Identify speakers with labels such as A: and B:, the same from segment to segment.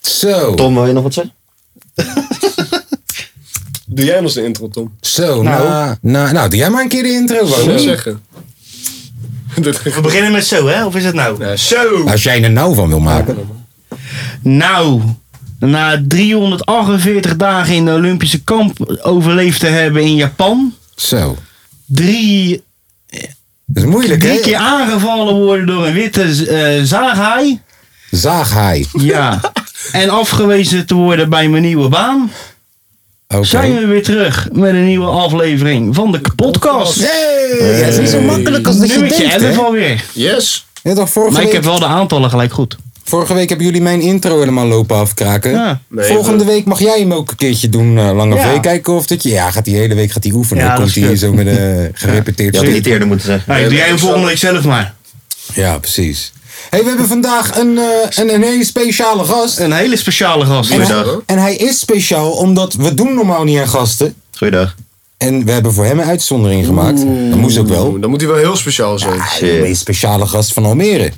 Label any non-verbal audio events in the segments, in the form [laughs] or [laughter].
A: Zo.
B: Tom, wil je nog wat zeggen?
C: doe jij nog een intro, Tom?
A: Zo. Nou, nou, nou, doe jij maar een keer de intro.
C: Wat wil
A: Wout.
C: je zeggen? [laughs]
D: We beginnen met zo, hè? Of is het nou?
E: Zo.
A: Als jij er nou van wil maken.
D: Nou, na 348 dagen in de Olympische kamp overleefd te hebben in Japan.
A: Zo.
D: Drie,
A: Dat is moeilijk,
D: drie keer
A: hè?
D: aangevallen worden door een witte eh
B: [laughs]
D: zaaghaai.
A: Zaaghaai.
D: Ja. en afgewezen te worden bij mijn nieuwe baan.
A: Oké.
D: Zijn we weer terug met een nieuwe aflevering van de podcast.
A: Hey, ja, het is niet zo makkelijk als dat je
D: Nummertje
A: denkt, hè?
D: 11 alweer.
C: Yes.
A: Ja, toch, vorige,
D: Maar ik
A: week,
D: heb wel de aantallen gelijk goed.
A: vorige week hebben jullie mijn intro helemaal lopen afkraken.
D: Ja.
C: Nee,
A: Volgende week mag jij hem ook een keertje doen, eh Lange
D: Ja.
A: V. Kijken of dat je... Ja, gaat die hele week gaat die oefenen.
D: Ja,
A: Dan
D: dat
A: komt
D: is
A: hij
D: kut.
A: zo met een gerepeteerd
B: Je had
A: stuk.
B: niet eerder moeten zeggen.
D: Nou, doe jij hem volgende week zelf maar.
A: Ja, precies. hey, we hebben vandaag een, eh, een, een hele speciale gast.
D: Een hele speciale gast.
A: En
B: Goeiedag.
A: hij, en hij is speciaal omdat we doen normaal niet aan gasten.
B: Goeiedag.
A: En we hebben voor hem een uitzondering gemaakt. Dat moest ook wel.
C: Oh, Dan moet hij wel heel speciaal zijn.
A: De meest speciale gast van Almere.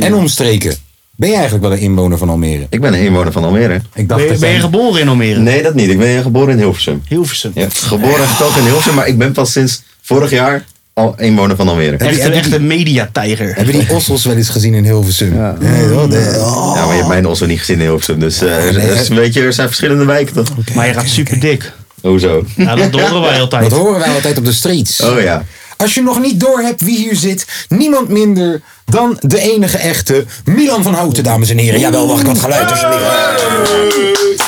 A: En omstreken. Ben je eigenlijk wel een inwoner van Almere?
B: Ik ben een inwoner van Almere.
A: Ik dacht
D: Ben je,
A: dat
D: ben je
A: jij-
D: geboren in Almere?
B: Nee, dat niet. Ik ben geboren in Hilversum.
D: Hilversum.
B: Ja, geboren en getogen in Hilversum, maar ik ben pas sinds vorig jaar al inwoner van Almere.
D: Echt een echte mediatijger.
A: Hebben die ossels wel eens gezien in Hilversum? Nee, joh, de- oh.
B: Ja, maar je hebt mijn osso niet gezien in Hilversum, dus eh, er, er is een beetje, er zijn verschillende wijken toch?
D: Maar je gaat super dik.
B: Hoezo?
D: Ja,
B: [laughs]
D: dat horen wij
A: Dat
D: altijd.
A: horen wij altijd op de streets.
B: Oh ja.
A: Als je nog niet door hebt wie hier zit, niemand minder dan de enige echte Milan van Houten, dames en heren. Jawel, wacht, wat geluid alsjeblieft.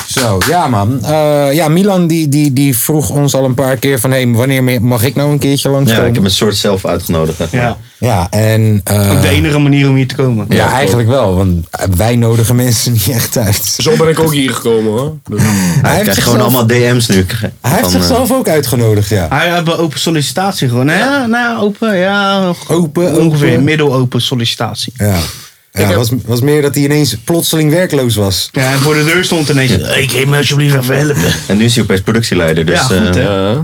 A: Zo, ja man. Eh, ja, Milan die, die, die vroeg ons al een paar keer van, hey, wanneer me- mag ik nou een keertje langs
B: ja, ik heb een soort zelf uitgenodigd. hè.
D: Ja.
A: Ja, en... eh,
D: Ook de enige manier om hier te komen.
A: ja, eigenlijk wel, want eh, wij nodigen mensen niet echt uit.
C: Zo ben ik ook hier gekomen hoor. Dus-
A: Hij
B: Ik
A: heeft
B: krijg
A: zichzelf,
B: gewoon allemaal DM's nu.
A: hij heeft
B: van, eh,
A: zichzelf ook uitgenodigd, ja.
D: Hij had een open sollicitatie gewoon. Nou ja, nou ja, open, ja.
A: Open,
D: Ongeveer
A: open.
D: middelopen sollicitatie.
A: Ja, ja was, was meer dat hij ineens plotseling werkloos was.
D: Ja, en voor de deur stond ineens. Ik geef me alsjeblieft even helpen.
B: En nu is hij opeens productieleider, dus...
D: Ja, goed,
B: eh,
D: hè.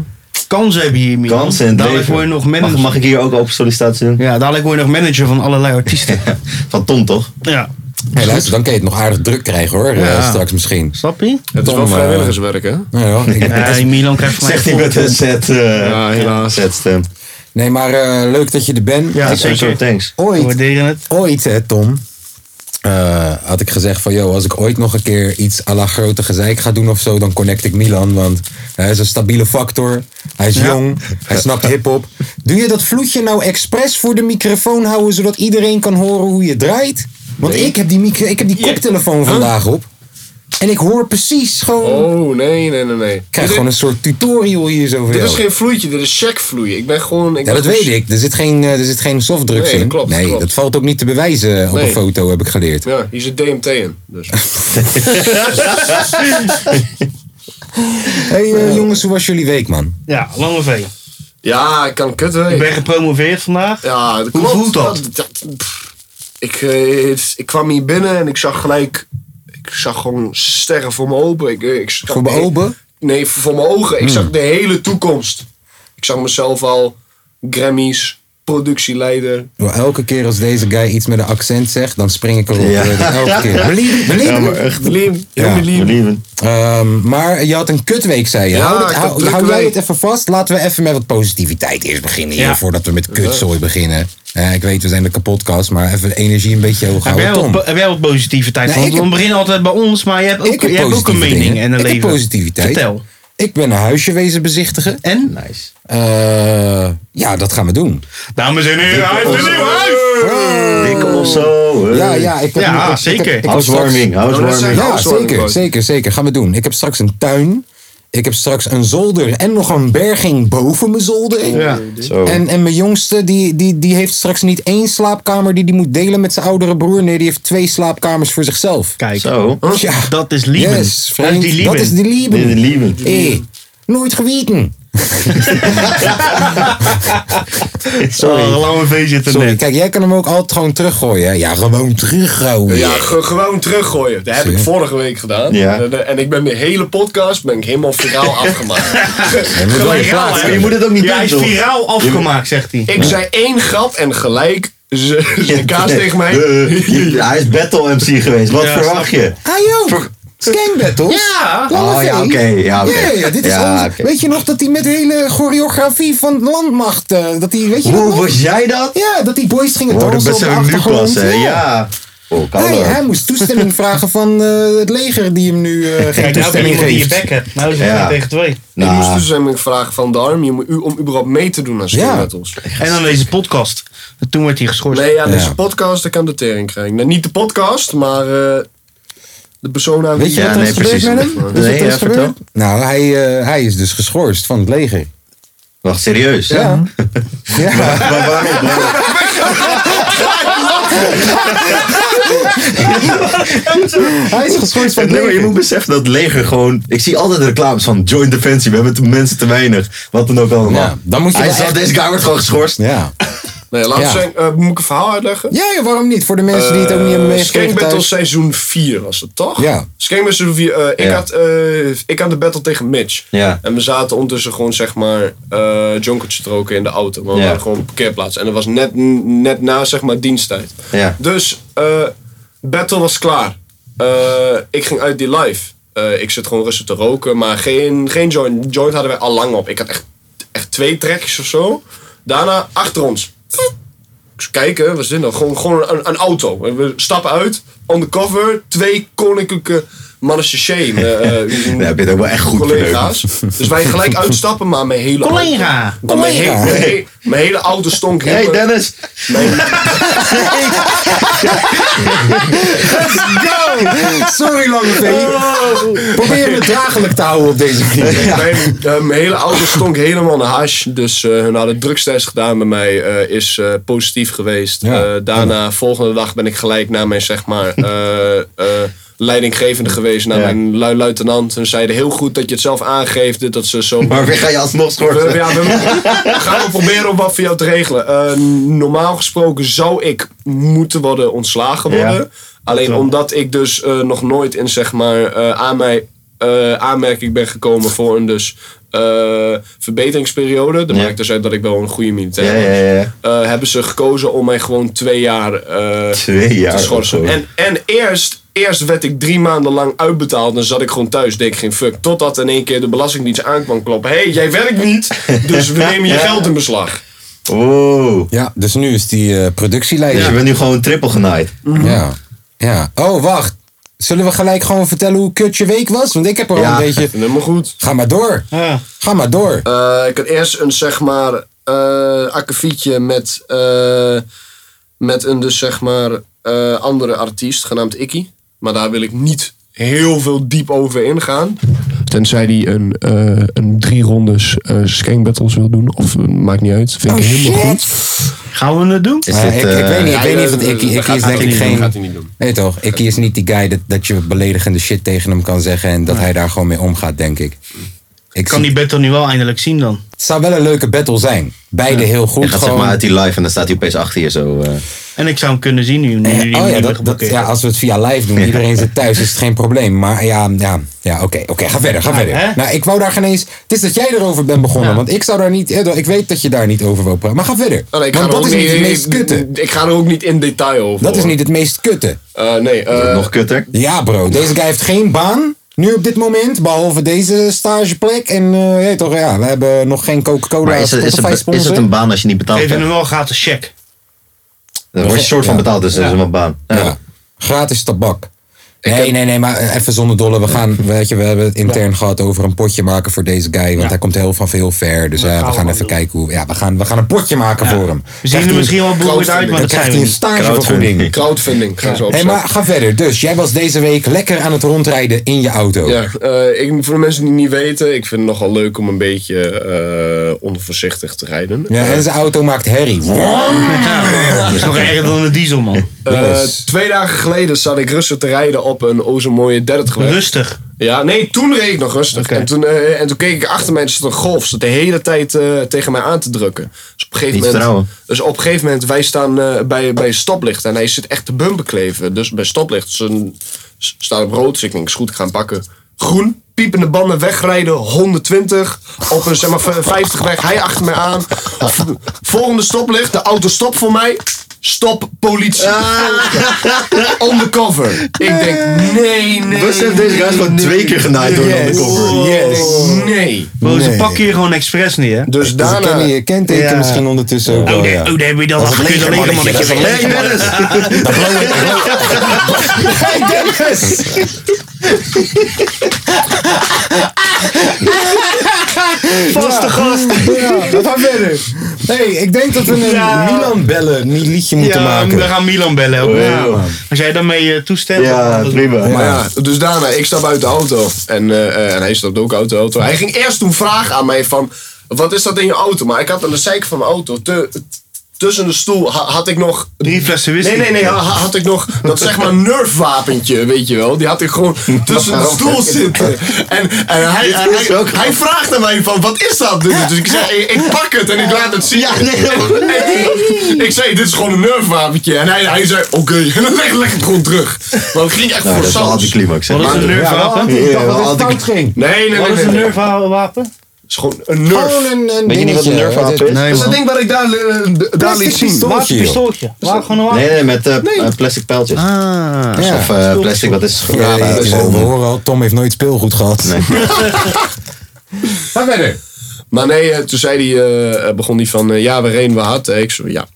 D: Kansen hebben hier, Milan.
B: Kansen in het
D: Dadelijk
B: leven.
D: word je nog
B: mag,
D: manager.
B: mag ik hier ook open sollicitatie doen?
D: Ja, dadelijk word je nog manager van allerlei artiesten.
B: Van Tom, toch?
D: ja.
A: Hey, luister, dan kan je het nog aardig druk krijgen hoor, eh,
D: Ja.
A: straks misschien.
D: Snap je?
C: Het is wel
A: Tom, eh,
C: vrijwilligerswerk hè?
A: Nou [laughs] ja, ik-
D: Ja, die Milan krijgt van mij
B: Zegt hij met een zet, eh
C: Ja, helaas.
B: zet stem.
A: nee, maar eh, leuk dat je er bent.
D: Ja,
B: ik zo,
D: zeker.
B: thanks.
D: We
A: Ooit,
D: waarderen het.
A: ooit hè Tom, eh, had ik gezegd van... Yo, als ik ooit nog een keer iets à la grote gezeik ga doen of zo... dan connect ik Milan, want hij is een stabiele factor. Hij is jong, hij
C: [laughs]
A: snapt hiphop. Doe je dat vloedje nou expres voor de microfoon houden... zodat iedereen kan horen hoe je draait? Want ik heb die, micro, ik heb die koptelefoon vandaag op. En ik hoor precies gewoon...
C: Oh nee, nee, nee, nee.
A: Ik krijg
C: Dit-
A: gewoon een soort tutorial hier zo voor
C: Dit
A: jou.
C: is geen vloeitje, dit is checkvloei. Ik ben gewoon... Ik
A: Ja,
C: ben
A: dat weet ik. Er zit geen, eh, er zit geen softdrugs
C: Nee,
A: in.
C: klopt,
A: nee,
C: klopt.
A: dat valt ook niet te bewijzen op
C: Nee.
A: een foto, heb ik geleerd.
C: Ja, hier zit DMT in.
A: [laughs]
C: Dus.
A: hey, eh, jongens, hoe was jullie week, man?
D: Ja, lange V.
C: Ja, ik kan kutten.
D: Ik ben gepromoveerd vandaag.
C: Ja, dat
D: Hoe
C: klopt.
D: voelt dat?
C: pff. ik, eh, het- ik kwam hier binnen en ik zag gelijk... Ik zag gewoon sterren voor mijn open. Ik, eh, ik zag-
A: Voor mijn open?
C: Nee, voor, voor mijn ogen. Ik zag de hele toekomst. Ik zag mezelf al Grammys, productieleider.
A: Wel, Elke keer als deze guy iets met een accent zegt, dan spring ik erop.
B: Ja.
A: Eh, Elke keer. Believe it, believe
B: Ja,
A: it.
B: maar echt.
C: Lief,
A: Ja.
C: heel lief.
B: Lieven.
A: Ehm, maar je had een kutweek, zei je.
C: Ja,
A: hou
C: ik
A: dit-
C: had
A: hou,
C: een
A: hou
C: drukke
A: jij
C: week.
A: het even vast. Laten we even met wat positiviteit eerst beginnen. hier,
D: Ja.
A: Voordat we met kutzooi beginnen. Eh, ik weet, we zijn de kapotkast, maar even de energie een beetje hoog
D: Heb
A: houden.
D: jij, wel,
A: Tom.
D: po- heb jij wel positiviteit?
A: Nee,
D: Want
A: ik heb-
D: we beginnen altijd bij ons, maar je hebt ook,
A: Ik heb
D: je hebt ook een
A: positieve
D: mening
A: dingen.
D: en een
A: Ik heb
D: leven.
A: positiviteit.
D: Vertel.
A: Ik ben een huisje wezen bezichtigen.
D: En?
B: Nice.
A: Eh, ja, dat gaan we doen.
D: Dames en heren, hij heeft een nieuw huis!
B: Dikke of zo. eh.
A: Ja, ja, ik heb,
D: Ja,
A: ik- ik,
D: zeker.
A: Ik, heb- ik heb straks-
B: Housewarming,
C: Nou, dat
B: housewarming.
C: zijn-
A: ja,
C: Housewarming
A: zeker,
C: gewoon.
A: zeker, zeker. Gaan we doen. Ik heb straks een tuin. Ik heb straks een zolder en nog een berging boven mijn zolder.
D: Ja.
B: Zo.
A: En, en mijn jongste, die, die, die heeft straks niet één slaapkamer die die moet delen met zijn oudere broer. Nee, die heeft twee slaapkamers voor zichzelf.
D: Kijk,
B: Zo.
A: Ja.
D: dat is Lieben.
A: Yes,
D: dat is
A: vriend,
D: die
A: dat
D: Lieben.
A: is die Lieben.
B: Dit is Lieben.
A: Hé, nooit geweten.
D: Sorry. Oh, lang een feestje te
A: Sorry,
D: net.
A: kijk, jij kan hem ook altijd gewoon teruggooien. hè? Ja, gewoon teruggooien.
C: Ja, ge- gewoon teruggooien. Dat heb ik vorige week gedaan.
B: Ja.
C: En, eh, en ik ben de hele podcast ben ik helemaal viraal afgemaakt.
A: Je moet wel je plaats
D: hè?
B: Maar
A: hebben.
B: je moet het ook niet
D: Ja, hij is
B: doen, toch?
D: viraal afgemaakt, zegt hij.
C: Ik zei één grap en gelijk ze, ze kaas tegen mij.
B: Eh,
D: [laughs]
B: je- hij is battle MC geweest. Wat
D: Ja,
B: verwacht
D: snap
B: je?
A: Ah joh, Skank Battles?
C: Ja.
A: Lange
B: Oh, ja,
A: V.
B: oké, ja, oké.
A: Ja, ja, dit is
B: Ja,
A: ons-
B: oké.
A: Weet je nog dat hij met de hele choreografie van landmacht... eh, dat hij, weet je
B: Hoe
A: dat nog?
B: was jij dat?
A: Ja, dat die boys gingen
B: Worden
A: dansen op de
B: best nu
A: achtergrond.
B: pas, hè? Ja. Oh, kan
A: Hij,
B: wel.
A: hij moest
B: [laughs]
A: toestemming vragen van eh, het leger die hem nu eh geen
D: Kijk, nou ben je
A: toestemming
D: iemand die je
A: geeft.
D: bek hebt. Nou is het
B: Ja.
D: twee tegen twee.
C: Ik moest
B: Nou,
C: dus hem vragen van de arm je moet- u- om überhaupt mee te doen aan
A: Ja.
C: Skinbattles.
D: En dan deze podcast. Toen werd hij geschorst.
C: Nee, ja, deze
A: Ja.
C: podcast, daar kan de tering krijgen. Nou, niet de podcast, maar eh, de persona.
A: Weet je
B: Ja,
A: wat er
B: nee,
A: is gebeurd
B: precies.
A: met hem? Weet je Dus
B: Nee,
A: wat er is
B: ja,
A: gebeurd?
B: vertel.
A: Nou, hij, eh, hij is dus geschorst van het leger.
B: wacht, serieus? [laughs]
A: Ja. ja.
B: Maar waarom? waarom?
A: [laughs] Hij is geschorst van het
B: Nee, maar je
A: leger.
B: moet beseffen dat het leger gewoon... Ik zie altijd reclames van Join Defensie. We hebben te- mensen te weinig. Wat dan ook allemaal.
A: Ja, dan moet je
B: Hij
A: wel
B: zag,
A: echt-
B: deze guy wordt gewoon geschorst.
A: Ja.
C: Nee, laat
A: Ja.
C: zijn, eh, moet ik een verhaal uitleggen?
A: ja, ja, waarom niet? Voor de mensen die het ook niet hebben
C: Eh, Skank
A: meegekregen
C: Battle
A: thuis.
C: seizoen 4 was het toch?
A: Ja.
C: Skank Battle seizoen 4. eh, ik,
B: Ja.
C: had, eh, ik had de battle tegen Mitch.
B: Ja.
C: En we zaten ondertussen gewoon zeg maar eh jonkertjes te roken in de auto. Maar we
B: Ja.
C: waren gewoon op parkeerplaats. En dat was net, net na zeg maar diensttijd.
B: Ja.
C: Dus eh, battle was klaar. Eh, ik ging uit die live. Eh, ik zit gewoon rustig te roken. Maar geen, geen joint. Joint hadden wij al lang op. Ik had echt, echt twee trekjes of zo. Daarna achter ons. Ik zou kijken, wat is dit nou? Gewoon, gewoon een, een auto. En We stappen uit, undercover, twee koninklijke mannen sachet.
B: [laughs]
C: eh, eh,
B: Daar heb je het ook wel echt goed
C: collega's. Dus wij gelijk uitstappen, maar mijn hele
D: Collega.
C: auto- maar Mijn,
A: Collega.
C: hele- mijn, hele- mijn hele auto stonk.
B: Hé, hey,
C: helemaal-
B: Dennis.
C: [laughs]
A: Sorry, Lange V.
C: Oh.
A: Probeer me draaglijk te houden op deze manier.
C: Mijn, eh, mijn hele auto stonk helemaal naar hash. Dus eh hun hadden drugstest gedaan bij mij. eh, is eh, positief geweest.
A: Ja.
C: Eh, daarna, volgende dag ben ik gelijk naar mijn, zeg maar... eh, eh, leidinggevende geweest naar
B: Ja.
C: mijn lui- luitenant. En zeiden heel goed dat je het zelf aangeeft. dit, Dat ze zo
B: Maar weer ga je alsnog
C: We,
B: schorsen.
C: ja,
B: [laughs]
C: we gaan we proberen om wat voor jou te regelen. Eh, normaal gesproken zou ik moeten worden ontslagen worden.
B: Ja.
C: Alleen omdat ik dus eh, nog nooit in zeg maar eh, aan mij eh, aanmerking ben gekomen voor een dus eh, verbeteringsperiode. Dat
B: Ja.
C: maakt dus uit dat ik wel een goede militair
B: Ja,
C: ben.
B: ja, ja.
C: Eh, hebben ze gekozen om mij gewoon twee jaar eh,
B: [laughs] Twee jaar Oh.
C: te schorsen.
B: of zo.
C: En, en eerst, eerst werd ik drie maanden lang uitbetaald. Dan zat ik gewoon thuis, deed ik geen fuck. Totdat in één keer de belastingdienst aan kwam kloppen. Hé, hey, jij werkt niet, dus we nemen je geld in beslag.
B: Wow.
A: Ja, dus nu is die eh,
B: Dus je
A: productieleider.
B: bent nu gewoon triple genaaid.
A: Ja. ja. Oh, wacht. Zullen we gelijk gewoon vertellen hoe kut je week was? Want ik heb er al
B: Ja.
A: een beetje...
C: Helemaal goed.
A: Ga maar door.
D: Ja.
A: Ga maar door.
C: Eh, ik had eerst een, zeg maar, eh akkefietje met, eh, met een, dus zeg maar, eh, andere artiest genaamd Ikkie. Maar daar wil ik niet heel veel diep over ingaan. Tenzij die een, eh, een drie rondes eh skank battles wil doen. Of eh, maakt niet uit.
A: Oh,
C: Vind ik helemaal goed.
D: Gaan we het doen?
B: Is
A: Maar
B: dit,
A: ik,
B: eh,
A: ik weet niet, ik weet niet
C: dat-
A: want Ikkie,
C: dat
A: Ikkie is
C: gaat
A: denk
C: hij
A: ik
C: niet doen,
A: geen...
C: gaat hij niet doen.
A: Nee toch, Ikkie is niet die guy dat, dat je beledigende shit tegen hem kan zeggen en dat hij daar gewoon mee omgaat, denk ik. Ik
D: Kan
A: zie-
D: die battle nu wel eindelijk zien dan?
A: Het zou wel een leuke battle zijn. Beide heel goed.
B: Je gaat zeg
A: gewoon.
B: maar uit die live en dan staat hij opeens achter je zo. eh.
D: En ik zou hem kunnen zien nu. nu
A: Eh,
D: die
A: oh ja,
D: hebben
A: dat, dat,
D: geblokkeerd.
A: ja, als we het via live doen, iedereen zit thuis, is het geen probleem. Maar ja, ja, ja oké, oké, ga verder, ga verder.
D: hè?
A: Nou, ik wou daar geen eens... Het is dat jij erover bent begonnen,
D: Ja.
A: want ik zou daar niet... eh, Ik weet dat je daar niet over wil praten, maar ga verder.
C: Oh, nee, ik ga
A: want
C: er
A: dat
C: ook
A: is niet het
C: niet-
A: meest kutte.
C: Ik ga er ook niet in detail over.
A: Dat is
C: hoor.
A: niet het meest kutte.
C: Eh, nee, eh,
B: nog kutter.
A: Ja, bro. Deze guy heeft geen baan. Nu op dit moment, behalve deze stageplek. En eh, ja, toch, ja, we hebben nog geen Coca-Cola.
B: Maar is het, is, het, is, het,
A: Spotify-sponsor.
B: een baan als je niet betaald
D: Geef hem
B: hebt?
D: wel een gratis check.
B: Dan word je soort van
A: Ja.
B: betaald, dus dat is wel een baan. Ja.
A: Ja. Gratis tabak. Nee, nee, nee, maar even zonder dolle. We,
D: [laughs]
A: gaan, weet je, we hebben het intern gehad over een potje maken voor deze guy. Want
D: Ja.
A: hij komt heel van veel ver. Dus eh, we gaan even kijken hoe. Ja, we gaan, we gaan een potje maken voor hem.
D: We zien
A: Krijgt
D: er
A: hij-
D: misschien wel beroerd uit, maar
A: Dan
D: dat
A: krijgt
D: zijn
A: hij
D: we
A: een
D: niet.
A: stagevergoeding.
C: Crowdfunding gaan ze
A: Hé,
C: opzetten.
A: maar ga verder. Dus jij was deze week lekker aan het rondrijden in je auto.
C: Ja, eh, ik, voor de mensen die het niet weten, ik vind het nogal leuk om een beetje eh, onvoorzichtig te rijden. Eh,
A: Ja, en zijn auto maakt herrie.
D: [laughs] Ja, dat is nog erger dan een diesel, man.
C: Eh,
A: Yes.
C: twee dagen geleden zat ik rustig te rijden op een o zo mooie 30 weg.
D: Rustig.
C: Ja, nee, toen reed ik nog rustig.
D: Oké.
C: En, toen, eh, en toen keek ik achter mij, er zat een golf. Zat de hele tijd eh, tegen mij aan te drukken. Dus op een gegeven
B: Niet
C: moment,
B: vertrouwen.
C: dus op een gegeven moment wij staan eh, bij, bij stoplicht. En hij zit echt te bumper kleven. Dus bij stoplicht dus een- s- staat op rood. Dus ik denk, is goed, ik ga hem pakken. Groen, piepende banden, wegrijden, 120. Op een zeg maar, v- 50 weg, hij achter mij aan. V- Volgende stoplicht, de auto stopt voor mij. Stop, politie.
B: Ah.
C: Undercover. Ik denk, nee, nee.
B: Bus heeft deze guys gewoon twee keer genaaid door een
A: Yes.
B: undercover.
C: Yes. Nee.
D: Bro, ze
A: Nee.
D: pakken je gewoon expres neer. hè?
C: Dus
A: Dus ik ken
C: daarna...
A: je kenteken
D: Ja.
A: misschien ondertussen ook wel.
D: Oh, nee,
A: ja.
D: oh, nee, heb je dat
A: is een
D: afgekeurd?
A: leger
D: alleen maar
A: mannetje,
D: met
A: dat is een
D: je
A: leger Dat blow ik. Hey Dennis!
D: vaste gast.
A: Ja, we gaan verder. Nee, ik denk dat we een
D: Ja.
A: Milan bellen een liedje moeten
D: Ja,
A: maken.
D: we gaan Milan bellen. ook.
B: Oh,
D: Ja,
B: ja.
D: Als jij daarmee eh, toestemt.
B: Ja,
D: dan-
B: prima. Nou,
C: Maar ja, dus daarna, ik stap uit de auto. En, eh, eh, en hij stapt ook uit de auto. Hij ging eerst toen vragen aan mij van... Wat is dat in je auto? Maar ik had aan de zijkant van mijn auto... te- tussen de stoel ha- had ik nog...
D: Drie flessen whisky.
C: Nee, nee, nee. ha- had ik nog dat zeg maar nerfwapentje, weet je wel. Die had ik [laughs] gewoon tussen de stoel zitten. En, en hij, en
B: is
C: hij,
B: ook-
C: hij vraagt aan mij van, wat is dat? Dus ik zei, ik ik pak het en ik laat het zien. En Ik zei, dit is gewoon een nerfwapentje. En hij, hij zei, oké. [laughs] En dan leg, leg het gewoon terug. Want het ging echt
B: Nou,
C: voor
B: dat is wel
C: saus. Nee,
B: anticlimax. hè.
D: Wat is een
A: Ja, wel
D: nerfwapen?
A: antiek, dat
B: Ja, wel
A: het
B: antiek.
A: Dus fout ging.
C: nee, nee.
D: Wat is
C: nee,
D: een
C: nee.
D: nerfwapen?
C: Het is gewoon een nerf.
A: Gewoon een, een
B: Weet je niet wat
A: dingetje,
B: een nerfwapen
A: het is?
B: is?
C: dat is dat ding waar ik daar, eh, d- daar liet
A: Plastic
C: zien.
A: pistool.
D: Wapen, pistooltje. Waar gewoon een wapen?
B: Nee, nee, met eh, eh, plastic pijltjes.
D: Ah.
A: Ja.
B: Of eh, plastic, wat is
A: Ja,
B: ja,
A: je-
B: eh,
A: je-
B: zo'n-
A: we horen al, Tom heeft nooit speelgoed gehad. Ga verder.
C: Maar nee, eh, toen zei hij, eh, eh, begon hij van, eh, ja, we reden we hard. Eh, Ik zo, ja.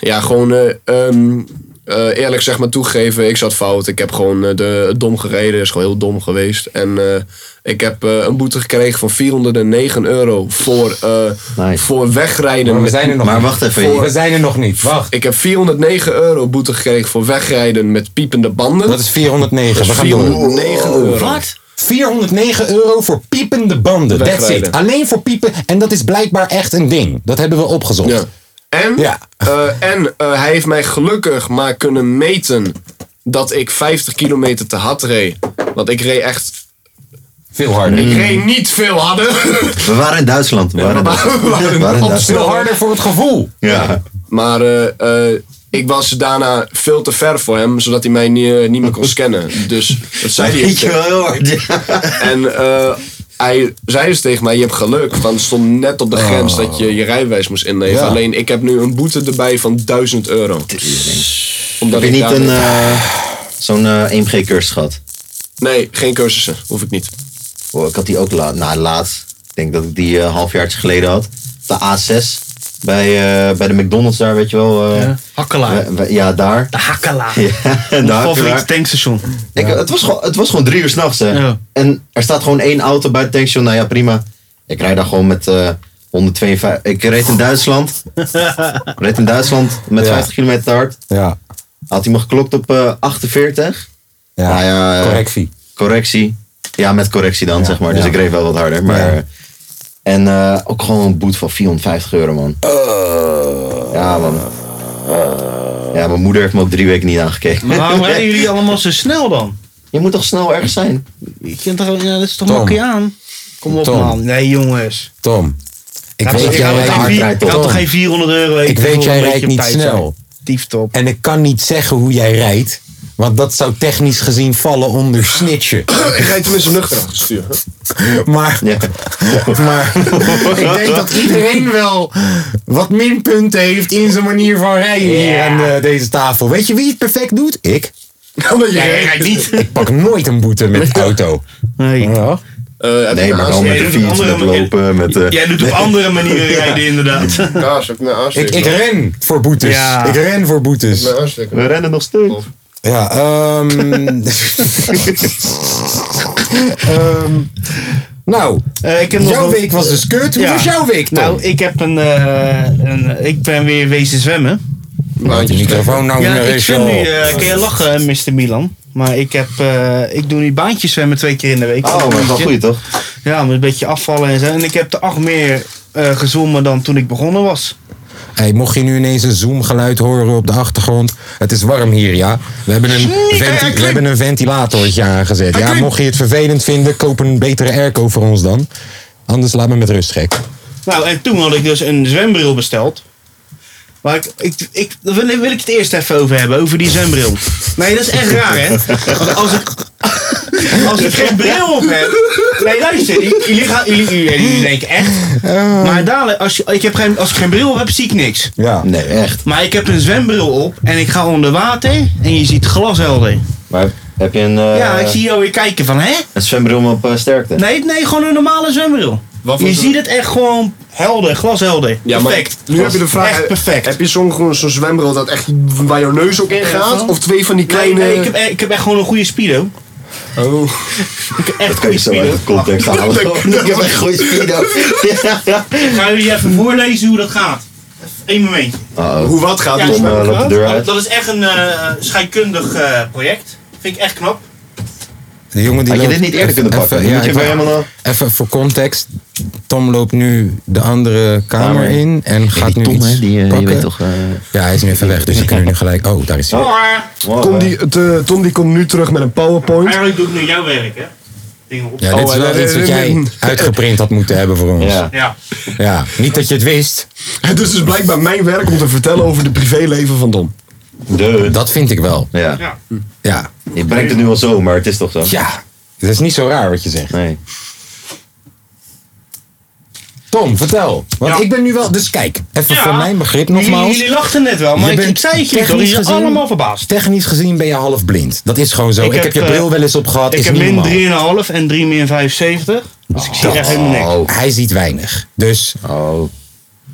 C: Ja, gewoon eh, ehm, eh, eerlijk zeg maar toegeven, ik zat fout. Ik heb gewoon eh, de, dom gereden, is gewoon heel dom geweest. En eh, ik heb eh, een boete gekregen van 409 euro voor, eh,
B: Nice.
C: voor wegrijden.
A: Maar we
C: met-
A: zijn er nog
B: Maar
A: niet.
B: wacht even,
A: We
B: je-
A: zijn er nog niet. Wacht.
C: Ik heb 409 euro boete gekregen voor wegrijden met piepende banden.
A: Dat is 409. We gaan door.
C: 409 euro.
D: Wat?
A: 409 euro voor piepende banden. That's
C: Wegrijden.
A: it. Alleen voor piepen. En dat is blijkbaar echt een ding. Dat hebben we opgezocht.
C: Ja. En,
A: Ja.
C: eh, en eh, hij heeft mij gelukkig maar kunnen meten dat ik 50 kilometer te hard reed. Want ik reed echt.
A: Veel harder.
B: Mm.
C: Ik reed niet veel harder. [laughs]
B: We waren in Duitsland. We waren [laughs] in Duitsland. We waren in
C: op
B: Duitsland.
A: Veel harder voor het gevoel.
B: Ja.
C: Maar eh, eh, ik was daarna veel te ver voor hem, zodat hij mij niet, eh, niet meer kon scannen. Dus dat zei
B: [laughs]
C: hij.
B: Weet je wel, heel hard. Ja.
C: En eh, hij zei dus tegen mij, je hebt geluk. Want het stond net op de
B: Oh.
C: grens dat je je rijbewijs moest inleveren.
A: Ja.
C: Alleen ik heb nu een boete erbij van 1000 euro. Omdat
B: Heb je niet
C: daar-
B: een, eh, zo'n eh, 1G-cursus gehad?
C: Nee, geen cursussen. Hoef ik niet.
B: Oh, ik had die ook laat, nou, laatst. Ik denk dat ik die eh, een half jaar geleden had. De A6 bij, eh, bij de McDonald's daar, weet je wel. eh,
D: Hakkelaar.
B: we- we- ja, daar.
D: De Hakkelaar.
B: Ja, [laughs]
D: Mijn
B: daar.
D: favoriete
B: daar.
D: tankstation.
B: Ik, het, was gewoon, het was gewoon drie uur s'nachts, hè.
D: Ja.
B: En er staat gewoon één auto bij het tankstation. Nou ja, prima. Ik rijd daar gewoon met eh 152... Ik reed in
A: [laughs]
B: Duitsland. reed in Duitsland met
A: Ja.
B: 50 kilometer te hard.
A: Ja.
B: Had hij me geklokt op eh 48.
A: Ja.
B: Nou ja, eh,
A: Correctie.
B: correctie. Ja, met correctie dan, zeg maar. Dus
A: ja.
B: ik reed wel wat harder. Maar,
A: Ja.
B: eh, En eh, ook gewoon een boete van 450 euro, man. ja, man. ja, mijn moeder heeft me ook drie weken niet aangekeken.
D: Maar [laughs] waarom rijden jullie allemaal zo snel dan?
B: [laughs] Je moet toch snel ergens zijn?
D: Je kunt toch, ja, dat is toch
A: Tom.
D: makkie aan? Kom op
A: Tom.
D: man. Nee jongens.
A: Tom. Ik
D: Laat me-
A: weet
D: ik had
A: jij rijdt
B: het aan
D: geen
B: hard
D: vier-
B: rijdt,
D: ik had
A: Tom.
D: toch geen 400 euro.
A: Ik weet,
D: wil
A: jij
D: een beetje
A: rijdt
D: op
A: niet
D: tijd zijn.
A: snel.
D: Dieftop.
A: En ik kan niet zeggen hoe jij rijdt. Want dat zou technisch gezien vallen onder snitchen.
C: [coughs] Ik rijd tenminste nuchter achter het stuur.
A: Maar,
B: Ja.
D: [laughs]
A: maar ik denk dat iedereen wel wat minpunten heeft in zijn manier van rijden hier aan eh, deze tafel. Weet je wie het perfect doet? Ik.
C: Omdat jij
D: Jij rijdt niet.
A: Ik pak nooit een boete met de auto.
D: Nee.
A: Ja.
C: Eh,
B: Nee, maar wel met de
D: Jij doet
B: fiets,
D: andere
B: met
D: manier-
B: lopen, met... eh,
D: Jij doet op andere manieren rijden
A: [laughs]
D: inderdaad.
C: Ja, zou ik naar
A: Ik, ik ren voor boetes.
D: Ja.
A: Ik ren voor boetes.
B: we rennen nog steeds.
A: Ja,
D: [laughs]
A: ehm Ehm, nou,
D: Eh, ik heb nog
A: jouw
D: een-
A: week was dus kut. Hoe
D: Ja.
A: was jouw week, Tom?
D: Nou, ik heb een, eh, een... Ik ben weer wezen zwemmen.
A: Laat je microfoon nou
D: Ja,
A: weer
D: ik
A: eens,
D: zwem nu.
A: joh.
D: eh, kun je lachen, Mr. Milan? Maar ik, heb, eh, ik doe nu baantjes zwemmen twee keer in de week.
B: Oh, maar dat is wel goed toch?
D: Ja, moet een beetje afvallen en zo. En ik heb er acht meer eh gezwommen dan toen ik begonnen was.
A: Hey, mocht je nu ineens een zoomgeluid horen op de achtergrond. Het is warm hier, ja. We hebben een, venti- we hebben een ventilatortje aangezet. Ja, mocht je het vervelend vinden, koop een betere airco voor ons dan. Anders laat me met rust, gek.
D: Nou, en toen had ik dus een zwembril besteld. Maar ik, ik, ik, daar wil, wil ik het eerst even over hebben, over die zwembril. Nee, dat is echt raar, hè? Want als ik, als ik geen bril op heb... Nee, luister, j- jullie, gaan, jullie, jullie, jullie denken echt... Maar dadelijk, als, je, ik heb geen, als ik geen bril heb, zie ik niks.
A: Ja.
B: Nee, echt.
D: Maar ik heb een zwembril op en ik ga onder water en je ziet glashelder.
B: Maar heb je een, eh,
D: Ja, ik zie jou weer kijken van, hè?
B: een zwembril op eh, sterkte?
D: Nee, nee, gewoon een normale zwembril.
C: Wat voor
D: je
C: zwem-
D: ziet het echt gewoon helder, glashelder.
C: Ja, maar
D: perfect.
C: nu heb je de vraag.
D: Echt perfect.
C: Heb je zo'n gewoon zo'n zwembril dat echt waar jouw neus ook in gaat? Of twee van die
D: Nee,
C: kleine...
D: nee, ik, heb, eh, ik heb echt gewoon een goede speedo.
C: Oh.
D: Ik heb echt
B: Dat kan
D: goede
B: je zo uit
D: speedo.
B: het
D: [laughs]
B: context halen. [laughs] Ik heb echt goede speedo.
D: Ik ga jullie even voorlezen hoe dat gaat. Eén momentje.
B: Uh-oh.
C: Hoe wat gaat
D: Ja,
C: die
B: Tom eh,
C: zwembril?
B: loopt de deur uit.
D: Dat is echt een eh scheikundig eh, project. Vind ik echt knap.
A: De jongen die
B: Had je
A: loopt-
B: dit niet eerder kunnen pakken?
A: Even,
B: Dan
A: ja,
B: moet je
A: ik
B: weer
A: wou-
B: helemaal eh, naar-
A: even voor context. Tom loopt nu de andere kamer
B: Kamer.
A: in en gaat nu iets
B: eh,
A: pakken. Ja, hij is nu even weg, dus je kan nu
B: [laughs]
A: niet gelijk... Oh, daar is hij.
D: Maar
C: Tom die, het, eh, Tom die komt nu terug met een powerpoint.
D: eigenlijk doe ik nu jouw werk, hè? Dingen op.
A: Ja, dit is
C: Oh,
A: wel
C: eh,
A: iets wat
C: eh,
A: jij
C: eh,
A: uitgeprint had moeten hebben voor ons.
B: Ja.
D: Ja.
A: Ja, niet dat je het wist.
C: Het is dus blijkbaar mijn werk om te vertellen over het privéleven van Tom.
B: De.
A: Dat vind ik wel.
B: Ja.
D: ja.
A: Ja.
B: Je brengt het nu al zo, maar het is toch zo?
A: Ja. Het is niet zo raar wat je zegt.
B: Nee.
A: Tom, vertel. Want
D: Ja.
A: ik ben nu wel... Dus kijk, even
D: Ja.
A: voor mijn begrip
D: Jullie,
A: nogmaals.
D: jullie lachten net wel, maar
A: Je
D: ik,
A: bent
D: ik zei het je,
A: technisch
D: jullie zijn
A: gezien-
D: allemaal verbaasd.
A: Technisch gezien ben je half blind. Dat is gewoon zo. Ik,
D: Ik
A: heb,
D: heb,
A: je
D: eh,
A: bril wel eens op gehad.
D: Ik
A: is
D: heb
A: niet normaal.
D: min 3,5 en 3 min 75. Dus ik zie echt helemaal niks.
B: Oh.
A: Hij ziet weinig. Dus,
B: Oh.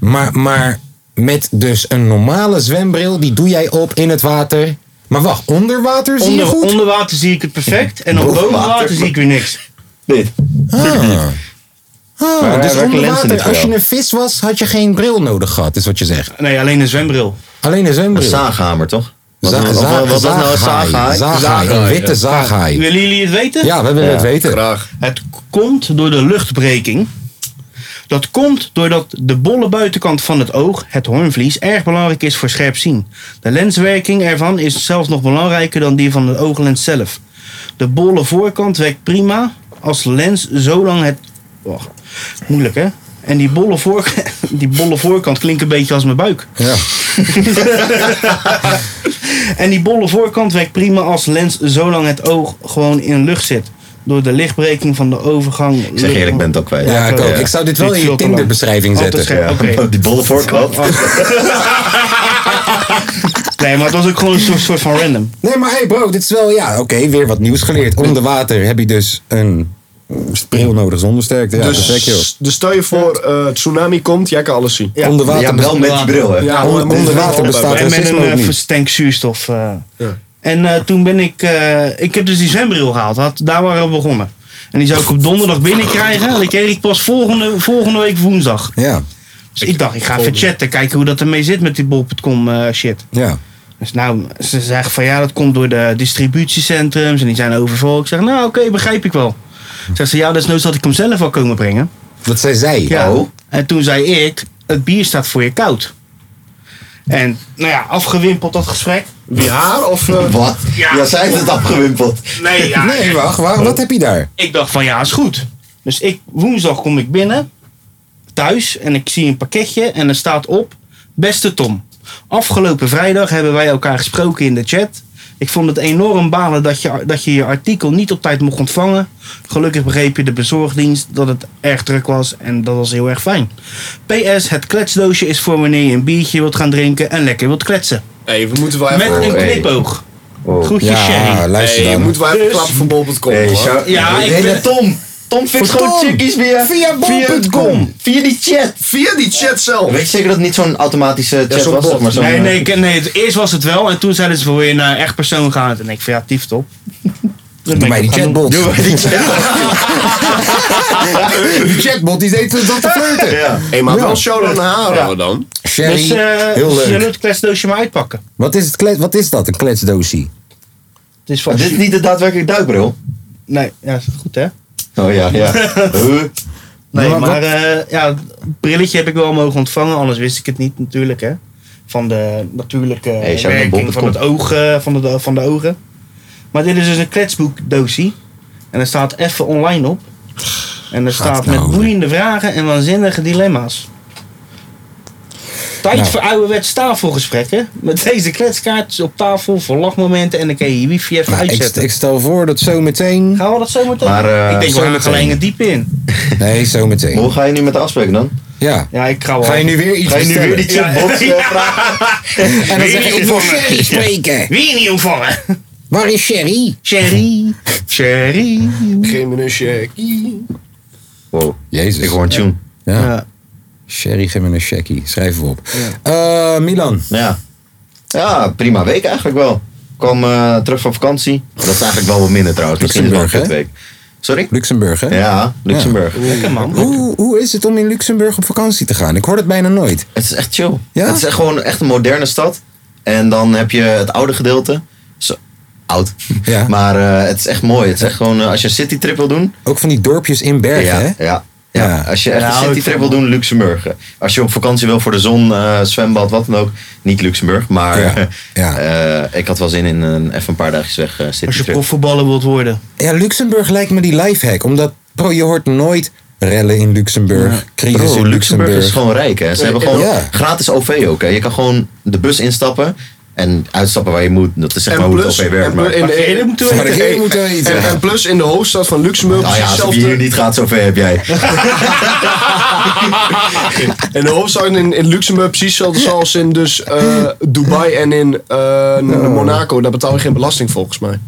A: maar, maar met dus een normale zwembril, die doe jij op in het water. Maar wacht, onder water zie je
D: Onder,
A: goed?
D: onder water zie ik het perfect en op
B: Boven
D: boven
B: water.
D: water zie ik weer niks.
B: Dit.
A: Ah. Ah,
B: Maar
A: dus
B: hij werkt
A: onder
B: lenzen
A: water,
B: niet
A: als je
B: wel.
A: een vis was, had je geen bril nodig gehad, is wat je zegt.
D: Nee, alleen een zwembril.
A: Alleen een
B: Een
A: zwembril.
B: zaaghamer, toch? Wat,
A: Za-
B: wat,
A: za-
B: wat, was dat nou? Een
A: zaaghaai.
B: zaaghaai?
A: Zaaghaai, een witte zaaghaai.
D: Willen jullie het weten?
A: Ja, we willen
B: Ja,
A: het weten.
C: Graag.
D: Het komt door de luchtbreking. Dat komt doordat de bolle buitenkant van het oog, het hoornvlies, erg belangrijk is voor scherp zien. De lenswerking ervan is zelfs nog belangrijker dan die van de ooglens zelf. De bolle voorkant werkt prima als lens zolang het... Oh, moeilijk hè? En die bolle, voor... [laughs] die bolle voorkant klinkt een beetje als mijn buik.
A: Ja.
D: [laughs] En die bolle voorkant werkt prima als lens zolang het oog gewoon in lucht zit. Door de lichtbreking van de overgang...
B: Ik zeg eerlijk, ik ben het ook kwijt.
A: Ja, ik ook.
B: Ja.
A: Ik zou dit wel
D: Duurt
A: in je
D: veel te lang.
A: Tinder-beschrijving
D: Altijd
A: zetten.
D: scherp. Oké.
B: [laughs] Die bolle voorkant.
D: Nee, maar het was ook gewoon een soort, soort van
A: [laughs]
D: random.
A: Nee, maar hey bro, dit is wel, ja, oké, weer wat nieuws geleerd. Onder water heb je dus een bril nodig zonder sterkte. Ja, perfect, joh.
C: Dus, dus stel je voor, eh, tsunami komt, jij kan alles zien.
A: Onder water
B: Ja, wel met die bril, hè?
C: Ja,
A: onder,
C: maar-
A: onder water bestaat
D: En met
A: racisme
D: een
A: ook
D: eh,
A: niet.
D: verstank zuurstof. eh. En eh, toen ben ik... eh, ik heb dus die zwembril gehaald. Had, daar waren we begonnen. En die zou ik op donderdag binnenkrijgen. En die kreeg ik pas volgende, volgende week woensdag.
A: Ja,
D: Dus ik dacht, ik ga even chatten. Kijken hoe dat ermee zit met die bol.com eh, shit.
A: ja.
D: Dus nou, ze zeggen van ja, dat komt door de distributiecentrums en die zijn overvol. Ik zeg, nou oké, begrijp ik wel. Zegt ze, ja, desnoods had ik hem zelf al komen brengen.
A: Dat zei zij.
D: Ja.
A: Oh.
D: En toen zei ik, het bier staat voor je koud. En nou ja, afgewimpeld dat gesprek.
C: Wie haar of... eh,
B: Wat?
D: Ja.
B: Ja, zij heeft het afgewimpeld.
D: [laughs] Nee, ja.
A: Oh. Nee, wacht, wacht, wat heb je daar?
D: Ik dacht van ja, is goed. Dus ik, woensdag kom ik binnen, thuis, en ik zie een pakketje en er staat op, beste Tom. Afgelopen vrijdag hebben wij elkaar gesproken in de chat. Ik vond het enorm balen dat je, dat je je artikel niet op tijd mocht ontvangen. Gelukkig begreep je de bezorgdienst dat het erg druk was en dat was heel erg fijn. PS, het kletsdoosje is voor wanneer je een biertje wilt gaan drinken en lekker wilt kletsen.
C: hey, we moeten wel
D: Met
C: even...
D: een
B: hey.
D: knipoog.
B: Oh.
D: Groetjes, Sherry.
A: Ja, luister
C: hey, we
A: dan.
C: moeten wel even
D: Dus-
C: klappen voor bol.com,
B: Hey,
C: hoor.
B: shout-
D: Ja, ik
B: Hey,
D: ben-
B: Tom. Tom fixt
A: Voor
B: gewoon
A: Tom.
B: chickies via...
A: Via bol.com.
B: Via die chat.
C: Via die chat zelf.
B: Weet je zeker dat het niet zo'n automatische chat
C: zo'n
B: was?
C: bot.
B: zeg Maar zo'n,
D: Nee,
B: eh,
D: nee, ik- nee, het- eerst was het wel en toen zeiden ze, wil je naar echt persoon gaan? En ik van, ja, tieftop.
A: Doe mij die chatbot.
B: Doe maar die chat.
A: [laughs] Die chatbot die deed dat te flirten.
B: Ja.
C: Hé, maar
A: Ja.
C: wel shout-out naar haar
D: Ja.
C: hoor, dan.
A: Sherry,
D: Dus eh
A: heel
D: dus je
A: leuk.
D: moet het kletsdoosje maar uitpakken.
A: Wat is, het kle- wat is dat, een kletsdoosie?
D: Het is van...
B: Maar Dit is niet de daadwerkelijke duikbril.
D: Nee, ja, is goed hè?
B: Oh ja, ja. [laughs] Huh?
D: Nee,
A: Maar
D: maar,
A: wat-
D: eh, ja, het brilletje heb ik wel mogen ontvangen, anders wist ik het niet natuurlijk hè. Van de natuurlijke
B: shout naar
D: werking
B: Bob.com.
D: van, het oog, eh, van, de, van de ogen. Maar dit is dus een kletsboekdoosie. En er staat even online op. En er staat
A: nou
D: met
A: over.
D: boeiende vragen en waanzinnige dilemma's. Tijd
A: Nou.
D: voor ouderwets tafelgesprekken. Met deze kletskaartjes op tafel voor lachmomenten. En dan kan je je wifi even
A: Nou, ik,
D: uitzetten.
A: ik stel voor dat zo meteen...
D: Gaan we dat zo meteen?
B: Maar, eh,
D: ik denk, we
A: zo
D: gaan
A: meteen.
D: gelijk er diep in.
A: Nee, zo
B: Maar
A: meteen.
B: Hoe ga je nu met de afspraken dan?
A: Ja.
D: Ja, ik ga wel.
A: Ga je nu weer iets
B: Ga je nu
A: bestellen?
B: weer die chatbot eh, vragen?
A: En dan
D: Weer
A: zeg ik,
D: niet
A: ik wil [laughs]
D: ontvangen.
A: Sherry spreken.
D: Weer niet ontvangen.
A: Waar is Sherry?
D: Sherry. Sherry.
C: Geef me een checkie.
B: Wow,
A: Jezus.
B: ik hoor een tune.
A: Ja.
D: Ja.
A: Sherry, geef me een checkie. Schrijf hem op. Eh, Milan.
B: Ja. Ja, prima week eigenlijk wel. Ik kwam eh, terug van vakantie. Dat is eigenlijk wel wat minder trouwens. Misschien is het wel een
A: Luxemburg,
B: kut week. Sorry?
A: Luxemburg, hè?
B: Ja, Luxemburg.
D: Lekker man.
A: Hoe, hoe is het om in Luxemburg op vakantie te gaan? Ik hoor het bijna nooit.
B: Het is echt chill.
A: Ja?
B: Het is echt gewoon echt een moderne stad. En dan heb je het oude gedeelte. Zo, oud.
A: Ja.
B: [laughs] Maar eh, het is echt mooi. Het is echt gewoon, eh, als je een citytrip wil doen.
A: Ook van die dorpjes in Bergen,
B: ja,
A: hè?
B: ja, ja.
A: Ja.
B: Als je echt
D: Ja,
B: een
D: hou ik
B: citytrip
D: van.
B: wil doen, Luxemburg. Als je op vakantie wil voor de zon, eh, zwembad, wat dan ook. Niet Luxemburg, maar
A: Ja, ja.
B: [laughs] eh, ik had wel zin in een, even een paar dagjes weg eh
D: Als je
B: citytrip.
D: profvoetballer wilt worden.
A: Ja, Luxemburg lijkt me die lifehack. Omdat, bro, je hoort nooit rellen in Luxemburg, crisis
B: Bro,
A: in
B: Luxemburg,
A: Luxemburg.
B: is gewoon rijk. Hè? Ze hebben gewoon
A: Ja.
B: gratis OV ook. Hè? Je kan gewoon de bus instappen en uitstappen waar je moet. Dat is zeg maar
C: En
B: hoe
C: plus,
B: het OV werkt.
C: en
B: Maar,
C: plus- in
D: Waar de hele
C: de,
D: moeten
A: Waar de hele
C: en-
A: moeten weten.
C: en, en plus in de hoofdstad van Luxemburg.
B: nou ja,
C: precies
B: als het hier
C: hetzelfde-
B: niet gaat, zover heb [laughs] jij.
C: [laughs] in de hoofdstad in, in Luxemburg precies hetzelfde als in dus, eh, Dubai en in eh, Monaco. Daar betaal je geen belasting volgens mij.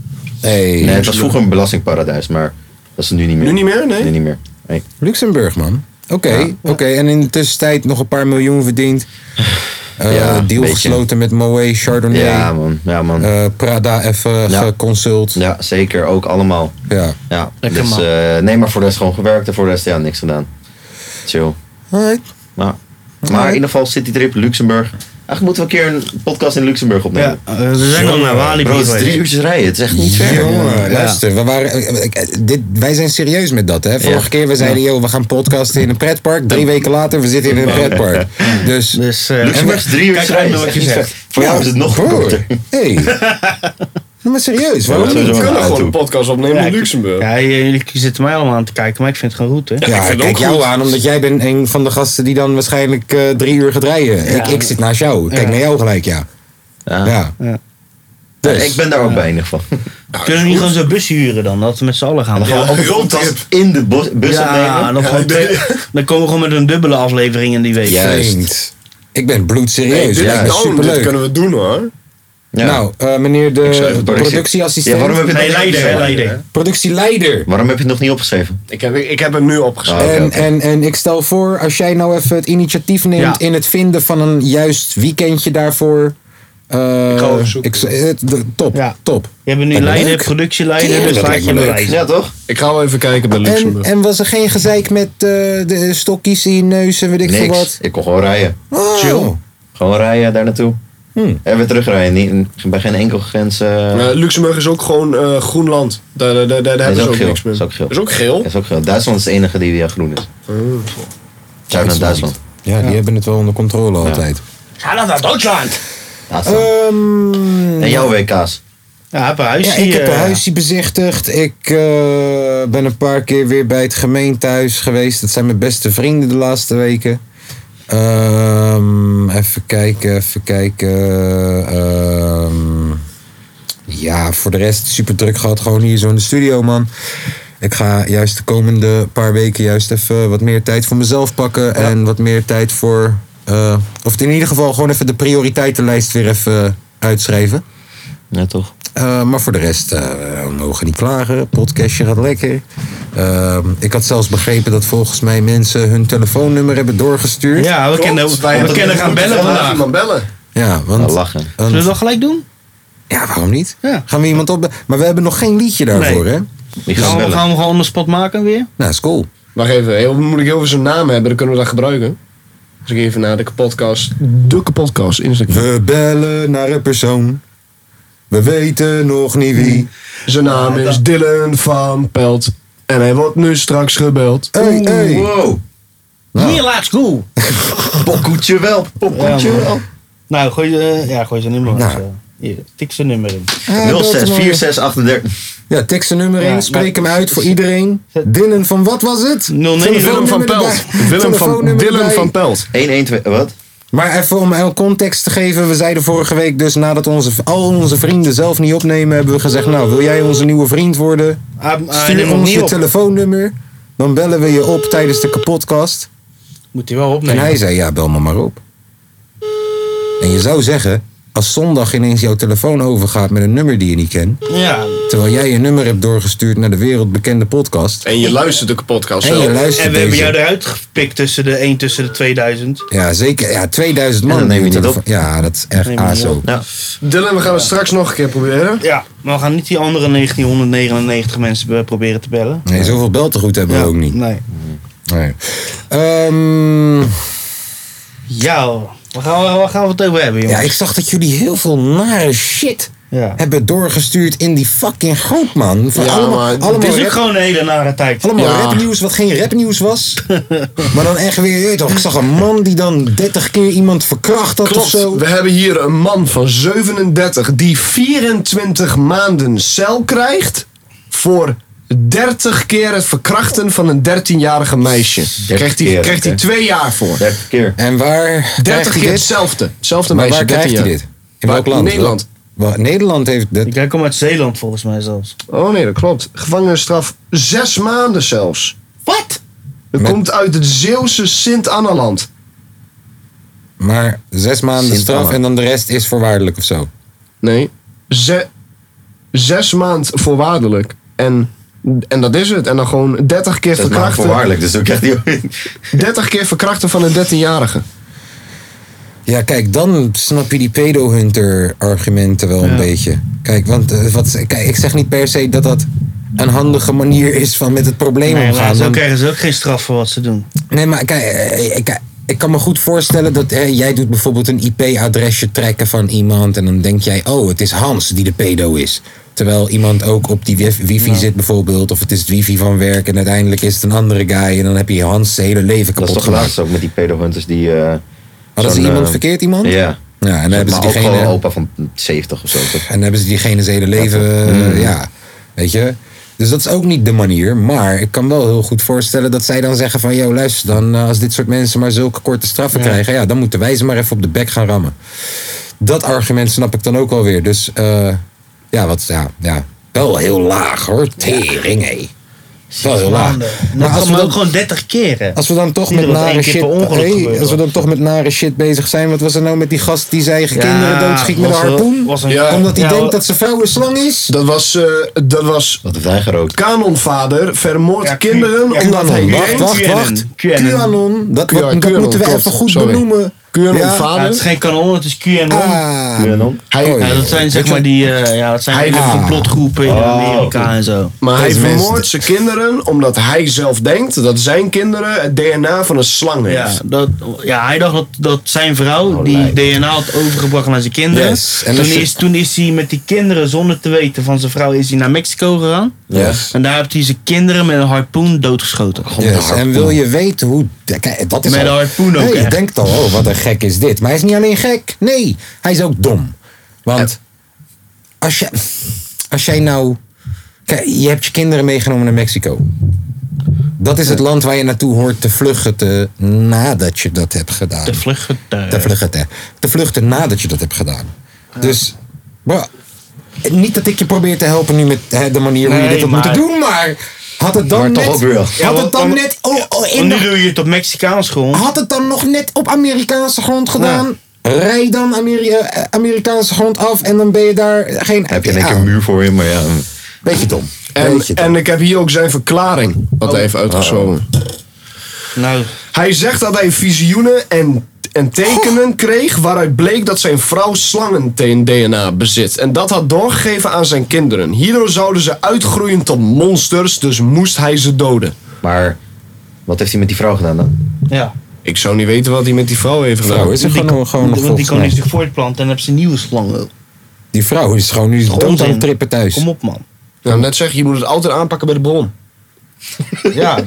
A: Hey,
B: Nee, het was vroeger een belastingparadijs, maar dat is het nu niet meer.
C: Nu niet meer? Nee.
B: Nu niet meer. Nee.
A: Luxemburg, man. Oké, oké. En in de tussentijd nog een paar miljoen verdiend. Eh,
B: Ja, een
A: deal
B: beetje.
A: gesloten met Moët, Chardonnay,
B: Ja, man. Ja, man.
A: eh, Prada even
B: Ja.
A: geconsult. Ja.
B: Ja, zeker. Ook allemaal. Ja.
D: Lekker,
B: dus,
D: man.
B: eh, nee, maar voor de rest gewoon gewerkt en voor de rest ja, niks gedaan. Chill.
A: Alright.
B: Nou. Maar in ieder geval citytrip, Luxemburg. Eigenlijk moeten we een keer een podcast in Luxemburg opnemen.
D: Eh, we zijn al naar Walibi
B: Bro, het is drie uurtjes rijden. Het is echt niet ver.
A: Jongen, luister, we waren, eh, eh, dit, wij zijn serieus met dat. Hè? Vorige
B: Ja.
A: keer we zeiden, yo, we gaan podcasten in een pretpark. Drie weken later, we zitten in een pretpark.
B: [laughs]
A: Dus,
D: Dus, eh,
B: Luxemburg is drie uurtjes
D: Kijk uit
B: rijden.
D: naar wat je
B: Echt niet
D: zegt.
B: ver. Voor jou is het nog
A: broer,
B: korter. [laughs]
A: Hey. Nou, maar serieus, waarom
B: dat
A: niet?
B: sowieso.
C: We kunnen
B: Ja,
C: gewoon
B: toe.
C: een podcast opnemen
D: Ja,
C: in
D: ik-
C: Luxemburg.
D: Ja, jullie zitten mij allemaal aan te kijken, maar ik vind het gewoon goed hè.
A: Ja, ik
C: vind
A: kijk
C: het ook
A: jou
C: goed.
A: aan, omdat jij bent een van de gasten die dan waarschijnlijk eh, drie uur gaat rijden. Ik, ik zit naast jou. Ik Kijk
D: Ja.
A: naar jou gelijk, ja.
B: Ja.
A: ja.
D: Ja.
A: Dus,
B: Ik ben daar ook bij in ieder geval.
D: Kunnen we niet gewoon zo'n bus huren dan, dat we met z'n allen gaan?
B: Gewoon op de podcast in de bos- bus
D: ja,
B: opnemen.
D: dan, gewoon twee- dan komen we gewoon met een dubbele aflevering in die week.
B: Ja.
A: Vriend,
B: juist.
A: Ik ben bloedserieus.
C: dit,
A: Lijkt me
C: nou, dit
A: superleuk.
C: kunnen we doen hoor.
B: Ja.
A: Nou, eh, meneer de
B: Ik zou even correctie-
A: productieassistent.
B: Ja, waarom heb je het
D: Nee,
B: nog niet
D: leider hè,
B: opgeschreven?
D: leider.
A: Productieleider.
B: Waarom heb je het nog niet opgeschreven?
C: Ik heb, ik heb hem nu opgeschreven.
B: Ah, oké,
A: en,
B: oké.
A: En, en ik stel voor, als jij nou even het initiatief neemt
D: Ja.
A: in het vinden van een juist weekendje daarvoor. eh, ik
C: ga onderzoeken.
A: eh, de- top,
D: Ja.
A: top.
D: Je bent nu
A: Lijkt me
D: leider,
A: leuk.
D: productieleider, dus
A: Tuurlijk,
D: laat
A: lijkt
D: je
A: me
D: hem
A: leuk.
D: wijzen.
B: Ja, toch?
C: Ik ga wel even kijken bij
A: En,
C: Luxemburg.
A: en was er geen gezeik met eh, de stokjes in je neus en weet ik veel
B: Niks.
A: wat?
B: Ik kon gewoon rijden.
A: Oh.
D: Chill.
B: Gewoon rijden daar naartoe.
D: Hmm.
B: En weer terugrijden. Niet, bij geen enkel grens. eh,
C: Eh, Luxemburg is ook gewoon eh, groen land. Daar, daar, daar, daar hebben ze
B: ook
C: ook,
B: geel.
C: niks mee.
B: Is ook geel.
C: Is ook geel.
B: is ook geel. Duitsland is het enige die ja, groen is.
D: Oh,
B: Shout naar Duitsland.
A: Ja, die hebben het wel onder controle altijd.
D: Ga dan naar Duitsland!
B: Duitsland.
D: Eh,
A: Ehm,
B: en jouw WK's.
D: Ja, op een
A: ja,
D: huisje.
A: ik heb
D: eh,
A: een huisje bezichtigd. Ik eh, ben een paar keer weer bij het gemeentehuis geweest. Dat zijn mijn beste vrienden de laatste weken. Ehm, even kijken, even kijken. Ehm, ja, voor de rest super druk gehad. Gewoon hier zo in de studio, man. Ik ga juist de komende paar weken juist even wat meer tijd voor mezelf pakken. En wat meer tijd voor... eh, of in ieder geval gewoon even de prioriteitenlijst weer even uitschrijven.
B: Ja, toch?
A: Eh, maar voor de rest, eh, we mogen niet klagen. Podcastje gaat lekker. Ehm, ik had zelfs begrepen dat volgens mij mensen hun telefoonnummer hebben doorgestuurd.
D: Ja, we kunnen,
C: Klopt, wij
D: we
C: hebben-
D: kunnen gaan
C: moeten
D: bellen vandaag.
C: iemand bellen.
A: Ja, want,
B: Nou, lachen.
D: Zullen we
A: want-
D: dat gelijk doen?
A: ja, waarom niet?
D: Ja.
A: Gaan we iemand op? Maar we hebben nog geen liedje daarvoor,
D: Nee.
A: hè?
B: Die gaan
D: Gaan we,
B: bellen.
D: gaan we gewoon on the spot maken weer?
A: Nou, is cool.
C: Wacht even, heel, moet ik heel veel zo'n naam hebben, dan kunnen we dat gebruiken. Dus ik even naar de podcast. De podcast, Instagram.
A: We bellen naar een persoon. We weten nog niet wie.
C: Zijn naam is Dylan van Pelt. En hij wordt nu straks gebeld.
A: Hey, hey.
B: Wow,
A: Nou.
D: Hier, let's go!
B: popkoetje wel, popkoetje
D: Ja, man.
B: wel.
D: Nou, gooi, eh, ja, gooi zijn nummer.
A: Nou.
D: eens, eh, hier, tik zijn nummer in.
A: Ja, dat is mooi.
B: 064638.
A: Ja, tik zijn nummer
D: Ja,
A: in, spreek
D: maar-
A: hem uit voor iedereen. Dylan van wat was het?
D: 09.
C: Willem van
A: Telefoonnummer
C: Pelt.
A: erbij.
C: Willem van,
A: Telefoonnummer
C: Dylan
A: erbij.
C: van Pelt.
B: 112, wat?
A: Maar even om heel context te geven, we zeiden vorige week dus nadat onze, al onze vrienden zelf niet opnemen, hebben we gezegd, nou wil jij onze nieuwe vriend worden?
D: Ah, ah, neem
A: Stuur
D: hem
A: ons
D: niet
A: je
D: op.
A: telefoonnummer, dan bellen we je op tijdens de kapotkast.
D: Moet hij wel
A: En
D: opnemen.
A: hij zei, ja bel me maar op. En je zou zeggen, als zondag ineens jouw telefoon overgaat met een nummer die je niet kent,
D: Ja,
A: terwijl jij je nummer hebt doorgestuurd naar de wereldbekende podcast,
C: En je luistert de podcast
A: en je
C: zelf.
A: luistert
D: en we hebben
A: deze.
D: jou eruit gepikt tussen de 1 tussen de 2000.
A: Ja, zeker. Ja, 2000 man.
B: En dan neem je
A: in
B: het
A: ieder
B: op.
A: geval. Ja, dat is echt
D: Neem je het
A: ASO.
D: op.
B: Ja.
C: Dylan, we gaan het straks nog een keer proberen.
D: Ja, maar we gaan niet die andere 1999 mensen be- proberen te bellen.
A: Nee, zoveel beltegoed hebben we
D: Ja,
A: ook niet.
D: Nee.
A: Nee. Ehm,
D: Ja, hoor. waar gaan, we, waar gaan we het over hebben,
A: ja,
D: jongens?
A: ik zag dat jullie heel veel nare shit
D: Ja.
A: hebben doorgestuurd in die fucking groep, man. Van
C: Ja,
A: allemaal,
C: maar het
A: allemaal,
D: Het is ook
A: rap-
D: gewoon een hele nare tijd.
A: allemaal
C: Ja.
A: rapnieuws wat geen rapnieuws was. maar dan echt weer, je weet toch, ik zag een man die dan 30 keer iemand verkracht had of
C: Klopt,
A: zo.
C: we hebben hier een man van 37 die 24 maanden cel krijgt voor 30 keer het verkrachten van een 13-jarige meisje. Krijgt hij,
B: keer,
C: krijgt hij
B: oké.
C: twee jaar voor.
B: 30 keer.
A: En waar
C: 30
A: krijgt hij
C: keer
A: dit?
C: hetzelfde. Hetzelfde
A: Maar
C: meisje.
A: waar krijgt
C: 13
A: hij
C: jaar.
A: dit? In
C: Waar-
A: welk land?
C: Nederland.
A: Wel, Nederland heeft dit.
D: Ik kom uit Zeeland volgens mij zelfs.
C: Oh nee, dat klopt. Gevangenisstraf zes maanden zelfs.
D: Wat?
C: Dat
A: Met-
C: komt uit het Zeeuwse Sint-Annaland.
A: Maar zes maanden
B: Sint
A: straf
B: Anna.
A: en dan de rest is voorwaardelijk of zo.
C: Nee. Ze- zes maand voorwaardelijk. En, en dat is het. En dan gewoon 30 keer
B: Dat is maar
C: verkrachten.
B: voorwaardelijk, dus dan krijgt hij ook-
C: 30 keer verkrachten van een 13-jarige.
A: Ja, kijk, dan snap je die pedo-hunter-argumenten wel een beetje. Kijk, want eh, wat, kijk, ik zeg niet per se dat dat een handige manier is van met het probleem
D: Nee, maar
A: omgaan.
D: zo
A: want-
D: krijgen ze ook geen straf voor wat ze doen.
A: Nee, maar kijk, eh, ik, ik kan me goed voorstellen dat eh, jij doet bijvoorbeeld een IP-adresje trekken van iemand en dan denk jij, oh, het is Hans die de pedo is. Terwijl iemand ook op die wif- wifi zit bijvoorbeeld, of het is het wifi van werk en uiteindelijk is het een andere guy en dan heb je Hans zijn hele leven
B: Dat is
A: kapot
B: toch
A: gemaakt.
B: laatst ook met die pedohunters die... eh
A: Hadden ze
B: zo'n,
A: iemand
B: eh,
A: verkeerd, iemand?
B: Ja.
A: Ja, en dan hebben ze
B: maar ook
A: diegene...
B: gewoon opa van 70 of zo. toch?
A: En dan hebben ze diegene zijn hele leven,
D: Mm.
A: eh, ja, weet je. Dus dat is ook niet de manier. Maar ik kan wel heel goed voorstellen dat zij dan zeggen van... ...joh, luister dan, eh, als dit soort mensen maar zulke korte straffen krijgen... ...ja, dan moeten wij ze maar even op de bek gaan rammen. Dat argument snap ik dan ook alweer. Dus eh, ja, wat, ja, ja, wel heel laag hoor. Tering, hé. Wel heel laag.
D: Maanden.
A: Maar
D: Dat
A: als
D: kan
A: we
D: maar
A: dan,
D: ook gewoon 30 keer. hè.
A: als we dan toch
D: Niet
A: met
D: dat het één
A: nare
D: keer
A: shit...
D: per ongeluk
A: hey,
D: gebeurt,
A: als we
D: hoor.
A: dan toch met nare shit bezig zijn... ...wat was er nou met die gast die zijn eigen kinderen doodschiet met een
D: was wel-
A: harpoen?
D: was een-
C: Ja.
A: Omdat hij
D: Ja,
A: denkt dat zijn vrouw een slang is?
C: Dat was, eh, dat was
B: Wat heeft hij gerookt?
C: kanonvader, vermoord
D: Ja,
C: kinderen,
D: Q-
C: omdat hij...
A: QAnon,
D: Q-
A: wacht, wacht,
D: QAnon.
A: wacht.
D: QAnon.
A: QAnon, dat, wat-
C: Ja,
A: dat
C: QAnon,
A: moeten we
C: klopt.
A: even goed
C: Sorry.
A: benoemen. Ja.
D: Ja, het is
C: Kanonvader.
D: geen kanon, het is QAnon.
A: Ah,
C: Hij-
A: oh,
D: Ja, dat zijn zeg maar die eh, ja, dat zijn
C: Hij-
D: hele
A: Ah.
D: complotgroepen in Amerika en zo.
C: Maar hij
A: Deze mensen-
C: vermoordt zijn kinderen omdat hij zelf denkt dat zijn kinderen het DNA van een slang
D: Ja,
C: heeft.
D: dat, ja, hij dacht dat, dat zijn vrouw die DNA had overgebracht naar zijn kinderen.
A: Oh, Yes, en
D: Toen,
A: als je-
D: is, toen is hij met die kinderen, zonder te weten van zijn vrouw, is hij naar Mexico gegaan.
A: Yes.
D: En daar heeft hij zijn kinderen met een harpoen doodgeschoten.
A: Yes. En wil je weten hoe... Kijk, dat is
D: Met
A: al-
D: een harpoen ook
A: Nee, je
D: echt.
A: denkt al, oh, wat een gek is dit. Maar hij is niet alleen gek. Nee, hij is ook dom. Want als, je, als jij nou... Kijk, je hebt je kinderen meegenomen naar Mexico. Dat is het land waar je naartoe hoort te vluchten te, nadat je dat hebt gedaan.
D: De vluchtgetuigen.
A: te vluchten. Te vluchten nadat je dat hebt gedaan. Dus, bro, niet dat ik je probeer te helpen nu met hè, de manier hoe je
D: Nee,
A: dit had
D: maar-
A: moeten doen, maar had het dan
B: Maar
A: net,
B: toch ook weer.
A: had het dan net, oh, oh, in
D: En nu
A: de- Oh.
D: doe je het op Mexicaans grond.
A: had het dan nog net op Amerikaanse grond gedaan? Rij dan Ameri- eh, Amerikaanse grond af en dan ben je daar geen. Ah,
B: Heb je in één
A: Ja,
B: keer een muur voor je, maar ja.
A: Beetje dom.
C: En,
A: Beetje toch?
C: en ik heb hier ook zijn verklaring,
A: Oh.
C: wat hij heeft uitgezonden.
D: Nou,
C: Hij zegt dat hij visioenen en, en tekenen kreeg waaruit bleek dat zijn vrouw slangen-DNA bezit. En dat had doorgegeven aan zijn kinderen. Hierdoor zouden ze uitgroeien tot monsters, dus moest hij ze doden.
B: Maar wat heeft hij met die vrouw gedaan dan?
D: ja.
C: Ik zou niet weten wat hij met die vrouw heeft gedaan.
A: Vrouw is er
D: Die
A: gewoon,
D: kan-
A: gewoon nog
D: Want die
A: volgens
D: kan
A: mij.
D: niet zich voortplanten en heb ze nieuwe slangen.
A: Die vrouw is gewoon nu dood aan
D: Onzin.
A: het trippen thuis.
D: Kom op, man.
C: Nou, net zeg, je moet het altijd aanpakken bij de bron.
A: [laughs]
D: Ja.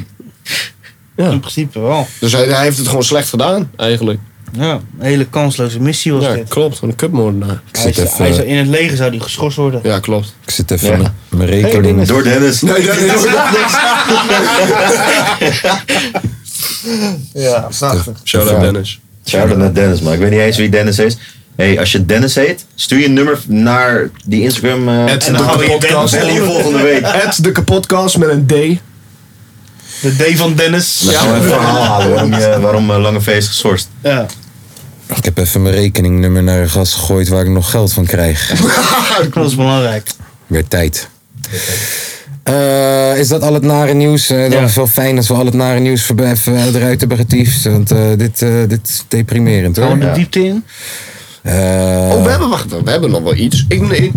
C: Ja.
D: In principe wel.
C: Dus hij, hij heeft het gewoon slecht gedaan, eigenlijk.
D: Ja, een hele kansloze missie was
C: Ja,
D: dit.
C: klopt. Een kutmoordenaar.
A: Ik
D: Hij
A: zit
D: zou- hij zou-
A: even,
D: in het leger zou die geschorst worden.
C: Ja, klopt.
A: ik zit even
B: Ja.
A: mijn rekening.
B: Door Dennis.
C: Nee, dat is
D: Ja, prachtig.
C: Shout out Dennis.
B: Shout-out naar Dennis, man. Ik weet niet eens wie Dennis is. hey, als je Dennis heet, stuur je nummer naar die Instagram. eh,
C: Het
B: en
C: de
B: dan gaan we je
C: kapotkast.
B: bellen je volgende week.
C: Ed de kapotkast met een D.
D: De D van Dennis.
B: Dan gaan we even verhaal halen waarom, [laughs] je, waarom eh, Lange V is geschorst.
D: Ja.
A: Ik heb even mijn rekeningnummer naar een gast gegooid waar ik nog geld van krijg.
D: Dat is belangrijk.
A: Weer tijd. Eh, is dat al het nare nieuws? Eh, dat
D: Ja.
A: is wel fijn als we al het nare nieuws voorbij- even eruit hebben getiefd. Want eh, dit, eh, dit is deprimerend hoor.
D: Gaan we de diepte in?
A: Eh,
C: Oh, we hebben, wacht, we hebben nog wel iets. Ik, ik-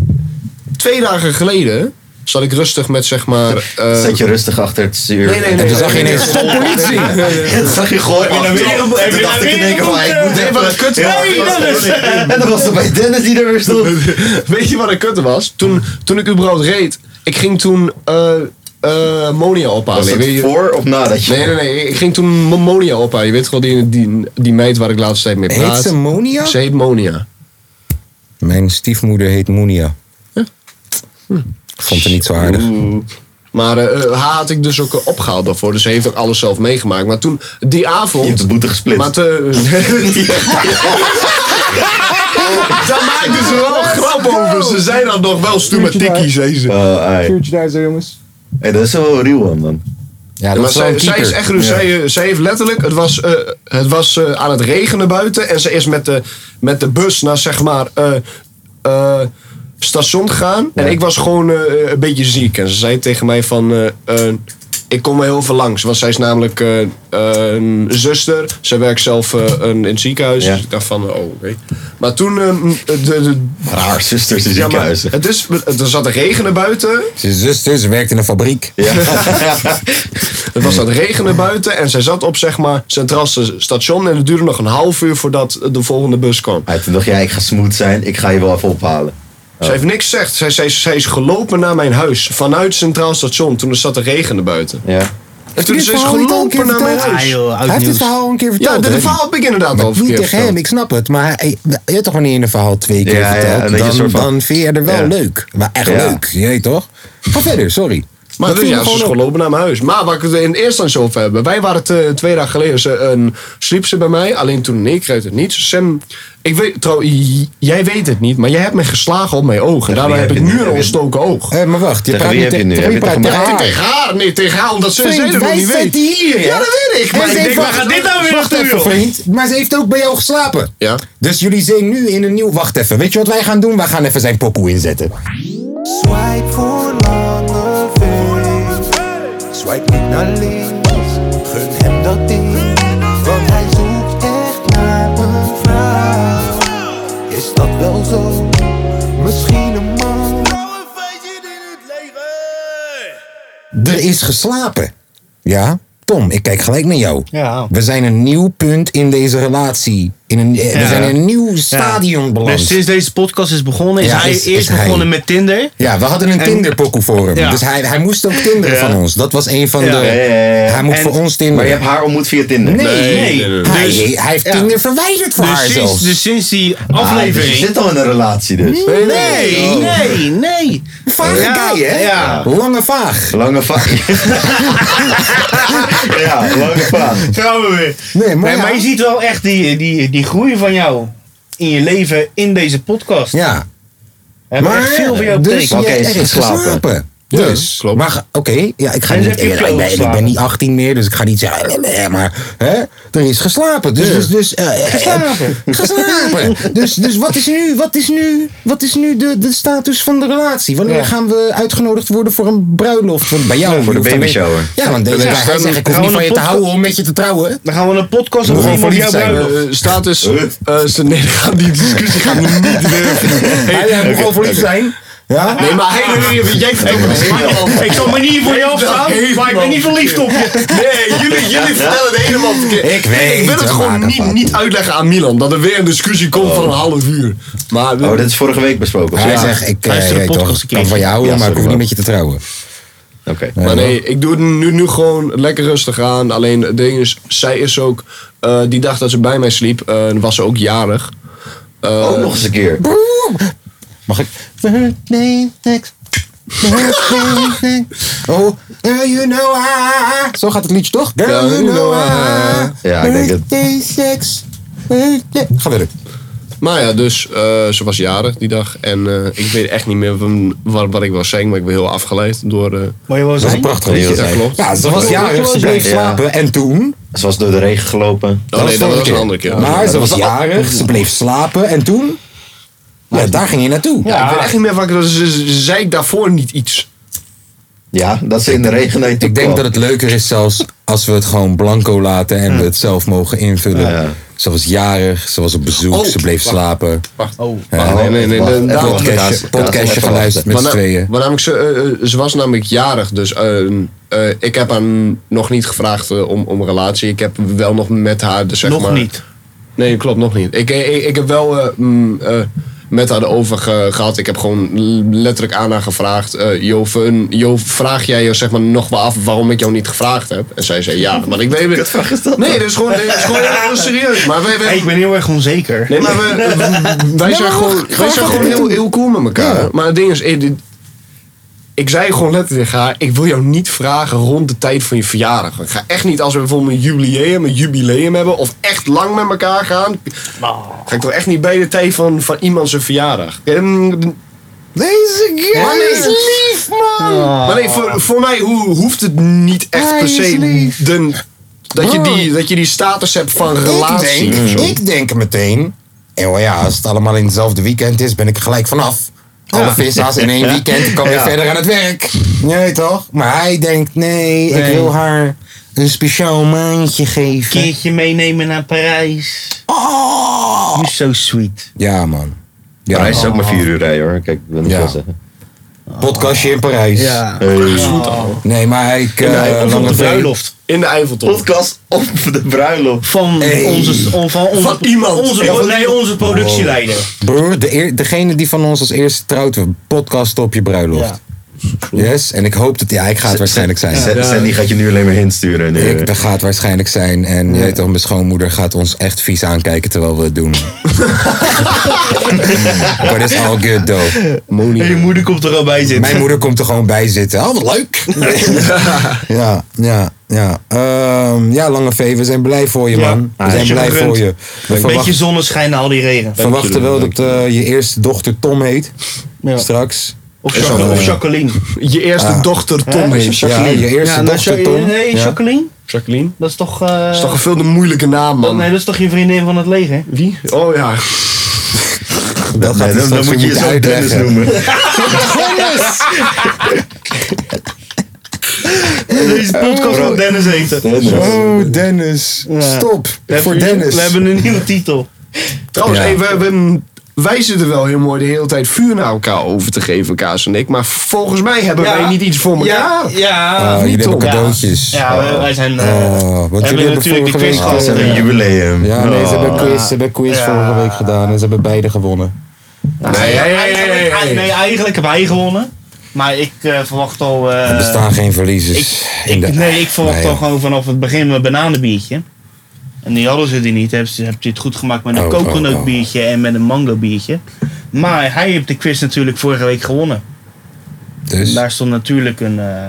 C: twee dagen geleden zat ik rustig met zeg maar. eh,
B: Zet je rustig achter het stuur.
C: nee, nee, nee.
A: en toen zag je ineens,
C: nee,
A: stop
C: [laughs]
A: politie!
B: [laughs] Dat zag je gooien.
D: Heb je nou weer een boek? Heb je
B: Toen dacht
D: nou
B: ik in
D: weer
B: één
D: een
B: keer van,
D: boek,
B: ik moet
D: eh?
B: even...
C: wat kut was.
D: Hey, Dennis!
B: En dan was er bij Dennis die er weer stond.
C: [laughs] Weet je wat een kut was? Toen, toen ik überhaupt reed, ik ging toen eh eh, Monia ophalen.
B: Was
C: Weet
B: het
C: je-
B: voor of nadat je...
C: Nee, nee, nee. Ik ging toen Mo- Monia ophalen. Je weet wel, die, die, die meid waar ik laatst tijd mee praat.
A: Heet ze Monia?
C: Ze heet Monia.
A: Mijn stiefmoeder heet Monia. Ik vond het niet zo aardig.
C: Maar eh, haar had ik dus ook eh, opgehaald daarvoor. Dus ze heeft ook alles zelf meegemaakt. Maar toen, die avond...
B: Je hebt de boete gesplit.
C: Maar te... [laughs] Daar maken ze wel een grap over. Ze zijn dan nog wel stoeme tikkies, deze.
B: Oh, ai.
A: daar zo jongens.
B: Hey, dat is wel ruw man, man.
A: Ja,
C: Ja,
A: dat
C: maar
A: is wel
C: zij,
A: een
C: zij is
A: keeper.
C: echt ruw. Zij, eh, zij heeft letterlijk, het was, eh, het was eh, aan het regenen buiten en ze is met de, met de bus naar zeg maar eh, eh, station gegaan. En ik was gewoon eh, een beetje ziek. En ze zei tegen mij van, eh, eh, ik kom wel heel veel langs. Want zij is namelijk eh, een zuster. Zij werkt zelf eh, een, in het ziekenhuis.
B: Ja.
C: Dus ik dacht van, oh oké. Maar toen, eh, de, de,
B: Raar, zusters in
C: ja, maar
B: ziekenhuizen.
C: het is, er zat regen buiten.
A: Zijn zuster, ze werkt in een fabriek.
B: Ja.
C: [laughs] Het was aan het regenen buiten en zij zat op zeg maar Centraal Station en het duurde nog een half uur voordat de volgende bus kwam.
B: Hey, toen dacht jij, ik ga smooth zijn, ik ga je wel even ophalen.
C: Zij heeft niks gezegd. Zij, zij, zij is gelopen naar mijn huis vanuit Centraal Station toen er zat te regenen buiten.
B: Ja.
C: En toen
A: dit
C: is ze is
A: verhaal niet al een
C: gelopen
A: keer
C: naar mijn
A: verteld?
C: huis.
D: Ah, joh, oud
A: Hij heeft dit
D: nieuws.
A: verhaal al een keer verteld.
C: Ja, dit
A: hè?
C: verhaal heb ik inderdaad al
A: Maar niet
C: verkeerd
A: tegen hem,
C: verteld.
A: ik snap het. Maar hij, je hebt toch wanneer je een verhaal twee keer
B: Ja, ja,
A: vertelt,
B: dat je
A: dan,
B: een soort van-
A: dan vind je er wel
B: Ja.
A: leuk. Maar echt
B: Ja.
A: leuk, je weet toch? Ga verder, sorry.
C: Maar
A: Dat
C: dus,
A: viel
C: ja,
A: me
C: ze is
A: gewoon op.
C: gelopen naar mijn huis. Maar waar ik het in eerste instantie over heb. Wij waren het, eh, twee dagen geleden. Ze, een, sliep ze bij mij. Alleen toen en ik uit het niet. Sam, ik weet, trouw, j- jij weet het niet. Maar jij hebt mij geslagen op mijn ogen. Daarmee
B: wie
C: heb ik
B: heb je
C: nu
B: nu?
C: een ontstoken oog.
A: Hé, Eh, maar wacht, je
B: Tegen
A: praat
B: wie
A: niet
B: heb
A: te-
B: je nu?
A: tegen wie
B: Heb je
A: praat
B: tegen
A: je?
C: Ja,
A: Ah,
C: tegen haar. Nee, tegen haar. Omdat ze
A: Vriend,
C: zij dat nog
A: wij
C: niet weet.
A: zitten hier, hè?
C: Ja, dat weet ik. Maar
A: En
C: ik
A: ze
C: denk,
A: heeft-
C: waar gaat dit nou weer
A: Wacht
C: naartoe,
A: even,
C: joh?
A: vriend. Maar ze heeft ook bij jou geslapen.
C: Ja.
A: Dus jullie zijn nu in een nieuw... Wacht even, weet je wat wij gaan doen? Wij gaan even zijn pokoe inzetten.
F: Swipe voor lange feest. Swipe niet naar links. Gun hem dat ding. Want hij zoekt echt naar een vrouw. Is dat wel zo? Misschien een man.
A: Er is geslapen. Ja? Tom, ik kijk gelijk naar jou.
D: Ja.
A: We zijn een nieuw punt in deze relatie. In een, eh, We
D: Ja.
A: zijn in een nieuw stadion beland.
D: Dus sinds deze podcast is begonnen, is
A: Ja,
D: hij
A: is- is
D: eerst
A: hij.
D: begonnen met Tinder. Dus
A: Ja, we hadden een
D: En-
A: Tinder-pokoe voor hem.
D: Ja.
A: Dus hij, hij moest ook tinderen
D: Ja.
A: van ons. Dat was een van
D: Ja.
A: de...
D: Ja,
B: ja, ja, ja.
A: Hij moet
D: En-
A: voor ons tinderen.
B: Maar je hebt haar ontmoet via Tinder?
A: Nee, nee,
D: nee, nee, nee.
A: Hij,
D: Dus-
A: hij heeft
D: ja.
A: Tinder verwijderd voor haar
D: Dus sinds,
A: zelfs.
D: dus sinds die
B: Ah, dus je
D: aflevering.
B: zit al in een relatie dus.
D: Nee, nee, nee. Oh.
A: Vage
D: Ja,
A: guy, hè?
D: ja.
A: Lange vaag.
B: Lange vaak. [laughs] ja, lange vaak.
D: Gaan we weer.
A: Nee, maar,
D: Maar,
A: ja.
D: maar je ziet wel echt die, die, die groei van jou in je leven in deze podcast.
A: Ja.
D: We hebben
A: Maar
D: echt veel van jou
A: dus
D: betekend.
A: je
B: Oké,
A: hebt
B: is
A: ergens
B: geslapen.
A: geslapen. Ja,
B: Dus, klopt.
A: Maar ga- oké, ja, ik, ga
D: En
A: niet,
D: heb je
A: ik, ben- ik ben, ik ben
D: geslapen?
A: niet 18 meer, dus ik ga niet zeggen. eh, Maar hè, er is geslapen. Dus, dus, dus, eh, eh,
D: Slapen.
A: geslapen. dus, dus wat is nu, wat is nu, wat is nu de, de status van de relatie? Wanneer
D: Ja.
A: gaan we uitgenodigd worden voor een bruiloft? Want bij jou
B: Ja, voor de
A: hoeft dan weer-
B: babyshower.
A: Ja, want de-
C: is
A: ja, hij
C: gewoon
A: zegt, ik hoef niet
D: gewoon
A: van je
D: een
A: te
D: podcast.
A: houden om met je te trouwen.
D: Dan gaan we een podcast
A: Moet
D: opnemen
A: gewoon
D: op jouw
A: verliefd zijn,
D: bruiloft.
C: Eh, status. eh, ze- nee, we gaan die discussie gaan we niet eh, weer.
A: [laughs] Hij hij moet gewoon verliefd zijn. Ja?
C: Nee, maar hey, nee, nee, jij vertelt me helemaal.
D: Ik zal me niet voor je afstaan, maar ik ben niet verliefd op je.
C: Nee, jullie, jullie vertellen het helemaal verkeerd.
A: Ik weet
C: Ik wil
A: het, Oh.
C: het gewoon
A: maak
C: niet,
A: het
C: niet uitleggen aan Milan. Dat er weer een discussie komt van een half uur. Maar
B: Oh, dat is vorige week besproken. of zo?
A: Hij
B: Ja.
A: zegt, ik eh,
D: Luister de
A: je weet
D: podcast
A: toch,
D: een
A: ik
D: keer.
A: kan van je houden,
B: Ja,
A: maar ik hoef
B: sorry,
A: niet met je te trouwen.
B: Oké.
C: Maar nee, ik doe het nu, nu gewoon lekker rustig aan. Alleen het ding is, zij is ook, eh, die dag dat ze bij mij sliep, eh, was ze ook jarig. Eh,
B: Ook nog eens een keer.
A: Mag ik? Birthday sex. Birthday sex. Oh, girl, you know I. Zo gaat het liedje toch? Girl,
C: Ja,
A: you know I.
B: Ja, ik denk het.
A: Birthday sex. Birthday. Ga verder.
C: Maar ja, dus eh, ze was jarig die dag. En eh, ik weet echt niet meer van wat, wat ik wil zeggen, maar ik ben heel afgeleid door... eh,
D: Maar je wel
A: Dat is een
D: zijn?
A: prachtig
B: Ja,
A: liedje.
B: dat
C: klopt.
A: Ja, ze was jarig, ze bleef
B: Ja.
A: slapen. En toen?
B: Ze was door de regen gelopen.
C: Oh nee, dat
A: vorige
C: was een andere keer.
A: Maar
B: dat
A: ze was
B: was de-
A: jarig, ze bleef slapen. En toen? Ja, daar ging je naartoe.
C: Ja, ik weet echt niet meer wat ik... Ze ze- ze zei ik daarvoor niet iets.
B: Ja, dat ze in de regen naar je toe
A: Ik denk
B: kwam.
A: dat het leuker is zelfs als we het gewoon blanco laten en we het zelf mogen invullen.
B: Ja.
A: Ze was jarig, ze was op bezoek,
C: Oh,
A: ze bleef
C: wacht.
A: slapen.
C: Wacht.
D: Oh.
A: Ja.
C: nee, nee, nee,
B: Wacht,
C: nee,
B: even
C: daar-
B: wachten,
A: Podcastje-
B: daar- daar-
A: podcastje
B: even
A: geluisterd
B: wachten.
A: met z'n
C: Maar na-
A: tweeën.
C: maar namelijk, ze, eh, eh, ze was namelijk jarig, dus eh, eh, ik heb haar nog niet gevraagd eh, om, om een relatie. Ik heb wel nog met haar, dus zeg
D: Nog
C: maar...
D: niet.
C: Nee, klopt, nog niet. Ik, ik, ik heb wel eh, mm, eh, met haar over gehad. Ik heb gewoon l- letterlijk aan haar gevraagd. eh jo, Fun, jo, vraag jij je zeg maar nog wel af waarom ik jou niet gevraagd heb? En zij zei ja, maar
D: [laughs]
C: ik weet het. Nee, dat is gewoon, dat is gewoon heel serieus. Maar wij, wij-
D: Hey, ik ben heel erg onzeker.
C: Nee, maar we, wij zijn gewoon, wij zijn gewoon heel, heel cool met elkaar. Maar het ding is, eh, dit- ik zei gewoon letterlijk tegen haar, ik wil jou niet vragen rond de tijd van je verjaardag. Ik ga echt niet als we bijvoorbeeld een jubileum, een jubileum hebben of echt lang met elkaar gaan. Ga ik toch echt niet bij de tijd van, van iemand zijn verjaardag. Ehm,
A: Deze
C: maar nee, lief, man! Maar nee, voor, voor mij hoe, hoeft het niet echt
A: Hij
C: per
A: is
C: se
A: lief.
C: de, dat, je
A: Bro.
C: die, dat je die status hebt van relatie.
A: Ik
C: of zo.
A: denk, ik denk meteen, joh, ja, als het allemaal in hetzelfde weekend is, ben ik er gelijk vanaf. Alle vishaas in één weekend, ik kan weer verder aan het werk. Nee toch? Maar hij denkt, nee, ik
D: Nee.
A: wil haar een speciaal maandje
D: Een
A: geven.
D: keertje meenemen naar Parijs.
A: Oh!
D: You're so sweet.
A: Ja man. Ja,
B: Parijs is ook maar vier uur rijden hoor. Kijk, ik wil niet
A: Ja.
B: veel zeggen.
A: Podcastje in Parijs.
B: Hey.
A: Nee, maar ik... eh,
B: nee,
A: Lange
D: Van de
A: V-
D: bruiloft.
C: In de Eiffeltoren.
B: Podcast op de bruiloft.
D: Van
A: Hey.
D: onze, on- van onze,
C: Van iemand.
D: Onze,
C: Ja, van-
D: nee, onze productieleider.
A: Broer, de eer- degene die van ons als eerste trouwt, we podcasten op je bruiloft. Yes, en ik hoop dat... Ja, ik ga het waarschijnlijk zijn.
B: Sa- Sandy gaat je nu alleen maar insturen. Nu.
A: Ik, dat gaat waarschijnlijk zijn. En je weet toch, mijn schoonmoeder gaat ons echt vies aankijken terwijl we het
D: [laughs]
A: doen. But it's all good though.
D: En je moeder komt er al bij zitten.
A: Mijn moeder komt er gewoon bij zitten. Oh, wat
D: [laughs]
A: leuk. ja, ja, ja. Ehm, ja, Lange V, we zijn blij voor je,
D: Ja.
A: man.
D: Ah,
A: We zijn
D: is je
A: blij
D: gegund.
A: voor je. We
D: Een beetje
A: verwacht,
D: zonneschijn na al die regen.
A: verwachten wel dat eh, je eerste dochter Tom heet. Straks.
D: Of,
A: Is
D: Jacque-
A: wel,
D: of
A: eh,
D: Jacqueline.
C: Je eerste dochter Tom
D: Hè?
C: heet.
A: Ah. Ja, je eerste
D: Ja, nou,
A: dochter
D: Ja-
A: Tom.
D: Nee,
A: Ja.
D: Jacqueline.
C: Jacqueline.
D: Dat is toch... eh,
C: Dat is toch een veel te moeilijke naam, man.
D: Nee, dat is toch je vriendin van het leger?
C: Wie? Oh ja.
A: Dat gaat hij
B: Nee, dan, dan
A: straks weer
B: moet je
A: moeten
B: jezelf Dennis
A: uitleggen.
B: noemen.
D: Deze podcast
B: Bro.
D: van Dennis eten.
A: Oh, Dennis.
D: Ja.
A: Stop. Voor Dennis.
D: We hebben een nieuwe titel.
C: Trouwens,
A: Ja.
C: hey, we, we, wij zitten wel heel mooi de hele tijd vuur naar elkaar over te geven, Kaas en ik. Maar volgens mij hebben
D: Ja.
C: wij niet iets voor elkaar.
D: Ja, ja.
A: Ah,
D: of
A: jullie
D: niet,
A: hebben
D: toch?
A: cadeautjes.
D: Ja, ja, wij zijn... eh,
A: Oh, want
D: hebben
A: jullie hebben
D: natuurlijk
A: vorige
D: de
A: week
D: quiz
B: Ah,
D: gehad.
B: ze hebben een jubileum.
A: Ja, nee, ze
B: Oh.
A: hebben quiz, ze hebben quiz
D: Ja.
A: vorige week gedaan en ze hebben beide gewonnen.
C: Nee, hey, hey, hey, hey,
D: Eigenlijk,
C: hey.
D: nee, eigenlijk heb hij gewonnen. Maar ik eh, verwacht al. eh,
A: Er bestaan geen verliezers. in
D: ik,
A: de-
D: nee, ik verwacht
A: Nee,
D: al gewoon vanaf het begin mijn bananenbiertje. En die hadden ze die niet. Hebben ze heb je het goed gemaakt met een
A: Oh, oh, oh.
D: coconutbiertje en met een mangobiertje. Maar hij heeft de quiz natuurlijk vorige week gewonnen.
A: Dus,
D: Daar stond natuurlijk een, eh,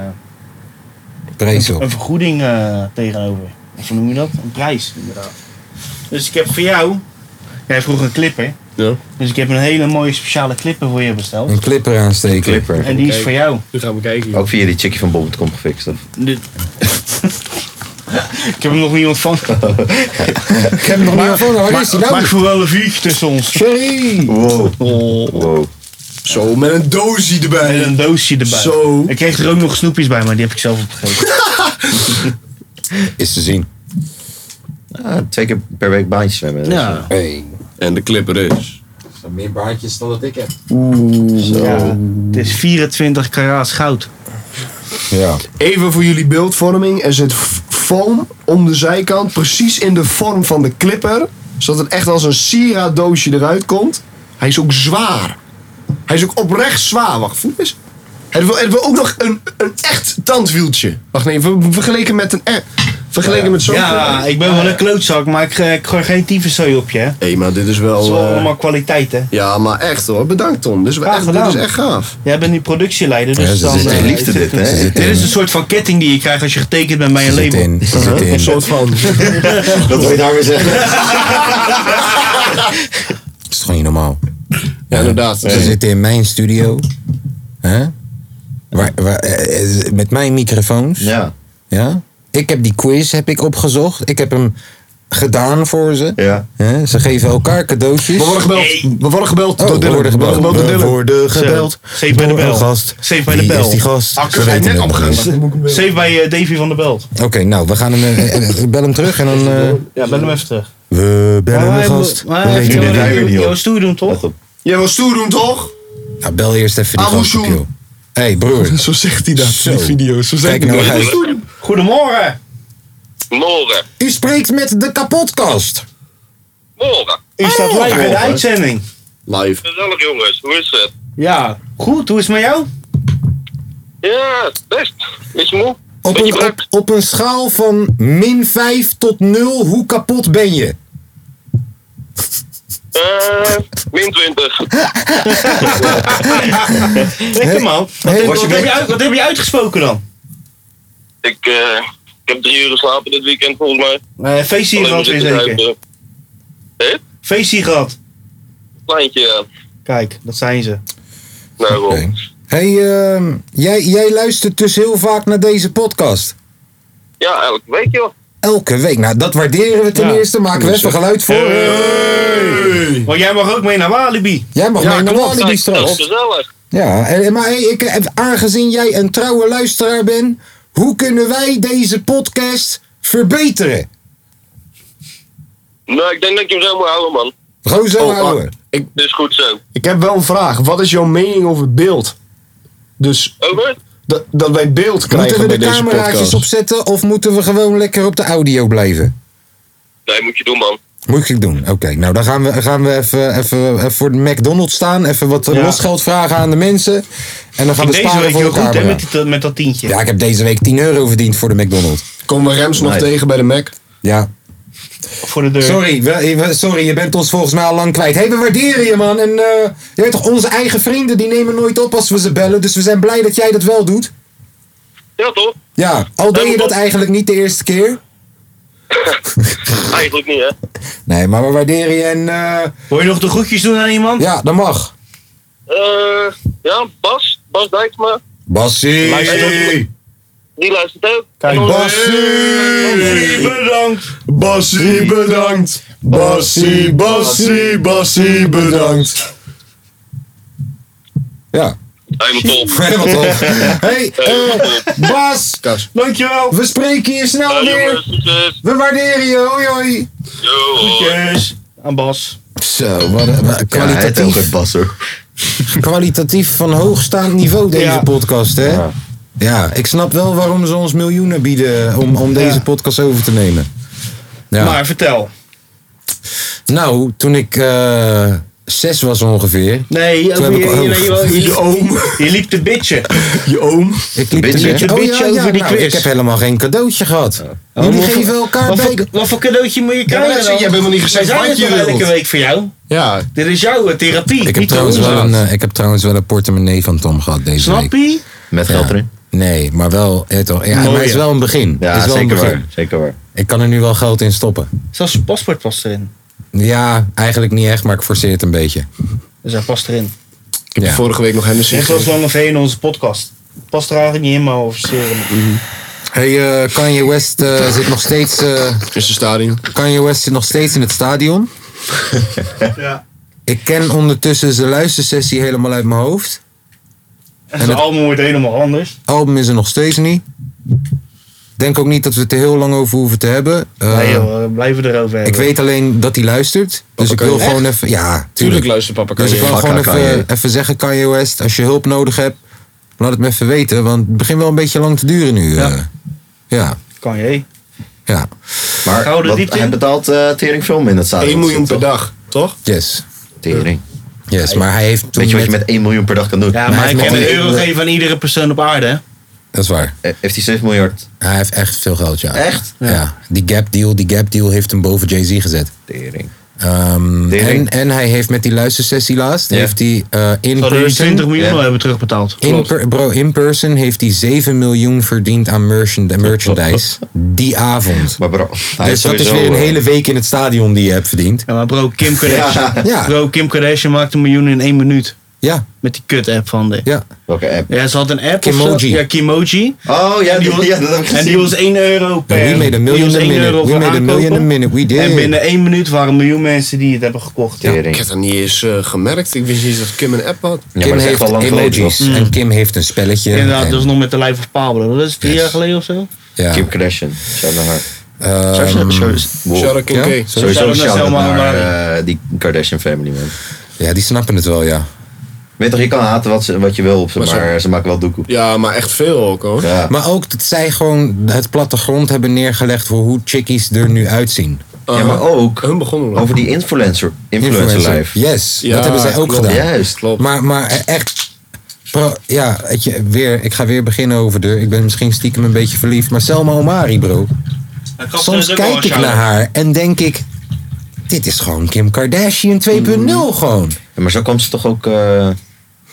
A: prijs op.
D: een vergoeding eh, tegenover. Of hoe noem je dat? Een prijs, inderdaad. Dus ik heb voor jou. Jij vroeg een clipper.
C: Ja.
D: Dus ik heb een hele mooie speciale clipper voor je besteld.
A: Een clipper aansteken.
B: Clipper.
D: En die is voor jou.
C: Nu gaan we kijken. joh.
B: Ook via die chickie van Bob.com gefixt. Of?
D: Dit- ik heb hem nog niet ontvangen.
A: [laughs] Ik heb hem nog niet gevonden. Waar is die
D: Maar
A: nou?
D: ik voel wel een vuurtje tussen ons.
A: Sorry.
B: Wow.
D: Oh.
B: [laughs] wow.
C: Zo, met een doosie
D: En
C: erbij.
D: een doosje erbij.
C: Zo.
D: Ik kreeg er ook nog snoepjes bij, maar die heb ik zelf opgegeten.
A: Is te zien.
B: Ah, twee keer per week baantjes zwemmen. Dat is, eh,
A: Hey.
C: En de clipper is.
A: Er zijn meer baantjes dan dat ik heb.
D: Ja, het is 24 karaat goud.
A: Ja.
C: Even voor jullie beeldvorming. Er zit f- foam om de zijkant, precies in de vorm van de clipper. Zodat het echt als een sieradoosje eruit komt. Hij is ook zwaar. Hij is ook oprecht zwaar. Wacht, voel eens. Het wil, het wil ook nog een, een echt tandwieltje. Wacht, nee, ver- vergeleken met een... e- Vergeleken met zo'n...
D: Ja, ik ben wel een klootzak, maar ik, eh, ik gooi geen tyfuszooi op je. hè. Het
C: Hé, maar dit is wel...
D: is wel
C: eh,
D: allemaal kwaliteit, hè.
C: Ja, maar echt hoor. Bedankt Tom. Dit is, wel
D: Graag
C: echt, dit
D: gedaan.
C: is echt gaaf.
D: Jij bent nu productieleider, dus
A: Ja, ze
D: dan...
A: zitten
D: eh,
A: in
B: liefde dit,
D: [laughs]
B: hè?
D: Dit is een soort van ketting die je krijgt als je getekend bent bij een
A: Er zit
D: label.
A: in. Er zit in.
C: van...
B: [laughs] Dat wil je daar weer zeggen.
A: Dat is gewoon niet normaal.
C: Ja, inderdaad.
A: Ze zitten in mijn studio. Hè? Waar, waar, eh, eh, met mijn microfoons.
B: Dus, Ja.
A: Ja? Ik heb die quiz heb ik opgezocht. Ik heb hem gedaan voor ze.
B: Ja.
A: Hè? Ze geven elkaar cadeautjes.
C: We worden gebeld. We worden gebeld
A: Oh,
C: door Dylan.
A: we worden gebeld.
C: door
A: We
C: Dylan.
A: worden gebeld.
D: Safe bij de
A: door
D: bel.
A: een gast.
D: Safe bij de
A: Wie
D: bel.
A: is die gast?
D: Akker,
A: Ze
D: hij
A: weten het nog niet.
D: Save bij eh, Davy van der Belt.
A: Oké, nou, we gaan hem, eh, eh, eh, bel hem terug en dan... eh,
D: Ja, ben hem even terug.
A: we bellen een gast.
D: Maar
A: We
D: hij heeft
A: weten
B: je
A: het
B: wel-
A: niet.
B: weer
D: jou-
B: niet op.
D: jou stoer doen, toch?
B: Let op.
C: Jij wil stoer doen, toch?
A: Nou, bel eerst even die
C: Abu
A: gast op,
C: Soen.
A: joh. Hé, hey, broer.
C: Zo zegt hij dat
A: Zo.
C: in die video's. Zo zegt
A: Kijk
C: hij
A: nou
C: dat.
A: uit.
D: Goedemorgen.
G: Morgen.
A: U spreekt met de kapotkast.
G: Morgen.
D: U staat live in de uitzending.
C: Live.
G: Gezellig jongens, hoe is het?
D: Ja, goed. Hoe is het met jou?
G: Ja, best. Beetje moe.
A: Op
G: Beetje
A: een,
G: brak.
A: op, op een schaal van min 5 tot 0, hoe kapot ben je?
G: Eh, min 20.
D: Lekker man. Wat, heb,
A: was
D: wat,
A: je
D: heb je uit- wat heb je uitgesproken dan?
G: Ik, eh, ik heb drie uur geslapen dit weekend volgens mij.
D: Eh feestje hier gehad
G: moest ik
D: weer
G: het
D: zeker.
G: huilen.
D: Feestje hier gehad.
G: Kleintje, ja.
D: Kijk, dat zijn ze.
G: Nou, wel.
A: Oké. Hey, ehm, jij, jij luistert dus heel vaak naar deze podcast.
G: Ja, elke week joh.
A: Elke week. Nou, dat waarderen we ten
D: Ja.
A: eerste. Maken we even geluid voor. eh.
D: Want jij mag ook mee naar Walibi.
A: Jij mag mee naar Walibi
G: Kijk, Dat is
A: straks.
G: gezellig.
A: Ja, en- en maar hey, ik, eh, aangezien jij een trouwe luisteraar bent, hoe kunnen wij deze podcast verbeteren?
G: Nou, ik denk dat ik hem zo moet houden man.
A: Gewoon zo
C: Oh,
A: houden.
C: ah, ik,
G: Dus goed zo.
C: ik heb wel een vraag. Wat is jouw mening over beeld? Dus
G: Over?
C: dat, dat wij beeld
A: Moeten
C: krijgen
A: we
C: bij
A: de
C: deze
A: cameraatjes
C: podcast.
A: opzetten of moeten we gewoon lekker op de audio blijven?
G: Nee, moet je doen man.
A: Moet ik doen? Oké, nou dan gaan we, gaan we even, even, even voor de McDonald's staan. Even wat
D: Ja.
A: losgeld vragen aan de mensen. En dan gaan
D: Ging
A: we
D: deze
A: sparen
D: week
A: voor
D: heel
A: de
D: goed hè,
A: camera.
D: met, die- met dat tientje.
A: Ja, ik heb deze week 10 euro verdiend voor de McDonald's.
C: Komen we Rems nog
B: Nice.
C: tegen bij de Mac?
A: Ja.
D: Voor de deur.
A: Sorry, we- we- sorry, je bent ons volgens mij al lang kwijt. Hé, hey, we waarderen je man. En eh, je weet toch, onze eigen vrienden die nemen nooit op als we ze bellen. Dus we zijn blij dat jij dat wel doet.
G: Ja toch?
A: Ja, al deed je dat eigenlijk niet de eerste keer.
G: Eigenlijk niet hè.
A: Nee, maar we waarderen je en eh,
D: Wil je nog de groetjes doen aan iemand?
A: ja, dat mag.
G: Eh, ja, Bas. Bas Dijksma.
A: Bassie!
G: Luister. Die luistert ook.
D: Kijk,
G: En onze-
D: Hey, Bedankt.
C: Bassie bedankt. Bassie, Bassie,
A: [laughs]
C: Bassie bedankt.
A: Ja,
G: Helemaal top.
A: verder wat toch. hey,
G: Helemaal
A: eh,
G: top.
A: Bas!
C: Kas.
D: Dankjewel.
A: We spreken je snel
G: Nou, jongens,
A: weer.
G: succes.
A: We waarderen je. Hoi hoi.
G: Yo, hoi.
D: Yes. Aan Bas.
A: Zo, wat een wat een
B: Ja, hij heeft ook een
A: kwalitatief,
B: bas hoor.
A: kwalitatief van hoogstaand niveau deze
D: Ja.
A: podcast, hè? Ja. ik snap wel waarom ze ons miljoenen bieden om, om deze
D: Ja.
A: podcast over te nemen. Ja.
D: Maar vertel.
A: Nou, toen ik eh, zes was ongeveer,
D: Nee,
A: Toen
D: over
A: heb
D: je,
A: ik
D: je,
A: ook-
D: nee, [laughs] je- je-
C: Je oom,
D: je liep te bitchen.
C: je oom.
A: ik liep
B: Beetje,
A: een
D: hè? Beetje over die
A: nou,
D: quiz.
A: ik heb helemaal geen cadeautje gehad. Jullie
D: Oh, Wat voor-
A: geven elkaar
D: wat
A: bij.
D: voor, wat voor cadeautje moet je krijgen
C: maar
D: dan?
C: jij bent nog niet gezegd
D: We zijn
C: wat
D: het
C: je
D: toch
C: wilt.
D: elke week voor jou.
C: Ja,
D: Dit is jouw eh, therapie.
A: Ik heb,
D: Niet
A: trouwens
D: onze.
A: wel een, eh, ik heb trouwens wel een portemonnee van Tom gehad deze week.
D: Snap je?
B: Met geld erin.
A: Nee, maar wel. Ja, toch, ja, maar
D: Mooi,
A: het is
D: hè?
A: wel een begin. Het
B: Ja,
A: is wel een
B: zeker
A: begin.
B: waar. Zeker waar.
A: Ik kan er nu wel geld in stoppen.
D: Zelfs je paspoort was erin.
A: Ja, eigenlijk niet echt, maar ik forceer het een beetje.
D: Dus hij past erin.
C: Ik heb
A: Ja.
C: vorige week nog Hennessy
D: Net zoals
C: gegeven.
D: Lange V in onze podcast. Past er eigenlijk niet helemaal over serum.
A: Hey, eh, Kanye West eh, zit nog steeds... eh,
C: in zijn stadion.
A: Kanye West zit nog steeds in het stadion.
D: Ja.
A: Ik ken ondertussen zijn luistersessie helemaal uit mijn hoofd.
D: En zijn
A: dat-
D: album wordt helemaal anders.
A: Album is er nog steeds niet. Denk ook niet dat we het er heel lang over hoeven te hebben. Eh,
D: nee joh, we blijven erover
A: ik
D: hebben.
A: weet alleen dat hij luistert. Dus ik wil
C: Kanye.
A: gewoon even... Ja,
C: Tuurlijk
A: tuurlijk.
C: luister papa
A: Dus ik
C: Kanye.
A: wil
B: Fuck
A: gewoon
B: aan Kanye.
A: even, even zeggen, Kanye West, als je hulp nodig hebt, laat het me even weten. Want het begint wel een beetje lang te duren nu.
D: Ja.
A: eh. ja,
D: Kan je.
A: ja.
B: Maar
D: Gouden
B: wat,
D: diepte
B: hij
D: in?
B: betaalt eh tering veel in het stadion.
C: 1 miljoen per
B: Toch?
C: dag, toch?
A: Yes.
B: Tering.
A: Yes, maar hij heeft toen
B: Weet je wat je met 1 miljoen per dag kan doen? [laughs]
D: Ja,
A: hij
D: maar hij
A: heeft
D: kan
A: wel
D: een
A: een-
D: euro geven aan iedere persoon op aarde. hè?
A: Dat is waar.
B: Eh, Heeft hij 7 miljard?
A: Hij heeft echt veel geld, ja.
B: Echt?
A: Ja. Die Gap Deal, die Gap Deal heeft hem boven Jay-Z gezet.
B: Tering.
A: Ehm, en,
B: Tering.
A: en hij heeft met die luistersessie laatst,
B: Ja.
A: heeft hij eh, in
D: Zouden we 20
A: person...
D: miljoen
B: Ja.
D: al hebben terugbetaald.
A: In per- bro, in person heeft hij 7 miljoen verdiend aan merchand-
B: [laughs]
A: merchandise die avond.
B: Maar bro, hij
A: dus dat is weer een
B: eh,
A: hele week in het stadion die je hebt verdiend.
D: Ja, maar bro, Kim Kardashian.
A: Ja.
D: Bro, Kim Kardashian maakt een miljoen in één minuut.
A: Ja,
D: Met die kut-app van de.
A: ja.
B: Welke app?
D: Ja, ze had een app. of zo.
A: Kimoji.
D: Ja, Kimoji.
B: Oh [laughs] ja, die,
D: was-
B: ja, dat heb ik gezien.
D: En die was 1 euro per.
A: we made a
D: die
A: million
D: was
A: a
D: 1
A: minute.
D: euro
A: We
D: voor
A: made a
D: aankopen.
A: million a minute. We did.
D: En binnen 1 minuut waren een miljoen mensen die het hebben gekocht.
B: Tering.
C: Ik heb dat niet eens eh, gemerkt. Ik wist niet eens dat Kim een app had.
B: Ja,
A: Kim
B: maar dat is echt
A: heeft
B: wel lang geleden,
A: emojis.
B: toch? Mm.
A: En Kim heeft een spelletje.
D: Inderdaad,
A: En-
D: dat is nog met de lijf of Pablo. Dat is vier
A: Yes.
D: jaar geleden of zo.
A: ja.
B: Kim Kardashian. Shout naar haar.
A: Ehm,
B: Shout- shout-
C: Shout out Kim
A: Oh, ja?
C: K.
A: Sorry.
B: Sowieso
D: Shout-out naar
B: shout
D: Selma
B: naar
D: Hamari.
B: eh, die Kardashian family, man.
A: ja, die snappen het wel, ja.
B: Weet toch, je kan haten wat, ze, wat je wil op ze, maar,
C: Maar ze-
B: ze maken wel doekoe.
C: Ja, maar echt veel ook hoor.
B: Ja.
A: Maar ook dat zij gewoon het plattegrond hebben neergelegd voor hoe chickies er nu uitzien.
B: ja, maar ook
C: Hun begonnen dat.
B: over die influencer, influencer, life.
A: Yes,
C: Ja,
A: dat hebben zij ook
C: klopt.
A: gedaan.
B: Juist.
C: Klopt.
A: Maar, maar echt. Bro, ja, weet je, weer, ik ga weer beginnen over de. Ik ben misschien stiekem een beetje verliefd. Maar Selma Omari, bro. Soms kijk ik naar haar en denk ik. Dit is gewoon Kim Kardashian 2.0 gewoon.
B: Ja, maar zo kwam ze toch ook eh,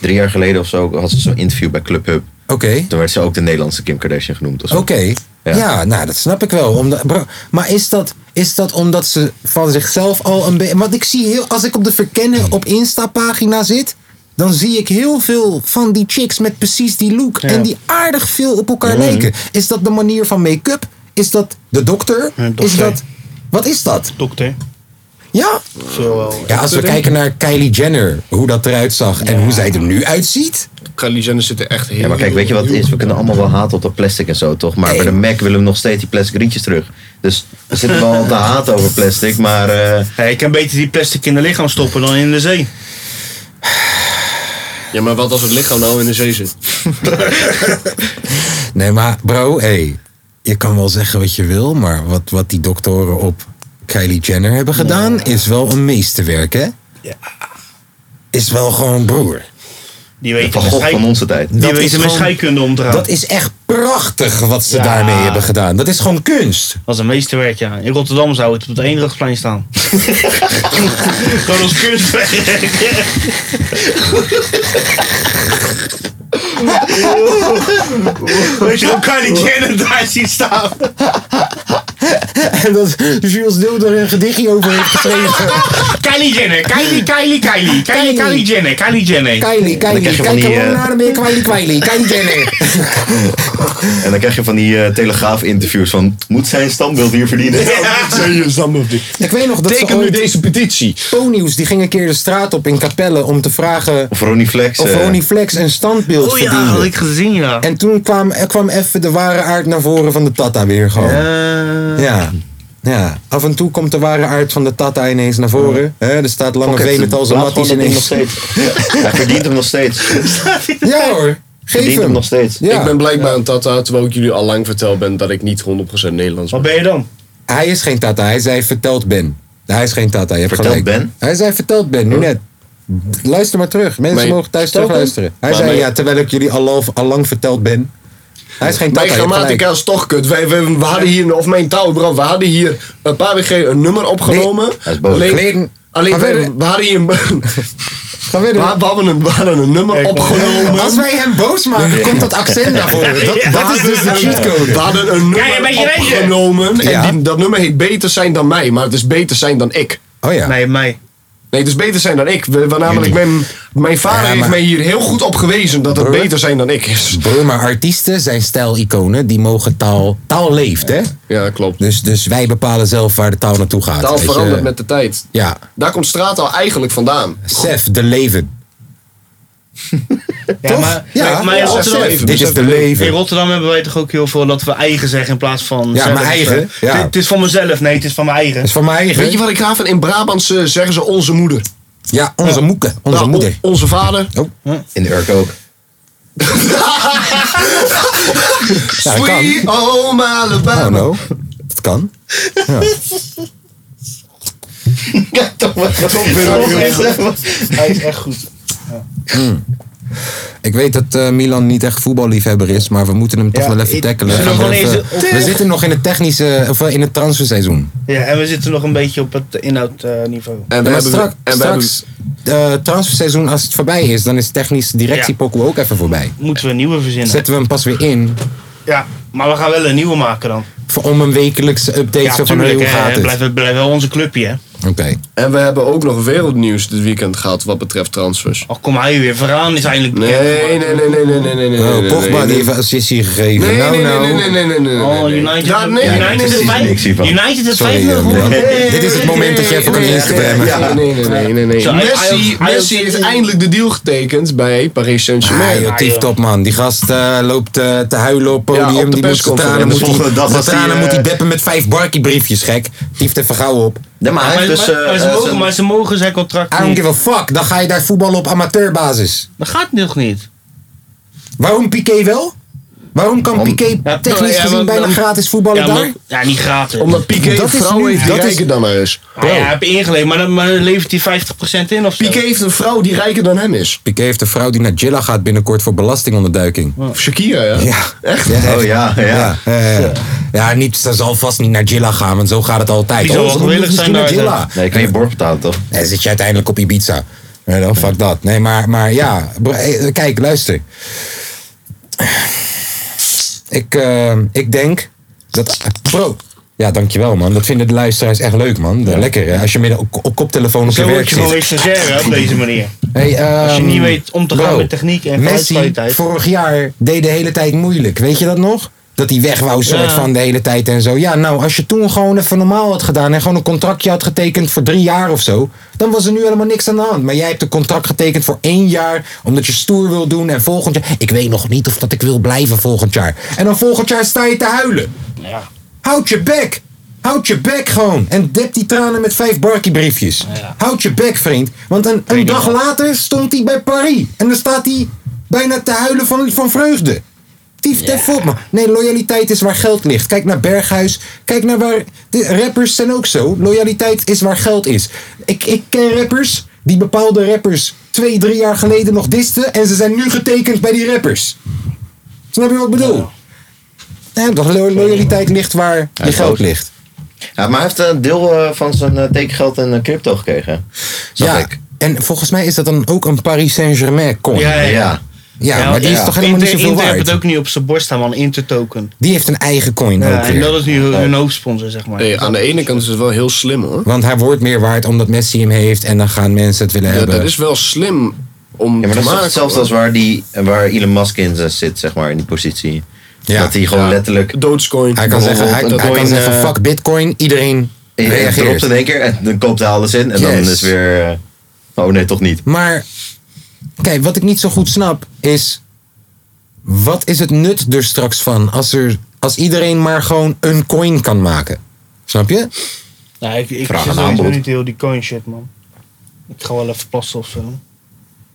B: drie jaar geleden of zo, had ze zo'n interview bij Club Hub.
A: Oké.
B: Toen werd ze ook de Nederlandse Kim Kardashian genoemd of zo.
A: Oké. Ja.
B: Ja.
A: nou dat snap ik wel. Omdat, bro, maar is dat, is dat omdat ze van zichzelf al een beetje. Want ik zie heel. Als ik op de verkennen op Insta-pagina zit. dan zie ik heel veel van die chicks met precies die look. en die aardig veel op elkaar lijken. Is dat de manier van make-up? Is dat de dokter?
D: Ja, dokter.
A: Is dat. Wat is dat?
D: Dokter.
A: Ja?
D: Zo wel.
A: ja, als we kijken naar Kylie Jenner, hoe dat eruit zag en hoe zij er nu uitziet.
C: Kylie Jenner zit er echt heel
B: Ja, maar kijk, weet je wat het is? We kunnen allemaal wel haten op dat plastic en zo, toch? Maar bij de Mac willen we nog steeds die plastic rietjes terug. Dus we zitten wel te haten over plastic, maar... eh,
D: Hey, ik kan beter die plastic in de lichaam stoppen dan in de zee.
C: Ja, maar wat als het lichaam nou in de zee [laughs] zit?
A: Nee, maar bro, hey, je kan wel zeggen wat je wil, maar wat, wat die doktoren op Kylie Jenner hebben gedaan, is wel een meesterwerk, hè?
D: Ja.
A: Is wel gewoon broer.
D: Die weten
B: van
D: met
B: God
D: schei-
B: van onze tijd.
D: die
A: Dat is
D: weten met
A: gewoon-
D: scheikunde om te gaan.
A: Dat is echt prachtig wat ze
D: Ja.
A: daarmee hebben gedaan. Dat is gewoon kunst.
D: Dat is een meesterwerk, ja. In Rotterdam zou het op het
B: [laughs]
D: Eendrachtsplein staan. Gewoon als kunstwerk. Weet je wel, Kylie Jenner daar zien staan.
A: [laughs] En dat Jules Deel er een gedichtje over heeft [laughs] geschreven.
D: [laughs] Kylie Jenner, Kylie, Kylie, Kylie. Kylie, Kylie Jenner, Kylie Jenner.
A: Kylie, Kylie,
B: krijg je
A: kijk
B: van die,
A: gewoon
B: eh,
A: naar de Kylie, Kylie, Kylie [laughs] Jenner.
B: En dan krijg je van die eh, telegraaf-interviews van... Moet zijn standbeeld hier verdienen?
A: Ik weet nog dat ze
C: Teken nu
A: ooit
C: deze petitie.
A: ponies, die gingen een keer de straat op in Capelle om te vragen
B: Of Ronnie Flex.
A: of
B: eh,
A: Ronnie Flex een standbeeld
D: Oh ja,
A: verdiende.
D: had ik gezien, ja.
A: En toen kwam, er kwam even de ware aard naar voren van de Tata weer gewoon. Ja.
D: Eh,
A: ja. af en toe komt de ware aard van de Tata ineens naar voren. Hè, er staat lange
B: Pocket,
A: V met al zijn
B: laat gewoon
A: matties
B: dat ding
A: ineens.
B: nog steeds. Hij verdient hem nog steeds.
A: Ja hoor, geef
B: verdient hem
A: hem.
B: nog steeds.
A: Ja.
C: Ik ben blijkbaar een tata, terwijl ik jullie al lang verteld ben dat ik niet 100%
D: [laughs]
C: Nederlands
D: Wat
C: ben.
D: ben je dan?
A: Hij is geen Tata, hij zei verteld Ben. Hij is geen Tata, je hebt
B: Verteld
A: gelijk.
B: Ben?
A: Hij zei verteld Ben, nu net. Luister maar terug, mensen
C: Mijn-
A: mogen thuis terug luisteren. Hij
C: Maar
A: zei
C: mijn-
A: ja, terwijl ik jullie al, al lang verteld ben. Hij is geen Tata,
C: Mijn
A: je hebt gelijk.
C: grammatica is toch kut. Wij, wij- we hadden hier, of mijn touw, bro, we hadden hier een paar weken geleden een nummer opgenomen.
B: Hij is boos.
A: Kleden.
C: Alleen, alleen
A: Ga
C: wij-
A: verder.
C: we hadden hier een, [laughs]
A: Ga verder.
C: we hadden een, we hadden een nummer
D: Kijk,
C: opgenomen.
A: Als wij hem boos maken, komt dat accent naar [laughs] voren. Dat, dat is dus de
C: We
A: cheatcode.
C: hadden een nummer
D: Kijk, een beetje weten.
C: opgenomen. En
A: Ja.
C: die- dat nummer heet Beter zijn dan mij, maar het is Beter zijn dan ik.
A: Oh ja.
D: Nee, mij.
C: Nee, dus beter zijn dan ik. We- we- namelijk mijn, mijn vader
A: Ja, maar-
C: heeft mij hier heel goed op gewezen dat het
A: Broer.
C: beter zijn dan ik is.
A: Broer, maar artiesten zijn stijliconen. Die mogen taal... Taal leeft, hè?
C: Ja, klopt.
A: Dus, dus wij bepalen zelf waar de taal naartoe gaat.
C: Taal
A: weet je.
C: verandert met de tijd.
A: Ja.
C: Daar komt straattaal eigenlijk vandaan.
A: Sef, de leven.
D: Ja, maar,
A: Ja,
D: maar in,
C: Eh, ja,
D: Rotterdam,
C: zeker. Even,
A: Dit
C: dus
A: is de
C: even-
A: leven.
D: in Rotterdam hebben wij toch ook heel veel dat we eigen zeggen in plaats van.
A: Ja,
D: zelf.
A: mijn eigen, ja.
D: Dit- Het is van mezelf, nee, het is van mijn eigen.
A: Dat is van mijn eigen.
C: Weet je wat ik ga van? In Brabants eh, zeggen ze onze moeder.
A: Ja, onze moeke. Onze
C: Nou, on-
A: moeder.
C: onze vader.
B: In de Urk [laughs] ook.
A: Ja, dat kan.
C: Sweet home
A: Oh
C: Alabama.
A: no. Dat kan.
D: Hij is echt goed.
A: Ik weet dat eh, Milan niet echt voetballiefhebber is, maar we moeten hem toch
D: Ja,
A: wel even
D: ik-
A: tackelen.
D: zullen we
A: Gaan we
D: gewoon
A: even-
D: even-
A: we zitten nog in het technische, of eh, in het transferseizoen.
D: Ja, en we zitten nog een beetje op het inhoudniveau.
C: En
A: Ja, maar strak- straks, eh, transferseizoen, als het voorbij is, dan is technisch directiepokoe ook even voorbij.
D: Moeten we een nieuwe verzinnen?
A: Zetten we hem pas weer in
D: Ja, maar we gaan wel een nieuwe maken dan.
A: voor- om een wekelijkse update
D: Ja,
A: zo van
D: tuurlijk,
A: hoe
D: hè,
A: gaat
D: het
A: het.
D: blijft, het blijft wel onze clubje, hè.
A: Oké.
C: En we hebben ook nog wereldnieuws dit weekend gehad wat betreft transfers.
D: Al kom hij weer vooraan, is eindelijk
C: Nee,
D: bekend
C: nee,
D: geworden.
C: nee, nee, nee, nee, nee, nee, nee.
A: Oh,
C: nee,
A: Pogba
C: nee,
A: die
C: nee.
A: heeft een assistie gegeven.
C: Nee,
A: nou,
C: nee, nee,
A: nou.
C: nee, nee, nee, nee, nee,
D: Oh,
C: nee, nee.
D: United,
C: Daar- nee.
B: Ja,
D: United,
B: precies,
D: is vijf-
B: niks hiervan.
D: United is
A: Sorry,
D: 5-0
A: eh,
D: gewonnen.
A: Milan.
D: Nee,
A: Dit is het moment dat je even op
C: Nee,
A: Instagram
C: nee, nee, nee, nee, nee, nee, nee.
D: Zo, hij-
C: Messi,
D: hij-
C: Messi
D: hij-
C: is eindelijk de deal getekend bij Paris
A: Nee,
C: Saint-Germain.
A: Ah, joh, tief top man. Die gast eh, loopt eh, te huilen op
C: Ja,
A: podium.
C: op de
A: die moet zijn
C: persconferentie.
A: tranen,
C: De
A: moet
C: [laughs]
B: volgende
A: hij,
B: dag
A: zijn
B: was hij,
A: tranen moet hij
B: eh,
A: deppen met vijf barkie briefjes, gek. Tief even gauw op.
B: Nee, maar hij
D: Maar,
B: heeft dus...
D: maar-
B: eh,
D: maar ze
B: eh,
D: mogen,
B: zijn-
D: maar ze mogen zijn contract
A: I don't
D: niet.
A: give a fuck. Dan ga je daar voetballen op amateurbasis.
D: Dat gaat nog niet.
A: Waarom Piqué wel? Waarom kan Piqué
D: Ja, nou,
A: technisch
D: ja,
A: gezien
D: want
A: bijna
D: dan-
A: gratis voetballen
D: Ja,
A: daar?
D: maar, ja, niet gratis.
C: Omdat Piqué
A: Dat
C: een
A: is
C: vrouw
A: nu-
C: heeft die
A: dat is-
C: rijker dan hij is.
D: Ah, ja, heb je ingeleverd, maar dan, maar dan levert hij 50% in of zo.
C: Piqué heeft een vrouw die rijker dan hem is.
A: Piqué heeft een vrouw die naar Jilla gaat binnenkort voor belastingonderduiking.
D: Oh.
C: Of Shakira, ja.
A: Ja, echt? Ja,
B: Oh
A: echt.
B: ja,
A: Ja,
B: ja.
A: ja, ja, ja. Ja, niet, ze zal vast niet naar Jilla gaan, want zo gaat het altijd.
D: Die zal
A: Oh,
D: wel
A: ze moet
D: gewillig
A: misschien
D: zijn
A: naar
D: daar,
A: Jilla.
B: Nee, ik kan je bord betalen toch?
A: En dan zit je uiteindelijk op Ibiza. Ja, dan fuck dat. Nee, maar, maar ja. bro- eh, Kijk, luister. Ik, eh, ik denk dat... Bro. Ja, dankjewel man. Dat vinden de luisteraars echt leuk man. Lekker hè. Als je midden op, op koptelefoon op je
D: Zo word
A: werk
D: je gewoon
A: zit.
D: weer stagiair hè, op deze manier.
A: Hey,
D: Als je
A: ehm,
D: niet weet om te gaan
A: bro,
D: met techniek en
A: Messi
D: geluidskwaliteit.
A: vorig jaar deed de hele tijd moeilijk. Weet je dat nog? Dat hij weg wou soort
D: Ja.
A: van de hele tijd en zo. Ja, nou, als je toen gewoon even normaal had gedaan en gewoon een contractje had getekend voor drie jaar of zo, dan was er nu helemaal niks aan de hand. Maar jij hebt een contract getekend voor één jaar, omdat je stoer wil doen en volgend jaar. Ik weet nog niet of dat ik wil blijven volgend jaar. En dan volgend jaar sta je te huilen.
D: Ja.
A: Houd je bek. Houd je bek gewoon. En dip die tranen met vijf barkiebriefjes. Houd je bek, vriend. Want een, een dag later stond hij bij Paris. En dan staat hij bijna te huilen van, van vreugde. Tief tef op, man. Nee, loyaliteit is waar geld ligt. Kijk naar Berghuis. Kijk naar waar... De rappers zijn ook zo. Loyaliteit is waar geld is. Ik, ik ken rappers die bepaalde rappers twee, drie jaar geleden nog disten. En ze zijn nu getekend bij die rappers. Snap je wat ik bedoel? Nee, dat lo- loyaliteit ligt waar je
B: is
A: geld
B: boos.
A: ligt.
B: Ja, maar hij heeft een deel eh, van zijn eh, tekengeld in eh, crypto gekregen. Zag
A: ja,
B: ik.
A: en volgens mij is dat dan ook een Paris Saint-Germain coin. Ja,
D: Ja, ja.
B: Ja.
A: maar die
B: ja.
A: is toch helemaal
D: Inter,
A: niet zoveel
D: Inter heeft
A: waard?
D: het ook niet op zijn borst staan, man. Intertoken.
A: Die heeft een eigen coin
D: Ja,
A: ook
D: en
A: weer.
D: dat is nu hun, hun hoofdsponsor, zeg maar.
C: Nee, aan de ene kant is het wel heel slim hoor.
A: Want hij wordt meer waard omdat Messi hem heeft en dan gaan mensen het willen
C: Ja,
A: hebben.
C: dat is wel slim om
B: Ja, maar
C: te
B: dat is toch
C: maken.
B: hetzelfde als waar, die, waar Elon Musk in eh, zit, zeg maar, in die positie.
A: Ja.
B: Dat hij gewoon
C: Ja.
B: letterlijk...
C: Dogecoin.
A: Hij kan zeggen, hij,
B: bijvoorbeeld een
A: hij kan
B: coin,
A: zeggen
B: eh,
A: fuck bitcoin, iedereen
B: Hij dropt in
A: reageert.
B: één keer en dan koopt hij alles in. En dan
A: Yes.
B: is weer... eh, oh nee, toch niet.
A: Maar kijk, wat ik niet zo goed snap is... Wat is het nut er straks van als, er, als iedereen maar gewoon een coin kan maken? Snap je?
D: Nou, ik, ik
B: Vraag
D: zit
B: aan
D: sowieso
B: aanbod.
D: niet heel die coin shit, man. Ik ga wel even plassen of zo.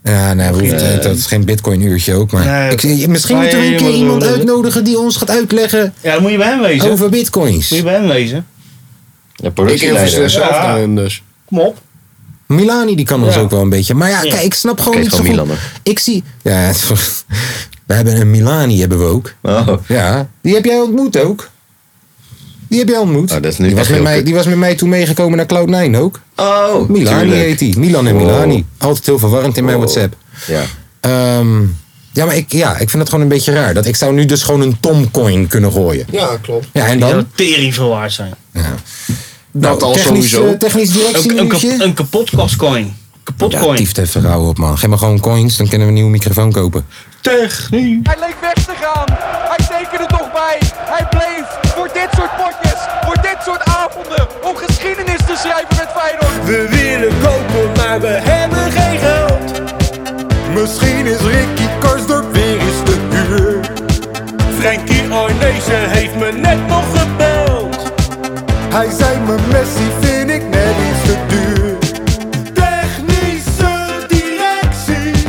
A: Ja, nee, we hoeven- dat is geen bitcoin-uurtje ook, maar...
D: Nee,
A: ik,
D: oké.
A: misschien
D: Maar
A: moeten we een
D: ja, je
A: keer
D: moet-
A: iemand
D: moet-
A: uitnodigen die ons gaat uitleggen
D: Ja, dan moet je bij hem wezen.
A: over
D: Moet je
A: bitcoins.
D: bij hem wezen.
B: Ja,
C: Ik investeer
B: productieleider.
C: zelf
D: Ja.
C: daarin dus.
D: Kom op.
A: Milani, die kan ons
D: Ja.
A: ook wel een beetje. Maar ja,
D: Ja.
A: kijk, ik snap gewoon
B: Kijk,
A: niet zo
B: gewoon
A: goed.
B: Milaner.
A: Ik zie... Ja, het is voor- we hebben een Milani, hebben we ook.
B: Oh,
A: Ja, die heb jij ontmoet ook. Die heb jij ontmoet.
B: Oh, dat is nu
A: die, was
B: echt
A: met
B: heel
A: mij,
B: kut.
A: die was met mij toen meegekomen naar Cloud9 ook.
B: oh
A: Milani
B: tuurlijk.
A: heet die. Milan en
B: Wow.
A: Milani. Altijd heel verwarrend in mijn
B: Wow.
A: WhatsApp.
B: Ja.
A: Ehm, ja, maar ik, ja, ik vind het gewoon een beetje raar. Dat ik zou nu dus gewoon een Tomcoin kunnen gooien.
C: Ja, klopt.
A: Ja, en
D: Dat
A: dan?
D: zou tering veel waard zijn.
C: Dat al
A: technisch,
C: sowieso.
A: eh, Technisch directie
D: Een, een, kap-
A: minuutje.
D: een kapot pascoin. Kapot
A: Ja,
D: coin.
A: tief het even rauw op, man. Geef maar gewoon coins, dan kunnen we een nieuwe microfoon kopen.
D: Techniek.
H: Hij leek weg te gaan. Hij tekende toch bij. Hij bleef voor dit soort potjes, voor dit soort avonden, om geschiedenis te schrijven met Feyenoord.
I: We willen kopen, maar we hebben geen geld. Misschien is Ricky Karsdorp weer eens te huur. Frankie Arnezen heeft me net nog gebeld. Hij zei me Messi vind ik net iets te duur. Technische directie.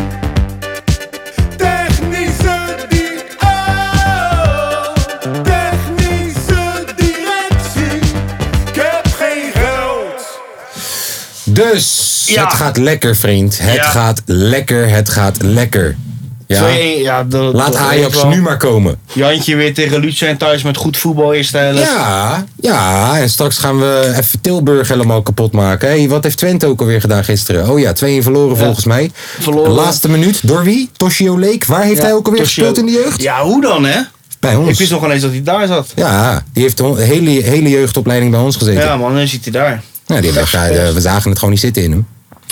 I: Technische di- oh. Technische directie. Ik heb geen geld.
A: Dus,
D: Ja.
A: het gaat lekker, vriend. Het
D: Ja.
A: gaat lekker, het gaat lekker. Ja?
D: Twee, ja, dat-
A: Laat
D: dat
A: Ajax
D: weet ik
A: nu
D: wel.
A: maar komen.
D: Jantje weer tegen Luce en thuis met goed voetbal eerst.
A: Ja, ja. En straks gaan we even Tilburg helemaal kapot maken. Hé, wat heeft Twente ook alweer gedaan gisteren? Oh ja, 2-1 verloren volgens mij.
D: Verloren.
A: Laatste minuut. Door wie? Toshio Leek. Waar heeft hij ook alweer gespeeld in de jeugd?
D: Ja, hoe dan hè?
A: Bij
D: Ik wist
A: ons.
D: nog ineens dat hij daar zat.
A: Ja, die heeft de hele, hele jeugdopleiding bij ons gezeten.
D: Ja man, dan zit hij daar.
A: Nou, die hebben, we- eh, we zagen het gewoon niet zitten in hem.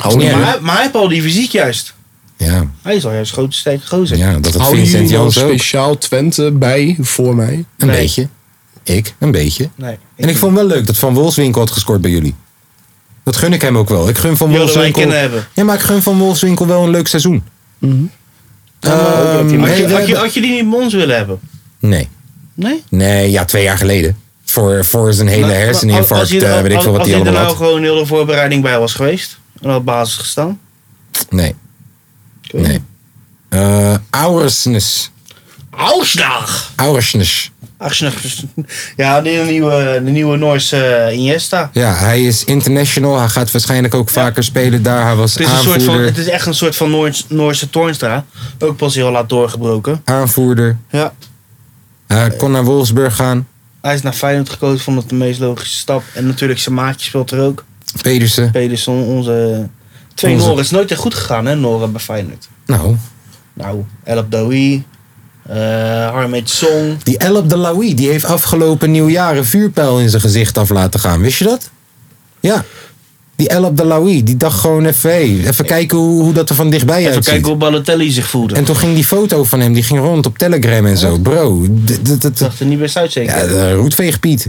A: Is niet
D: maar,
A: erg.
D: hij, maar hij heeft al die fysiek juist.
A: ja,
D: Hij is al juist grote sterke gozer.
A: ja, dat had
J: Houden
A: Vincent
J: jullie nog
A: Jans ook.
J: speciaal Twente bij voor mij?
A: Een
D: Nee.
A: beetje. Ik, een beetje.
D: Nee,
A: En ik vond wel leuk dat Van Wolfswinkel had gescoord bij jullie. Dat gun ik hem ook wel. Ik gun Van
D: Die hadden wij
A: Wolfswinkel...
D: kunnen hebben.
A: Ja, maar ik gun Van Wolfswinkel wel een leuk seizoen.
D: Mhm.
A: Ehm,
D: had,
A: nee,
D: je,
A: we
D: had, je,
A: hebben-
D: had je die niet bij ons willen hebben?
A: Nee.
D: Nee?
A: Nee, ja, twee jaar geleden. Voor, voor zijn hele
D: Maar- maar als
A: herseninfarct,
D: je-
A: eh, weet ik
D: als-
A: veel wat
D: als
A: hij
D: er
A: allemaal
D: nou
A: had.
D: gewoon heel de voorbereiding bij was geweest. En had op basis gestaan. nou-
A: Nee. Nee. Eh Auersnes.
D: Ausdag!
A: Auersnes.
D: [laughs] Ja, de nieuwe, de nieuwe Noorse eh, Iniesta.
A: Ja, hij is international. Hij gaat waarschijnlijk ook vaker spelen daar. Hij was
D: Het is, een
A: aanvoerder.
D: soort van, het is echt een soort van Noors- Noorse Toornstra. Ook pas heel laat doorgebroken.
A: Aanvoerder.
D: Ja.
A: Hij kon naar Wolfsburg gaan.
D: Hij is naar Feyenoord gekozen, vond het de meest logische stap. En natuurlijk zijn maatje speelt er ook.
A: Pedersen.
D: Pedersen, onze... Twee
A: Onze-
D: Noren is nooit echt goed gegaan, hè, Noren bij Feyenoord.
A: Nou,
D: Nou, El Abdawi, eh Harmeet Song.
A: die El Abdelawi, die heeft afgelopen nieuwjaar een vuurpijl in zijn gezicht af laten gaan. Wist je dat? Ja. Die El Abdelawi, die dacht gewoon even, hey, even kijken hoe, hoe dat er van dichtbij
D: Even
A: uitziet.
D: kijken hoe Balotelli zich voelde.
A: En toen ging die foto van hem, die ging rond op Telegram en zo. Bro, d- d- d- d-
D: zag er niet best uit zeker.
A: ja, eh, roetveegpiet.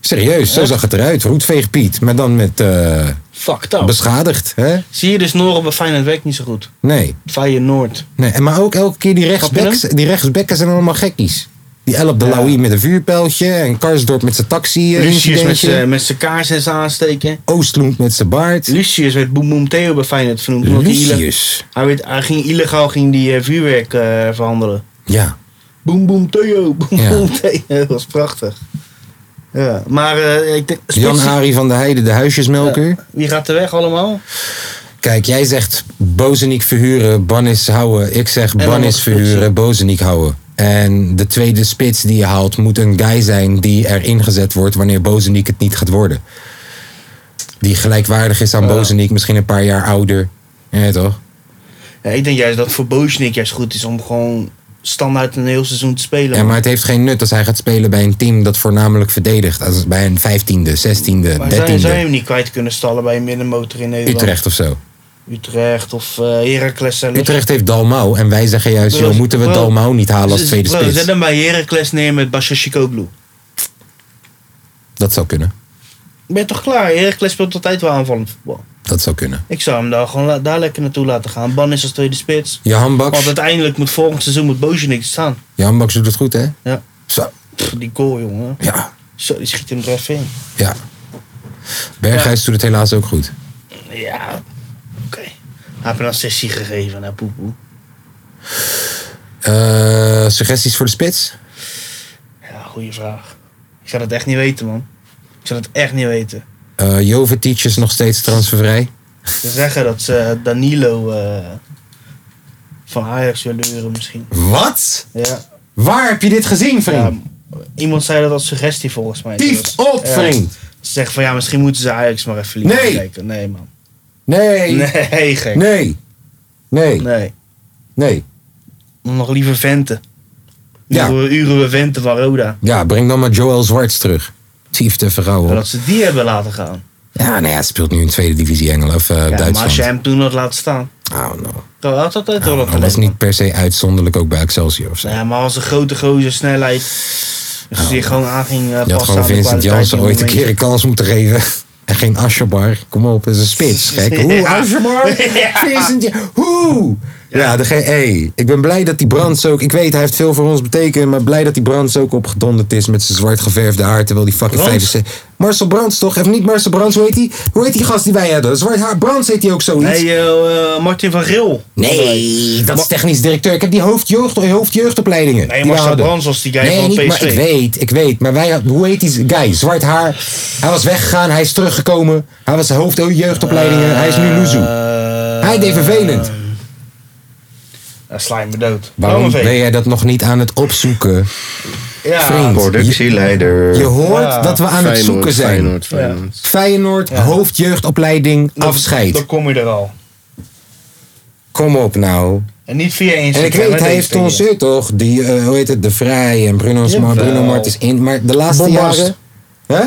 A: Serieus, zo
D: Echt?
A: zag het eruit. Roetveegpiet, maar dan met eh,
D: Fucked up.
A: beschadigd. Hè?
D: Zie je dus Noren bij Feyenoord werkt niet zo goed.
A: Nee.
D: Feyenoord.
A: Nee, en maar ook elke keer die rechtsbacks,
D: Snap
A: die rechtsbekken zijn allemaal gekkies. Die El de met een vuurpijltje en Karsdorp met zijn taxi eh,
D: Lucius met
A: incidentje.
D: zijn- met zijn kaars en zijn aansteken.
A: Oostloend met zijn baard.
D: Lucius werd Boem Boem Theo bij Feyenoord vernoemd. omdat hij ille-
A: Lucius.
D: Hij, werd, hij ging illegaal ging die eh, vuurwerk eh, verhandelen.
A: Ja.
D: Boem Boem Theo, Boem
A: Ja.
D: Boem Theo. [laughs] Dat was prachtig. Ja, maar eh, ik denk... spitsen-
A: Jan-Ari van der Heijden, de huisjesmelker.
D: Wie gaat er weg allemaal?
A: Kijk, jij zegt Bozeniek verhuren, Bannis houden. Ik zeg
D: dan
A: Bannis
D: nog spitsen.
A: verhuren, Bozeniek houden. En de tweede spits die je haalt moet een guy zijn die erin gezet wordt wanneer Bozeniek het niet gaat worden. Die gelijkwaardig is aan Bozeniek, misschien een paar jaar ouder. Ja, toch?
D: Ja, ik denk juist dat het voor Bozenik juist goed is om gewoon standaard een heel seizoen te spelen.
A: Ja, maar het heeft geen nut als hij gaat spelen bij een team dat voornamelijk verdedigt. Als bij een vijftiende, zestiende,
D: Maar zou, zou je
A: dertiende.
D: hem niet kwijt kunnen stallen bij een middenmotor in Nederland?
A: Utrecht of zo.
D: Utrecht of eh Heracles zelfs.
A: Utrecht heeft Dalmau en wij zeggen juist,
D: Bro,
A: joh, moeten we
D: bro,
A: Dalmau niet halen als
D: Z-
A: tweede
D: bro, Zet
A: spits?
D: hem bij Heracles neer met Basha Chicoglu.
A: Dat zou kunnen.
D: Ik ben toch klaar? Heracles speelt altijd wel aanvallend voetbal.
A: Dat zou kunnen.
D: Ik zou hem daar gewoon la- daar lekker naartoe laten gaan. Ban is als tweede spits.
A: Johan Baks,
D: Want uiteindelijk moet volgend seizoen moet Bozenik staan.
A: Johan Baks doet het goed, hè?
D: Ja.
A: Zo.
D: Pff, die goal, jongen.
A: Ja,
D: Zo, die schiet hem er even in.
A: ja. Berghuis doet het helaas ook goed.
D: Ja, oké. Hij heeft een assessie gegeven naar Poepoe.
A: Eh, suggesties voor de spits?
D: Ja, goede vraag. Ik zou dat echt niet weten, man. Ik zou dat echt niet weten.
A: Eh Jovetic is nog steeds transfervrij.
D: Ze zeggen dat ze Danilo eh, van Ajax willen huren misschien.
A: Wat?
D: Ja.
A: Waar heb je dit gezien,
D: ja.
A: vriend?
D: Iemand zei dat als suggestie volgens mij.
A: Tief op,
D: Ja.
A: vriend!
D: Ze zeggen van ja, misschien moeten ze Ajax maar even liever
A: Nee.
D: kijken. Nee, man.
A: Nee!
D: Nee, gek. Nee.
A: Nee. Nee. Nee.
D: Nog liever Venten.
A: Ja.
D: Uren, uren we Venten van Roda.
A: Ja, breng dan maar Joel Zwarts terug. Tiefte Verrouw.
D: Dat ze die hebben laten gaan.
A: Ja, nee, hij speelt nu in tweede divisie Engeland of eh,
D: Ja, maar
A: Duitsland.
D: als je hem toen had laten staan.
A: Oh no.
D: Dan had dat het wel
A: Nou, dat is niet per se uitzonderlijk ook bij Excelsior of zo.
D: Ja, maar als een grote gozer snelheid. Dus die gewoon aan ging eh,
A: Je had
D: passen
A: gewoon
D: aan de
A: Vincent
D: kwaliteit
A: Jansen
D: die
A: ooit een
D: moment-
A: keer een kans moeten geven. [laughs] En geen Ascherbar. Kom op, dat is een
D: [laughs]
A: spits. Gek. Hoe,
D: Ja.
A: Ascherbar?
D: [laughs] Ja.
A: Vincent Jansen. Hoe? Ja, de ge- hey, ik ben blij dat die Brands ook... Ik weet, hij heeft veel voor ons betekend. Maar blij dat die Brands ook opgedonderd is met zijn zwart geverfde haar. Terwijl die fucking
D: Brands?
A: 75... Marcel Brands toch? Even niet Marcel Brands, hoe heet die? Hoe heet die gast die wij hadden? Zwart haar Brands heet hij ook zoiets.
D: Nee, eh, eh, Martin van Gril.
A: Nee, dat is technisch directeur. Ik heb die hoofdjeugd, hoofdjeugdopleidingen.
D: Nee,
A: die we
D: Marcel
A: hadden.
D: Brands was die guy
A: nee,
D: van
A: niet,
D: PSV.
A: Maar ik weet, ik weet. Maar wij, hadden- hoe heet die guy? Zwart haar. Hij was weggegaan, hij is teruggekomen. Hij was hoofdjeugdopleidingen. hij is nu Luzu.
D: Eh,
A: hij deed vervelend.
D: Ja, sla je me dood.
A: Waarom
D: Langeveer.
A: ben jij dat nog niet aan het opzoeken?
D: Ja.
A: Vriend,
B: Productieleider.
A: Je hoort
D: Ja.
A: dat we aan het zoeken zijn.
J: Feyenoord, Feyenoord.
A: Feyenoord, hoofdjeugdopleiding, afscheid.
D: Dan kom je er al.
A: Kom op nou.
D: En niet via
A: En
D: Instagram.
A: ik weet,
D: hè,
A: hij
D: deze
A: heeft
D: dingen.
A: ons eh, toch, die, eh, hoe heet het, De Vrij en Bruno's Ma-
D: Jawel.
A: Bruno Martens in. Maar de laatste
J: Bombast.
A: jaren. Hè?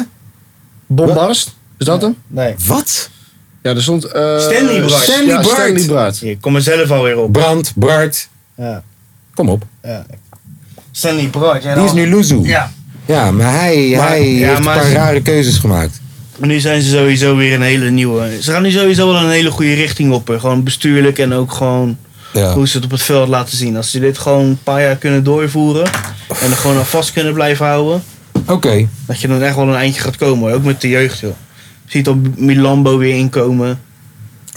J: Bombast? Is dat hem?
D: Nee.
A: Wat?
J: Ja, er stond... eh,
D: Stanley Braat.
J: Ja,
A: Stanley Braat.
J: Stanley Braat.
D: Ik kom er zelf alweer op.
A: Brand, Bart.
D: Ja.
A: Kom op.
D: Stanley Broad.
A: Die is nu Luzu. Ja,
D: Ja.
A: maar hij,
D: Maar-
A: hij
D: ja,
A: heeft
D: maar
A: een paar
D: ze-
A: rare keuzes gemaakt.
D: Maar nu zijn ze sowieso weer een hele nieuwe. Ze gaan nu sowieso wel een hele goede richting op. hè. Gewoon bestuurlijk en ook gewoon
A: Ja.
D: hoe ze het op het veld laten zien. Als ze dit gewoon een paar jaar kunnen doorvoeren. En er gewoon aan vast kunnen blijven houden.
A: Oké.
D: Dat je dan echt wel een eindje gaat komen. hoor. Ook met de jeugd joh. Je ziet al Milambo weer inkomen.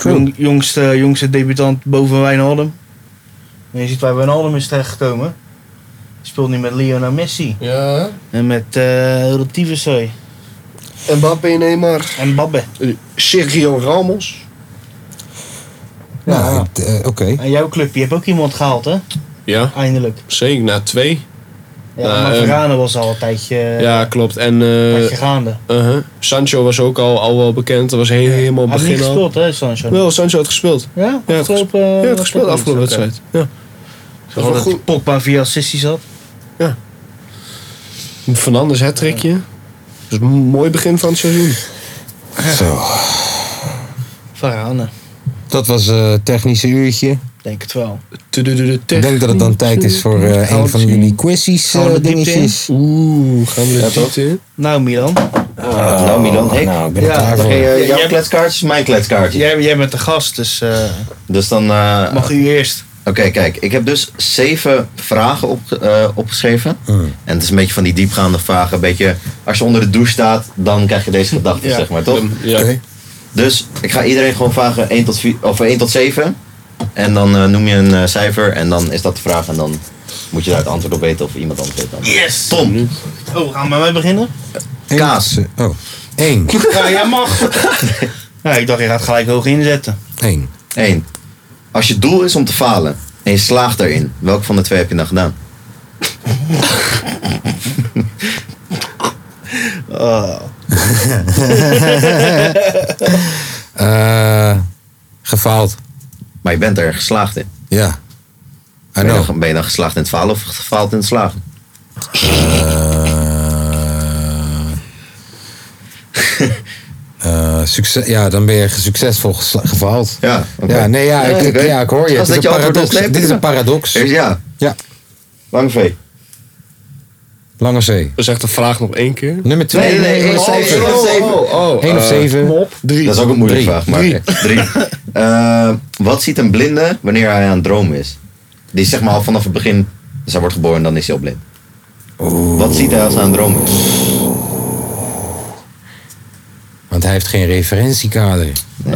D: Jong- jongste, jongste debutant boven Wijnaldum. En je ziet waar Wijnaldum is terechtgekomen. Die speelt nu met Lionel Messi.
J: Ja.
D: En met eh Rotivesoy.
J: Mbappé, Neymar.
D: En Babbe.
J: Sergio Ramos.
A: Nou, ik- eh, oké.
D: En jouw club, je hebt ook iemand gehaald hè?
C: Ja,
D: Eindelijk.
C: zeker. Na twee.
D: Ja,
C: Nou,
D: maar
C: ehm,
D: Verane was al een tijdje,
C: Ja, klopt. En
D: een
C: eh,
D: tijdje gaande.
C: uh-huh. Sancho was ook al, al wel bekend. Dat was he- helemaal
D: Hij heeft niet
C: begin al.
D: gespeeld hè, Sancho?
C: Wel, Sancho had gespeeld.
D: Ja,
C: Ja,
D: afgelopen...
J: eh,
C: Ja, had gespeeld de afgelopen wedstrijd. Ja.
D: Dat was dat Pogba via assisties had.
C: Fernandes het trekje. Dus een mooi begin van het seizoen.
A: Zo.
D: Verane,
A: Dat was eh technische uurtje.
D: denk het wel.
A: Ik denk dat het dan tijd is voor eh, een van jullie quizzies
D: Gaan we
A: eh,
D: de diepte in?
A: dingetjes.
C: Oeh, gaan we dit
D: Nou Milan,
B: nou, Milan, ik.
A: Nou, ik ben
D: Ja,
A: er klaar
B: Mag
A: voor.
B: je, eh,
D: Ja,
B: jouw
D: jij-
B: kletskaartjes, mijn kletskaartjes.
D: jij, jij bent de gast, dus eh,
B: Dus dan... eh,
D: mag u eerst.
B: Oké, kijk. Ik heb dus zeven vragen op, eh, opgeschreven.
A: Mm.
B: En het is een beetje van die diepgaande vragen. Een beetje, als je onder de douche staat, dan krijg je
D: [laughs]
B: deze gedachten, zeg maar, toch?
C: Ja.
A: Oké.
B: Dus ik ga iedereen gewoon vragen 1 tot, 4, of 1 tot 7. En dan eh, noem je een eh, cijfer en dan is dat de vraag. En dan moet je daar het antwoord op weten of iemand antwoord weet. Dan.
D: Yes!
B: Tom,
D: Oh, gaan we mee beginnen?
A: Eén.
B: Kaas.
A: Oh,
D: [laughs]
A: één.
D: Ja, jij mag. ja, ik dacht, je gaat gelijk hoog inzetten.
A: Eén.
B: 1. Als je doel is om te falen en je slaagt daarin, welke van de twee heb je dan gedaan?
A: Eh, gefaald.
B: Maar je bent er geslaagd in.
A: Ja. I
B: Ben je,
A: know.
B: dan, ben je dan geslaagd in het falen of gefaald in het slagen?
A: Eh, [laughs] eh, succes, ja, dan ben je succesvol gesla- gefaald.
B: Ja, oké.
A: Ja, nee, ja, ik, ik-
B: oké.
A: ja, ik hoor je.
B: Als
A: Het is
B: dat
A: een
B: antwoord
A: paradox.
B: nee,
A: Dit is een
B: prima.
A: paradox.
B: Ja,
A: Ja,
B: lange V.
A: lange C.
C: Dus echt de vraag nog één keer.
A: Nummer 2.
B: Nee, nee, nee,
A: of
B: oh,
A: zeven.
B: oh, oh,
C: oh.
A: Eén of zeven.
C: Drie.
B: Dat is ook een moeilijke
A: Drie.
B: vraag, maar
C: Drie.
B: drie.
A: [laughs]
B: Eh, wat ziet een blinde wanneer hij aan het dromen is? Die is zeg maar al vanaf het begin, dus hij wordt geboren en dan is hij al blind. Wat ziet hij als hij aan het dromen is?
A: Want hij heeft geen referentiekader.
C: Eh,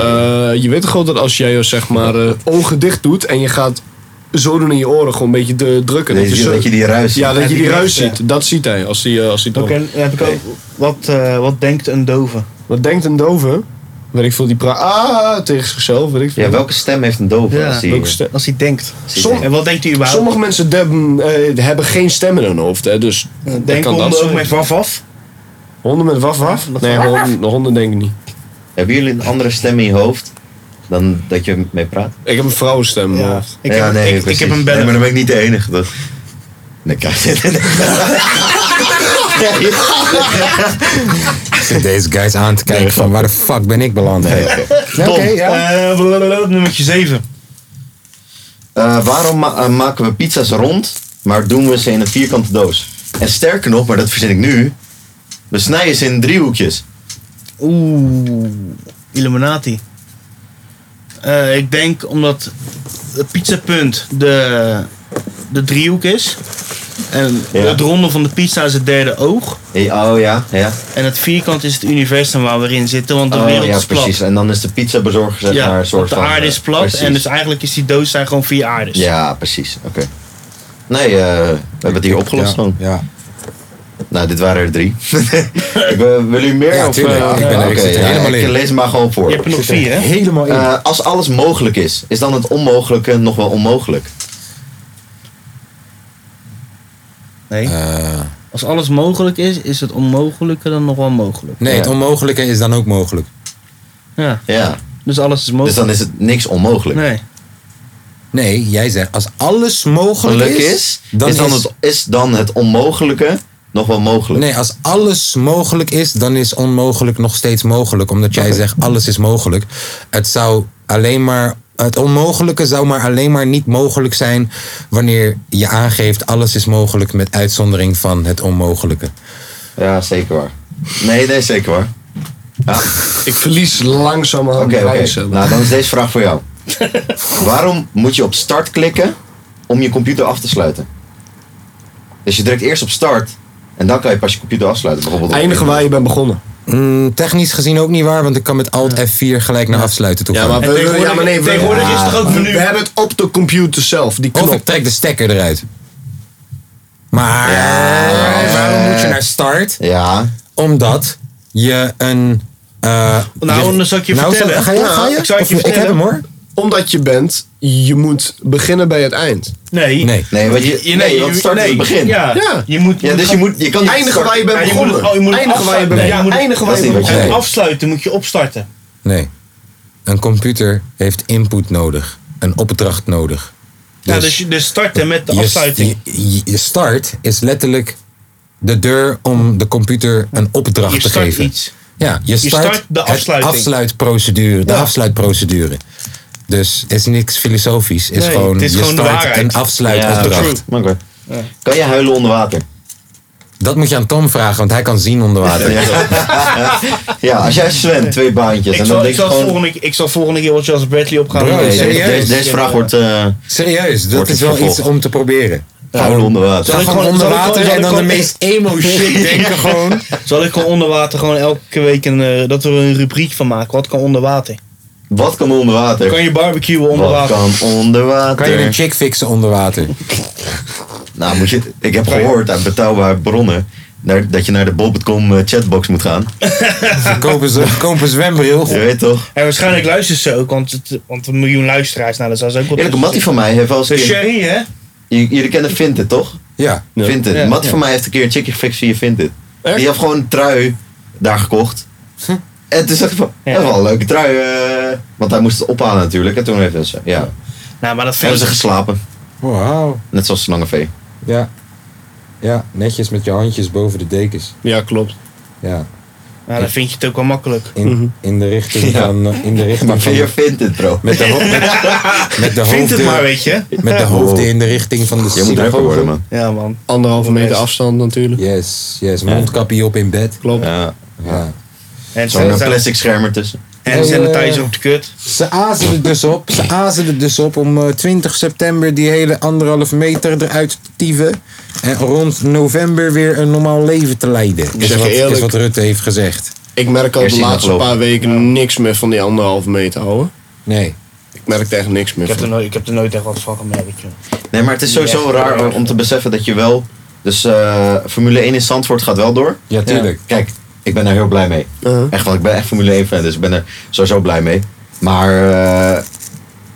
C: je weet toch gewoon dat als jij eh, zeg maar eh, ogen dicht doet en je gaat zo doen in je oren gewoon een beetje de- drukken.
B: Dat je,
C: zo-
B: dat je die ruis ziet.
C: ja, dat
D: Ja,
C: je
D: die
C: die ruis
D: dicht,
C: ziet. Dat ziet hij als hij, eh, als hij
D: Oké,
C: droomt.
D: dan heb ik ook. Wat, eh, wat denkt een dove?
C: Wat denkt een dove? Weet ik veel, die praat ah, tegen zichzelf. Weet ik veel.
B: Ja, welke stem heeft een doof?
D: Ja,
B: als die-
C: Welke stem?
D: Als hij denkt.
C: Som-
D: En wat denkt hij überhaupt?
C: Sommige mensen debben, eh, hebben geen stem in hun hoofd, hè, dus dat
D: Eh, denken
C: kan dat
D: honden ook
C: zijn.
D: met waf af.
C: Honden met waf waf? Nee, honden, honden denk ik niet.
B: Hebben jullie een andere stem in je hoofd dan dat je mee praat?
C: Ik heb een vrouwenstem. in mijn
D: Ja,
C: hoofd.
D: ik, heb, ik, ik
B: precies.
D: heb een
B: Nee,
D: bellen.
B: [laughs] maar dan ben ik niet de enige. Dat... Nee, kijk.
A: Ik zit deze guys aan te kijken van waar de fuck ben ik beland?
B: Tom.
D: Eh, blablabla, nummertje 7.
B: Eh, waarom ma- eh, maken we pizza's rond, maar doen we ze in een vierkante doos? En sterker nog, maar dat verzin ik nu, we snijden ze in driehoekjes.
D: Oeh, Illuminati. Eh, ik denk omdat het pizzapunt de, de driehoek is. En
B: Ja.
D: het ronde van de pizza is het derde oog.
B: Ja, oh ja, ja.
D: En het vierkant is het universum waar we in zitten, want de
B: Oh,
D: wereld
B: ja,
D: is plat.
B: precies. En dan is de pizza bezorger zeg
D: Ja,
B: maar een soort
D: want de
B: van...
D: aarde
B: eh,
D: is plat
B: precies.
D: en dus eigenlijk is die doos daar gewoon vier aardes.
B: Ja, precies. Oké. Nee, eh, we hebben het hier opgelost
A: Ja,
B: gewoon.
A: ja.
B: Nou, dit waren er drie. [laughs] ik ben, wil u meer?
A: Ja,
B: of,
A: tuurlijk.
B: eh,
A: Ik ben er- ik
B: oké,
A: zit er
B: ja,
A: helemaal in.
B: Lees maar gewoon voor.
D: Je hebt er nog
A: Zit er
D: vier, hè?
A: Helemaal in.
B: Eh, als alles mogelijk is, is dan het onmogelijke nog wel onmogelijk?
D: Nee.
A: Eh,
D: Als alles mogelijk is, is het onmogelijke dan nog wel mogelijk.
A: nee, het onmogelijke is dan ook mogelijk.
D: Ja,
B: Ja,
D: dus alles is
B: dus
D: mogelijk.
B: dan is het niks onmogelijk.
D: Nee.
A: Nee, jij zegt als alles mogelijk
B: Geluk
A: is,
B: is, dan is, dan het, is dan het onmogelijke nog wel mogelijk.
A: Nee, als alles mogelijk is, dan is onmogelijk nog steeds mogelijk. Omdat jij zegt alles is mogelijk. Het zou alleen maar. Het onmogelijke zou maar alleen maar niet mogelijk zijn wanneer je aangeeft alles is mogelijk met uitzondering van het onmogelijke.
B: Ja, zeker waar. Nee, nee, zeker waar.
J: Ik verlies langzamerhand
B: Oké, oké.
J: langzaam.
B: Nou, dan is deze vraag voor jou. Waarom moet je op start klikken om je computer af te sluiten? Dus je drukt eerst op start en dan kan je pas je computer afsluiten. Bijvoorbeeld op-
J: Eindigen waar je bent begonnen.
A: Mm, technisch gezien ook niet waar, want ik kan met Alt F4 gelijk naar afsluiten toe
C: Hmm. Ja,
A: gaan.
C: maar we, we- ja, maar nee, we,
D: tegenwoordig is het toch ook menu?
J: We hebben het op de computer zelf, die
A: Of ik
J: knop.
A: trek de stekker eruit. Maar waarom moet je naar start?
B: Ja,
A: Omdat je een. eh,
D: Nou, dan zal ik je
A: Nou,
D: vertellen.
A: Ga je? Ga je?
D: Ik zal het je
A: Of- ik heb
D: vertellen.
A: hem hoor.
J: Omdat je bent, je moet beginnen bij het eind.
D: Nee.
A: Nee.
B: nee, want je, nee, want start is het begin.
D: Ja,
J: Ja.
D: Je moet,
B: Ja, dus je moet, je kan niet
J: Eindigen
B: start-
J: waar je bent
D: Ja, je moet,
J: begonnen.
D: het- oh, je moet het
J: Eindigen waar je
D: afsluiten.
J: bent
D: Ja, je moet het-
J: eindigen waar
B: Dat
J: je
B: is
J: bent
B: niet
J: begonnen.
B: wat je
D: het
B: Nee.
D: afsluiten moet je opstarten.
A: Nee. Een computer heeft input nodig. Een opdracht nodig.
D: Dus, ja, dus, je- dus starten met de
A: je-
D: afsluiting.
A: Je, je- je start is letterlijk de deur om de computer een opdracht
D: Je
A: te
D: start
A: geven.
D: iets.
A: Ja, je start,
D: start de
A: het
D: afsluiting.
A: afsluitprocedure, de afsluitprocedure. Dus is niks filosofisch. Is
D: Nee,
A: gewoon,
D: het is
A: je
D: gewoon de
A: start
D: waarheid.
A: een
B: Ja,
A: afsluitopdracht.
B: oké. Kan je huilen onder water?
A: dat moet je aan Tom vragen, want hij kan zien onder water.
B: Ja, als jij zwemt, twee baantjes.
D: Ik
B: en dan
D: zal, ik,
B: denk je
D: zal
B: gewoon...
D: volgende, keer- ik zal volgende keer wel Charles Bradley opgaan.
A: Bro,
D: en
B: Nee,
D: deze-
B: deze,
A: serieus?
B: deze- deze vraag wordt eh
A: Serieus, dat
B: Wordt
A: is
B: het
A: wel
B: vervolgd.
A: iets om te proberen.
B: huilen onder
A: Ga
B: water.
D: ik
A: gewoon
D: gewoon-
A: onder
D: zal ik gewoon-
A: water
D: zal
A: en
D: ik
A: dan de
D: gewoon-
A: meest [laughs] emo shit denken gewoon.
D: [laughs] Zal ik gewoon onder water gewoon elke week een, eh, dat we er een rubriek van maken? Wat kan onder water?
B: Wat kan onder water?
D: Kan je barbecuen onder
B: Wat
D: water?
B: kan onder
A: Kan je een
B: water?
A: chick fixen onder water?
B: Nou, moet je, ik heb gehoord uit betrouwbare bronnen naar- dat je naar de bol.com eh, chatbox moet gaan.
A: Kopen ze kopen een zwembril.
B: Je weet toch?
D: En waarschijnlijk luistert ze ook, want, het, want een miljoen luisteraars, nou dat zou ze ook wel...
B: Eerlijk, een mattie van mij heeft wel eens
D: De
B: een keer...
D: Sherry, hè?
B: J- Jullie kennen Vinted, toch?
A: Ja.
B: Vinted.
D: Ja.
B: Mattie van mij heeft een keer een chickie gefixt via Vinted. Die heeft gewoon een trui daar gekocht. En toen zag ik van,
D: Ja.
B: dat is wel een leuke trui. eh. want hij moest het ophalen natuurlijk. En toen heeft hij ze, ja.
D: Nou, maar dat vind
B: Hebben ze
D: ik...
B: geslapen.
A: Wauw.
B: Net zoals Slangenvee.
A: Ja. Ja, netjes met je handjes boven de dekens.
J: Ja, klopt.
A: Ja.
D: Nou, dan vind je het ook wel makkelijk.
A: In, in de richting van... eh, In de
B: [laughs] Maar
A: richting van
B: via Vinted, bro.
A: met de, ho- met, [laughs] met de
D: Vind het maar,
A: hoofden,
D: weet je.
A: met de hoofden in de richting van de
B: Je moet rapper worden,
A: synagoge.
B: man.
D: Ja, man.
J: Anderhalve meter afstand natuurlijk.
A: Yes, yes. Mondkapje op in bed.
J: Klopt.
B: Ja.
A: Ja.
D: En
B: Zo'n eh,
D: sanitizer-
B: plastic scherm ertussen.
D: en
B: eh,
D: sanitizer op de kut.
A: Ze azen er dus op. Ze azen er dus op om eh, 20 september die hele anderhalf meter eruit te tieven. En rond november weer een normaal leven te leiden. Is
J: zeg je
A: wat, is
J: eerlijk.
A: wat Rutte heeft gezegd.
J: Ik merk al
B: Eerst
J: de
B: iemand
J: laatste
B: lopen.
J: paar weken niks meer van die anderhalve meter houden.
A: Nee.
J: Ik merk er echt niks meer
D: Ik heb, er
J: van.
D: nooit, ik heb er nooit echt wat van gemerkt, joh.
B: Nee, maar het is sowieso
D: Ja.
B: raar hoor, om te beseffen dat je wel... Dus eh, Formule 1 in Zandvoort gaat wel door.
A: Ja, tuurlijk.
B: Kijk, ik ben er heel blij mee.
J: Uh-huh.
B: Echt, want ik ben echt Formule 1 fan, dus ik ben er sowieso blij mee. Maar eh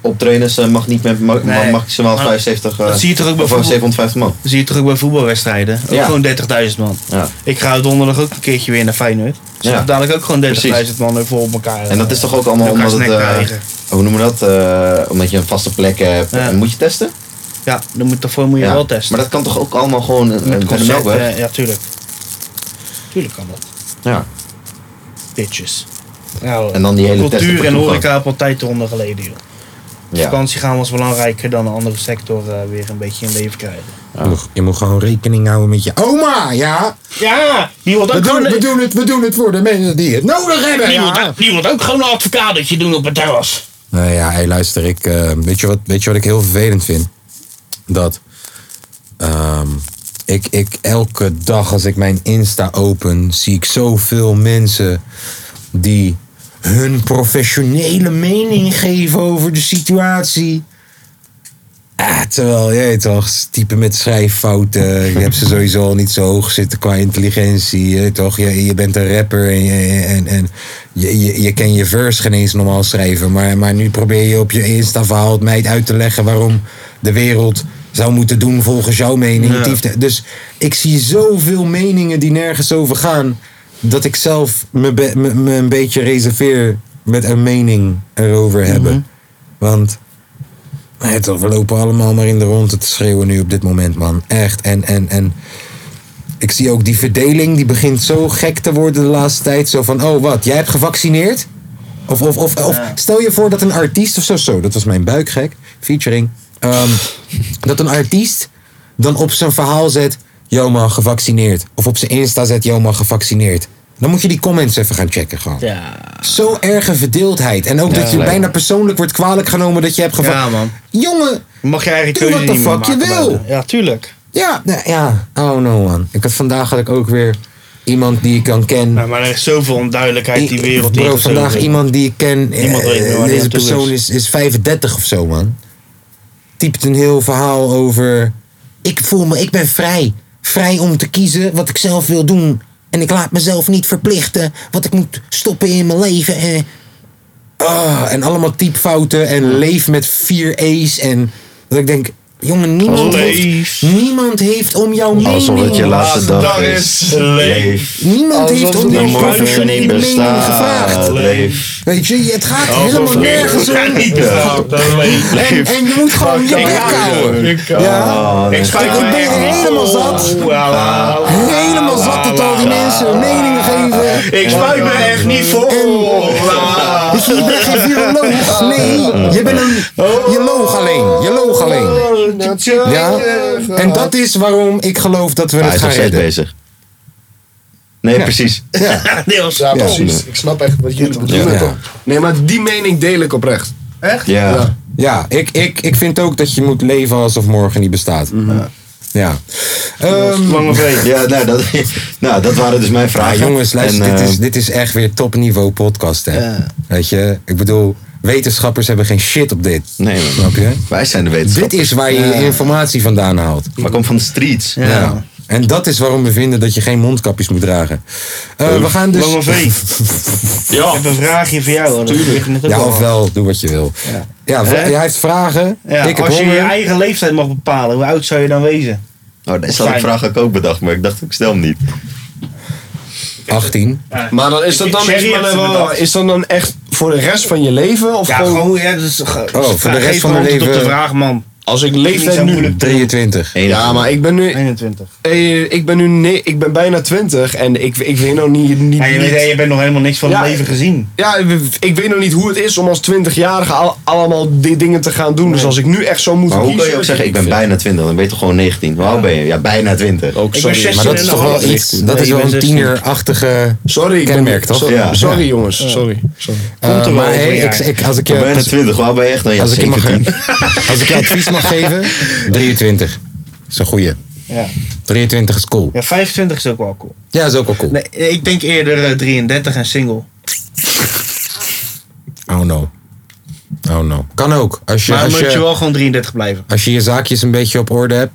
B: optrainers eh, mag niet met ma- ma-
D: Nee.
B: maximaal
D: Maar
B: 75 eh,
D: dat zie je toch ook bij
B: of
D: voetbal?
B: 750 man.
D: Dat zie je toch ook bij voetbalwedstrijden? Ook
B: Ja.
D: gewoon 30.000 man.
B: Ja.
D: Ik ga donderdag ook een keertje weer naar Feyenoord. Dus
B: Ja.
D: ik heb dadelijk ook gewoon 30.000
B: Precies.
D: man ervoor op elkaar.
B: En dat is toch ook allemaal
D: allemaal
B: omdat het,
D: nek
B: eh,
D: krijgen.
B: hoe noemen we dat? Eh, omdat je een vaste plek hebt.
D: Ja.
B: En Moet je testen?
D: Ja, dan moet, daarvoor moet je wel testen.
B: Maar dat kan toch ook allemaal gewoon eh,
D: Met
B: bij de
D: concept,
B: melkweg?
D: eh, ja, tuurlijk. Tuurlijk kan dat.
B: Ja.
D: Ditjes. Nou,
B: En dan die hele test op
D: cultuur
B: de
D: en
B: toegang.
D: horeca heb altijd eronder geleden, joh.
B: Ja.
D: Vakantie gaan was belangrijker dan een andere sector eh, weer een beetje in leven krijgen.
A: Je, moet, je moet gewoon rekening houden met je oma, ja?
D: Ja, die wil ook
A: we doen,
D: gewoon-
A: we, doen het, we doen het voor de mensen die het nodig hebben,
D: Die
A: ja.
D: moet ook- Die moet ook gewoon een advocaatje doen op het terras.
A: Nou ja, hey, luister, ik, eh, weet, je wat, weet je wat ik heel vervelend vind? Dat ehm, ik, ik elke dag als ik mijn Insta open, zie ik zoveel mensen die hun professionele mening geven over de situatie. Ah, terwijl, je weet toch, typen met schrijffouten. Je hebt ze sowieso al niet zo hoog zitten qua intelligentie. Je, weet toch? Je, je bent een rapper en, je, en, en je, je, je kan je verse geen eens normaal schrijven. Maar, maar nu probeer je op je Insta-verhaal het meid uit te leggen waarom de wereld zou moeten doen volgens jouw mening.
K: Ja.
A: Tiefde- Dus ik zie zoveel meningen die nergens over gaan. Dat ik zelf me, be- me, me een beetje reserveer met een mening erover hebben. Want maar het, we lopen allemaal maar in de ronde te schreeuwen nu op dit moment, man. Echt. En, en, en ik zie ook die verdeling, die begint zo gek te worden de laatste tijd. Zo van, oh wat, jij hebt gevaccineerd? Of, of, of, of stel je voor dat een artiest of zo, zo, dat was mijn buikgek, featuring. ehm, dat een artiest dan op zijn verhaal zet, yo man, gevaccineerd. Of op zijn Insta zet, yo man, gevaccineerd. Dan moet je die comments even gaan checken gewoon. Zo erge verdeeldheid. En ook
D: Ja,
A: dat je
D: leuk.
A: bijna persoonlijk wordt kwalijk genomen dat je hebt gevaccineerd.
D: Ja, man.
A: Jongen,
D: Mag je eigenlijk
A: Doe wat
D: keuze
A: de
D: niet meer
A: fuck je
D: maken
A: wil.
D: bijna. Ja, tuurlijk.
A: Ja, nou, ja. Oh no man. Ik had vandaag had ik ook weer iemand die ik kan ken.
D: Nou, maar er is zoveel onduidelijkheid die wereld
A: Bro,
D: ingezogen
A: vandaag
D: is.
A: iemand die ik ken. eh,
D: Niemand weet meer waar die
A: deze
D: aan toe
A: persoon is, is 35 of zo man. Typt een heel verhaal over. Ik voel me, ik ben vrij. Vrij om te kiezen wat ik zelf wil doen. En ik laat mezelf niet verplichten wat ik moet stoppen in mijn leven. eh. Ah, en allemaal typfouten en leef met vier A's. En dat ik denk, jongen, niemand, heeft, niemand heeft om jouw mening.
B: Alsof het je laatste dag
A: Dag
B: is.
A: Niemand
B: Alsof
A: heeft om
B: er
A: jouw
B: morgen
A: professionele
B: niet
A: mening
B: bestaat.
A: gevraagd.
B: Leef.
A: Weet je, het gaat
B: Alsof
A: helemaal
B: er-
I: [laughs]
A: nergens om.
B: Oh, Ja, niet bestaat.
A: En, en je moet gewoon je bek houden. Ja.
B: Ik
A: Ik ben helemaal zat. Helemaal zat dat al die mensen hun meningen geven.
I: Ik spuit me echt niet vol.
A: Weet je, je bent geen viroloog. Nee, je bent een... Je loog alleen. Je loog alleen. Ja? En dat is waarom ik geloof dat we
B: Hij
A: het
B: is
A: gaan
B: nog steeds
A: redden.
B: bezig. Nee, precies.
A: Ja.
D: Deels.
C: Ja,
B: Ja.
C: precies. Ik snap echt wat jullie bedoelen.
A: Ja.
C: Nee, maar die mening deel ik oprecht.
D: Echt?
A: Ja, ja ik, ik, ik vind ook dat je moet leven alsof morgen niet bestaat. Ja. Ehm,
D: Lange V.
B: Ja, nou dat, nou, dat waren dus mijn
A: ja,
B: vragen.
A: jongens, luister,
B: En,
A: dit,
B: eh,
A: is, dit is echt weer topniveau podcast, hè. Weet je, ik bedoel, wetenschappers hebben geen shit op dit.
B: Nee, man.
A: Snap je?
B: wij zijn de wetenschap.
A: Dit is waar je je informatie vandaan haalt.
B: Maar komt van de streets.
A: Ja. En dat is waarom we vinden dat je geen mondkapjes moet dragen. Eh, we gaan dus...
D: Lange V. [laughs] Ik heb een vraagje voor jou. hoor. Dat weet ik net ook
A: Ja,
D: al.
A: ofwel, doe wat je wil. Ja, v-
D: Hè?
A: hij heeft vragen.
D: Ja,
A: ik heb
D: als je je
A: honger.
D: eigen leeftijd mag bepalen, hoe oud zou je dan wezen?
B: Oh, deze had ik
D: Fijn.
B: vraag ook ook bedacht, maar ik dacht, ik stel hem niet.
A: 18.
C: Maar dan is dat dan,
D: Sherry
C: is, maar
D: heeft
C: dan
D: het
C: wel-
D: bedacht.
C: is dan dan echt voor de rest van je leven? Of
D: Ja,
C: gewoon,
D: gewoon, ja, dat is, oh,
A: voor de rest van mijn
D: op de
A: leven-
D: vraag, man.
C: als ik
D: Niet zo
C: leeftijd nu...
D: moeilijk.
A: 23.
C: Ja, maar ik ben nu,
D: 21.
C: eh, ik ben nu ne- ik ben bijna 20 en ik, ik weet nog niet... niet,
D: Ja, je,
C: niet-
D: weet, je bent nog helemaal niks van
C: Ja,
D: het leven gezien.
C: ja, ik weet nog niet hoe het is om als 20-jarige al- allemaal die dingen te gaan doen. Dus als ik nu echt zo moet
B: Maar hoe
C: kiezen...
B: kan je ook zeggen, ik ben bijna 20, dan ben je toch gewoon 19? Hoe oud ben je? Ja, bijna 20.
C: Ook
D: Ik ben
C: sorry.
D: 16
A: Maar dat is
D: en
A: toch
D: een half.
A: wel iets. Dat
D: Nee,
A: is
D: ik
A: wel
D: ben
A: een
D: 16.
A: tienerachtige.
C: Sorry, ik ben-
A: Kenmerk, toch?
C: Sorry,
B: Ja.
C: sorry jongens, sorry. sorry.
A: Eh,
D: Komt er wel
A: maar
D: over
A: hey,
D: een
A: ik,
D: jaar.
A: ik, als ik
B: Ik ben bijna
A: je,
B: 20, hoe oud ben je echt? Nou ja,
A: als ik je, mag,
B: 17.
A: [laughs] als ik je advies mag geven, 23 is een goeie.
D: Ja.
A: 23 is cool.
D: ja, 25 is ook wel cool.
A: Ja, is ook wel cool.
D: Nee, ik denk eerder eh, 33 en single.
A: Oh no. Oh no. Kan ook. Als je,
D: Maar dan
A: als
D: moet je
A: je,
D: wel gewoon 33 blijven.
A: als je je zaakjes een beetje op orde hebt,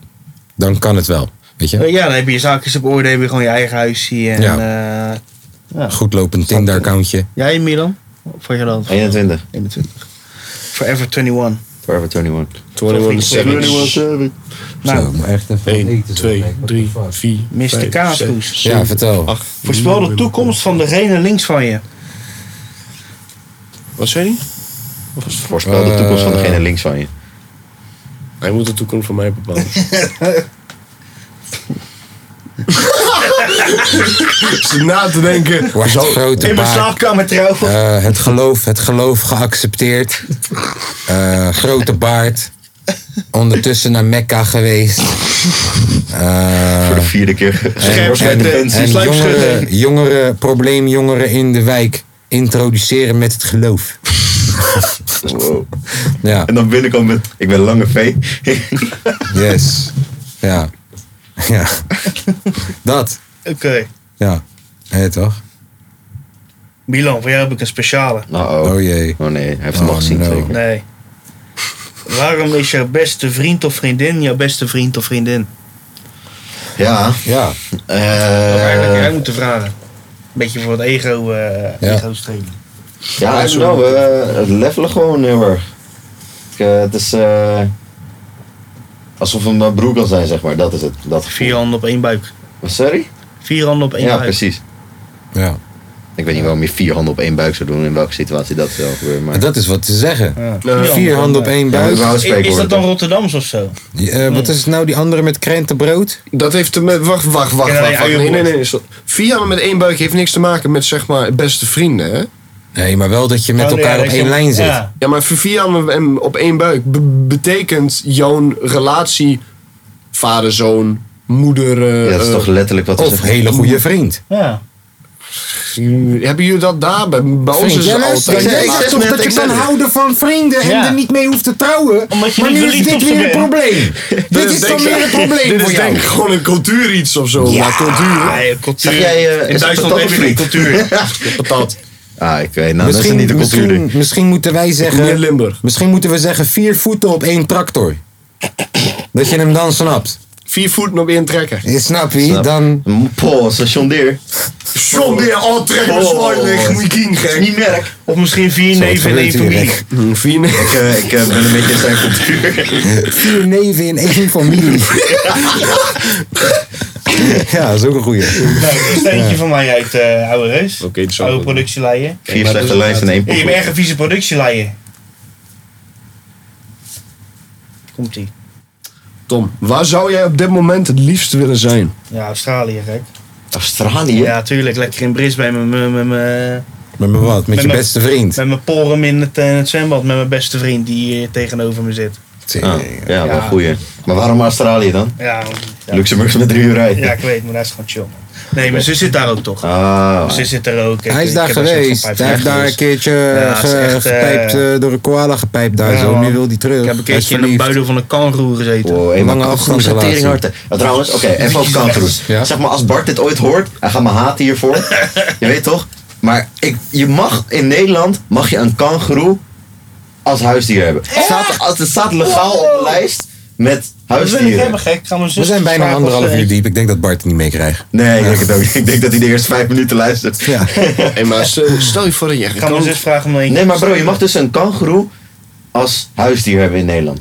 A: dan kan het wel. Weet je?
D: Eh, Ja, dan heb je je zaakjes op orde, heb je gewoon je eigen huisje. En, eh,
A: Goed lopend Tinder-accountje.
D: jij, Milan? Of had je dat?
B: 21,
D: 21. Forever 21.
B: Forever 21.
C: 21 Savage.
A: Zo,
D: Nou,
A: maar echt even
I: 1,
A: eten.
I: 2, 3, 4,
D: Mr. Kaaskoes.
A: Ja, vertel.
D: Voorspel de toekomst van degene links van je.
C: Wat zei hij?
B: Voorspel
A: Eh,
B: de toekomst van degene links van je.
C: Hij moet de toekomst van mij bepalen. [laughs] Ze na te denken.
A: Wordt
C: zo-
A: grote
C: in mijn
A: baard.
C: slaapkamer trouwen.
A: Eh, het, geloof, het geloof geaccepteerd. Eh, grote baard. Ondertussen naar Mekka geweest. Eh,
B: Voor de vierde keer. [laughs]
A: En, en, en jongeren, jongeren, probleemjongeren in de wijk introduceren met het geloof. Ja.
B: En dan binnenkomen met, ik ben Lange V. [laughs]
A: Yes. Ja. Ja. Dat.
D: Oké.
A: Ja. Hé, toch?
D: Milan, voor jou heb ik een speciale.
B: Nou,
A: Oh jee.
B: Oh nee, hij heeft hem
A: Oh,
B: al gezien
A: no.
B: zeker.
D: Nee. Waarom is jouw beste vriend of vriendin jouw beste vriend of vriendin?
B: Ja.
A: Ja.
D: Dat had eigenlijk
B: eh
D: jij moeten vragen. Beetje voor het ego, eh
A: Ja.
D: ego strelen.
B: ja, I don't know. we, eh, het levelen gewoon heel erg. Ik, eh, het is eh, alsof een eh, broer kan zijn, zeg maar. Dat is het. Dat gevoel.
D: Vier handen op één buik.
B: Sorry?
D: Vier handen op één
B: Ja,
D: buik.
B: precies.
A: Ja.
B: Ik weet niet waarom je vier handen op één buik zou doen, in welke situatie dat zou gebeuren. Maar...
A: Dat is wat te zeggen.
D: Ja.
A: Vier handen op één buik.
B: Ja,
D: Is, is dat dan Rotterdams of zo?
A: Eh, wat is het nou, die andere met krentenbrood?
C: Dat heeft te met. Wacht, wacht, wacht.
D: Ja,
C: wacht,
D: ja,
C: wacht.
D: ja,
C: Nee, nee,
D: ja.
C: nee. stop. Vier handen met één buik heeft niks te maken met zeg maar beste vrienden, hè?
A: Nee, maar wel dat je met
D: Oh, nee,
A: elkaar
D: dat
A: op
D: je-
A: één lijn zit.
D: Ja.
C: Ja, maar vier handen en op één buik be- betekent jouw relatie vader, zoon, moeder. eh,
B: Ja, dat is
C: eh,
B: toch letterlijk wat we
A: Of
B: zeggen.
A: hele goede vriend.
D: ja.
C: Hebben jullie dat daar? Bij, bij ons is het altijd.
B: Ja, ik zeg net, ik zeg het.
A: houden van vrienden
D: Ja.
A: mee hoeft te trouwen.
D: Omdat je niet verliefd op ze bent. [laughs]
A: probleem. dit is dan
C: [laughs]
A: weer een probleem
C: Dus Dit is denk ik gewoon een cultuur iets of zo. Maar cultuur.
D: Nee, cultuur.
B: Zeg jij, eh,
D: In
B: is dat
D: Duitsland
B: patat
D: heb
B: of
D: je geen
B: niet?
C: [laughs]
D: cultuur.
C: Patat.
B: Ah, ik weet nou, dat is
A: Misschien,
B: niet de cultuur.
A: misschien,
B: ding.
A: misschien moeten wij
C: Meneer
A: zeggen...
C: Limburg.
A: Misschien moeten we zeggen vier voeten op één tractor. Dat je hem dan snapt.
C: Vier voeten op één trekker.
A: Je snapt wie?
B: Snap.
A: Dan...
B: Nou, Paul, station Deer.
C: John, die al trek
B: Oh.
C: mijn slide leg, moet je kien,
B: Dat is
C: gek.
B: niet merk.
D: Of misschien vier
A: Zo, wat
D: neven en één
A: gebeurt hier,
D: familie.
A: Rick?
C: Hm, Vier
B: Ik, eh, ik eh, ben een beetje in zijn cultuur.
A: Vier neven in één familie. ja, dat is ook een goeie.
D: Nou, dat is er
A: [laughs]
D: eentje van mij uit eh oude reus.
C: Oké, het is wel
D: oude
C: goed.
D: productieleien.
B: Vier
D: dus
B: slechte lijsten en één
D: Ik heb
B: poep.
D: erg een vieze productieleien. Komt ie.
C: Tom, waar zou jij op dit moment het liefst willen zijn?
D: Ja, Australië, gek.
B: Australië?
D: Ja, tuurlijk. Lekker in Brisbane met mijn- met mijn-
A: Met me wat? Met je
D: mijn-
A: beste vriend?
D: met mijn porum in het, eh, het zwembad. Met mijn beste vriend die hier tegenover me zit.
B: Ah,
A: Tering.
B: ja, wel
D: Ja.
B: goeie. Maar waarom Australië dan?
D: Ja, ja.
B: Luxemburg is met drie uur rijden.
D: ja ik weet, maar dat is gewoon chill. man. Nee, mijn zus zit daar ook toch.
B: Ah,
D: Ze zit er ook. Ik-
A: Hij is
D: ik
A: daar
D: heb er zelf
A: geweest.
D: een paar
A: Hij heeft
D: keer
A: daar een
D: geweest.
A: keertje
D: Ja, het is
A: ge-
D: echt, eh,
A: gepijpt eh, door een koala gepijpt daar
D: Ja,
A: zo. Nu
D: man.
A: wil hij terug.
D: Ik heb een
A: Hij is
D: keertje in een
A: verliefd.
D: buidel van een kangoeroe gezeten.
B: Wow,
A: Lange
B: hey, maar kangoeroes zijn
A: afstandsrelatie.
B: teringhard, hè. Ja, trouwens,
A: [laughs]
B: oké, even op kangoeroes.
A: Ja.
B: Zeg maar, als Bart dit ooit hoort, hij gaat me
A: [laughs]
B: haten hiervoor. je weet toch? Maar ik, je mag in Nederland mag je een kangoeroe als huisdier hebben. Het staat, als- het staat legaal op de lijst met
D: Dat wil ik hebben,
B: huisdieren.
D: gek. Ik Ga mijn zus
A: We zijn bijna
D: vragen of
A: anderhalf
D: ze-
A: uur diep. Ik denk dat Bart het niet meekrijgt.
B: Nee, ik denk het ook. niet. Ik denk dat hij de eerste vijf minuten luistert.
A: Ja.
C: Hey, maar
A: Eh,
C: s- stel je voor dat je echt
D: Ik ga mijn zus vragen om een
B: [laughs] Nee, maar bro, je mag dus een kangoeroe als huisdier hebben in Nederland.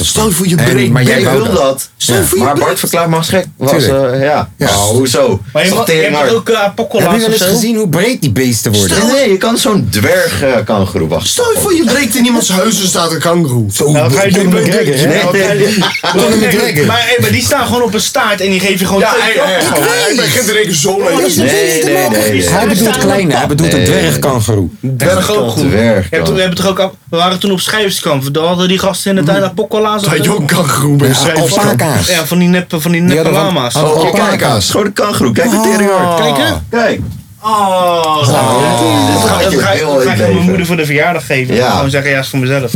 C: Stel je voor je
A: En-
C: breekt.
A: maar jij
B: Jij
A: wou
B: wil
A: dat.
B: dat.
C: Zo voel je
B: Maar
C: het
B: Bart
C: niet.
B: verklaart me als gek. Was,
A: Tuurlijk.
B: eh, ja.
A: Ja.
B: Nou, hoezo?
D: Maar je, mag, je hebt
B: Teringhard.
D: toch ook eh pokkolas
A: Heb je wel
D: of
A: eens
D: zo?
A: gezien hoe breed die beesten worden?
B: Nee, nee, je kan zo'n dwerg eh, kangoeroe wachten.
C: Stel je voor je breekt in iemands huis en staat een kangoeroe.
A: Zo,
D: Nou, ga je
A: Conor
D: doen,
A: McGregor, hè?
D: Oh,
B: Nee, nee, nee.
A: Conor McGregor.
D: Maar, hey, maar die staan gewoon op een staart en die geef je gewoon
C: Ja,
D: twee
C: hij,
D: klappen
C: hij, hij,
D: gewoon.
C: hij begint in één keer zo leeg.
B: Nee, nee, nee, nee.
A: Hij bedoelt kleine, hij bedoelt een
B: Nee.
A: dwergkangeroe.
D: Dwerg ook goed.
B: Dwerg,
D: Je hebt toch-
B: man.
D: we, hebben toch ook, al- we waren toen op schrijverskamp. Daar hadden die gasten in de tuin naar pokkolas.
C: Dat je ook een kangoeroe bent.
A: Ja,
C: schrijf van.
A: Alpaca's.
D: Ja, van die neppe, van die neppe
A: hadden van-
D: lama's.
A: hadden-
B: Oh, kijk, kijk, schone kangoeroe. Kijk, de teringhard.
A: Ah.
B: Kijk, hè. Kijk.
D: Oh, dat
B: Dit
D: ga,
B: gaat
D: dat
B: je
D: ga,
B: heel
D: dat
B: in
D: ga ik aan
B: leven.
D: mijn moeder voor de verjaardag geven.
B: Ja.
D: Gewoon zeggen, ja, is voor
B: [laughs]
D: mezelf.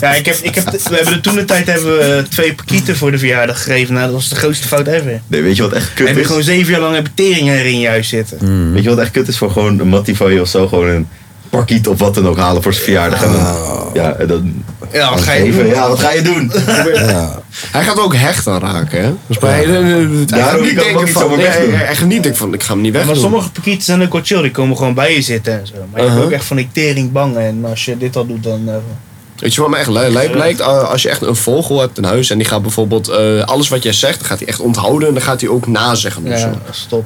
D: ja, ik heb, ik heb, we hebben er toen de tijd hebben we eh, twee pakieten voor de verjaardag gegeven. Nou, dat was de grootste fout ever.
B: Nee, weet je wat echt
D: Heb
B: kut
D: je
B: is?
D: gewoon zeven jaar lang heb je teringen in je huis zitten.
B: Weet je wat echt kut is voor gewoon een Mattie of zo? Gewoon een parkiet of wat dan ook halen voor zijn verjaardag. En dan, ja, en dan
D: Ja, Nou, wat ga je
B: even,
D: doen?
B: ja, wat ga je doen?
C: Hij gaat ook hecht aanraken, hè? Dus bij hij, hij gaat
B: Daarom
C: niet
B: kan ik ook
C: denken
B: niet
C: van...
B: zomaar
C: Nee, hij,
B: wegdoen.
C: hij gaat niet denken van, ik ga hem niet weg
D: Maar
C: doen.
D: sommige pakieten zijn ook wel chill, die komen gewoon bij je zitten en zo. Maar je
B: Uh-huh.
D: hebt ook echt van die tering bang en als je dit al doet dan... eh,
C: Weet je wat me echt li- lijp lijkt? Eh, Als je echt een vogel hebt in huis en die gaat bijvoorbeeld eh, alles wat jij zegt, dan gaat hij echt onthouden en dan gaat hij ook nazeggen. of zo.
D: ja,
C: Dan
D: stop.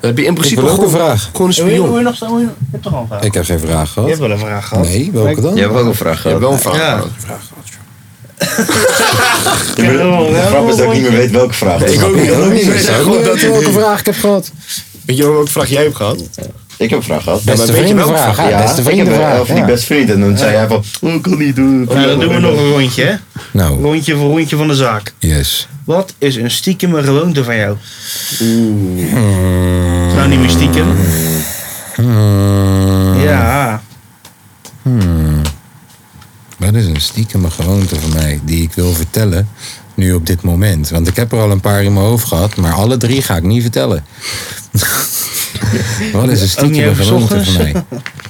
C: heb je in
A: Ik
C: principe
A: wil ook
C: gewoon,
A: een vraag.
C: gewoon een
D: Hoe je, hoe
C: spion.
D: je nog zo... hoe Je je hebt toch al een vraag?
A: Ik heb geen vraag
D: Je
A: gehad.
D: hebt wel een vraag gehad.
A: Nee, welke dan?
B: Je hebt ook een vraag
C: Je
B: gehad.
C: hebt wel een vraag.
D: Ja.
C: gehad.
B: de grap is dat ik niet meer weet welke vraag.
J: Nee, ik ook niet. Ik ook niet.
B: meer
J: Ik zeg gewoon dat ik welke vraag ik heb gehad.
C: Weet je welke vraag jij hebt gehad?
B: Ik heb een vraag gehad.
J: Beste
B: weet je welke
J: vriendenvraag,
B: vraag?
J: ja, beste
B: ik heb, eh,
J: vriendenvraag,
B: Of die
J: ja.
B: best vriend. En toen zei hij van, oh, ik kan niet doen.
D: Nou, dan doen we nog een rondje, hè?
A: Nou.
D: Rondje voor rondje van de zaak.
A: Yes.
D: Wat is een stiekeme gewoonte van jou? Oeh. Nou, niet meer stiekem. Ja.
A: Dat is een stiekeme gewoonte van mij die ik wil vertellen nu op dit moment. Want ik heb er al een paar in mijn hoofd gehad, maar alle drie ga ik niet vertellen. [laughs] Wat is een stiekeme
D: even 's
A: gewoonte
D: ochtends?
A: van mij?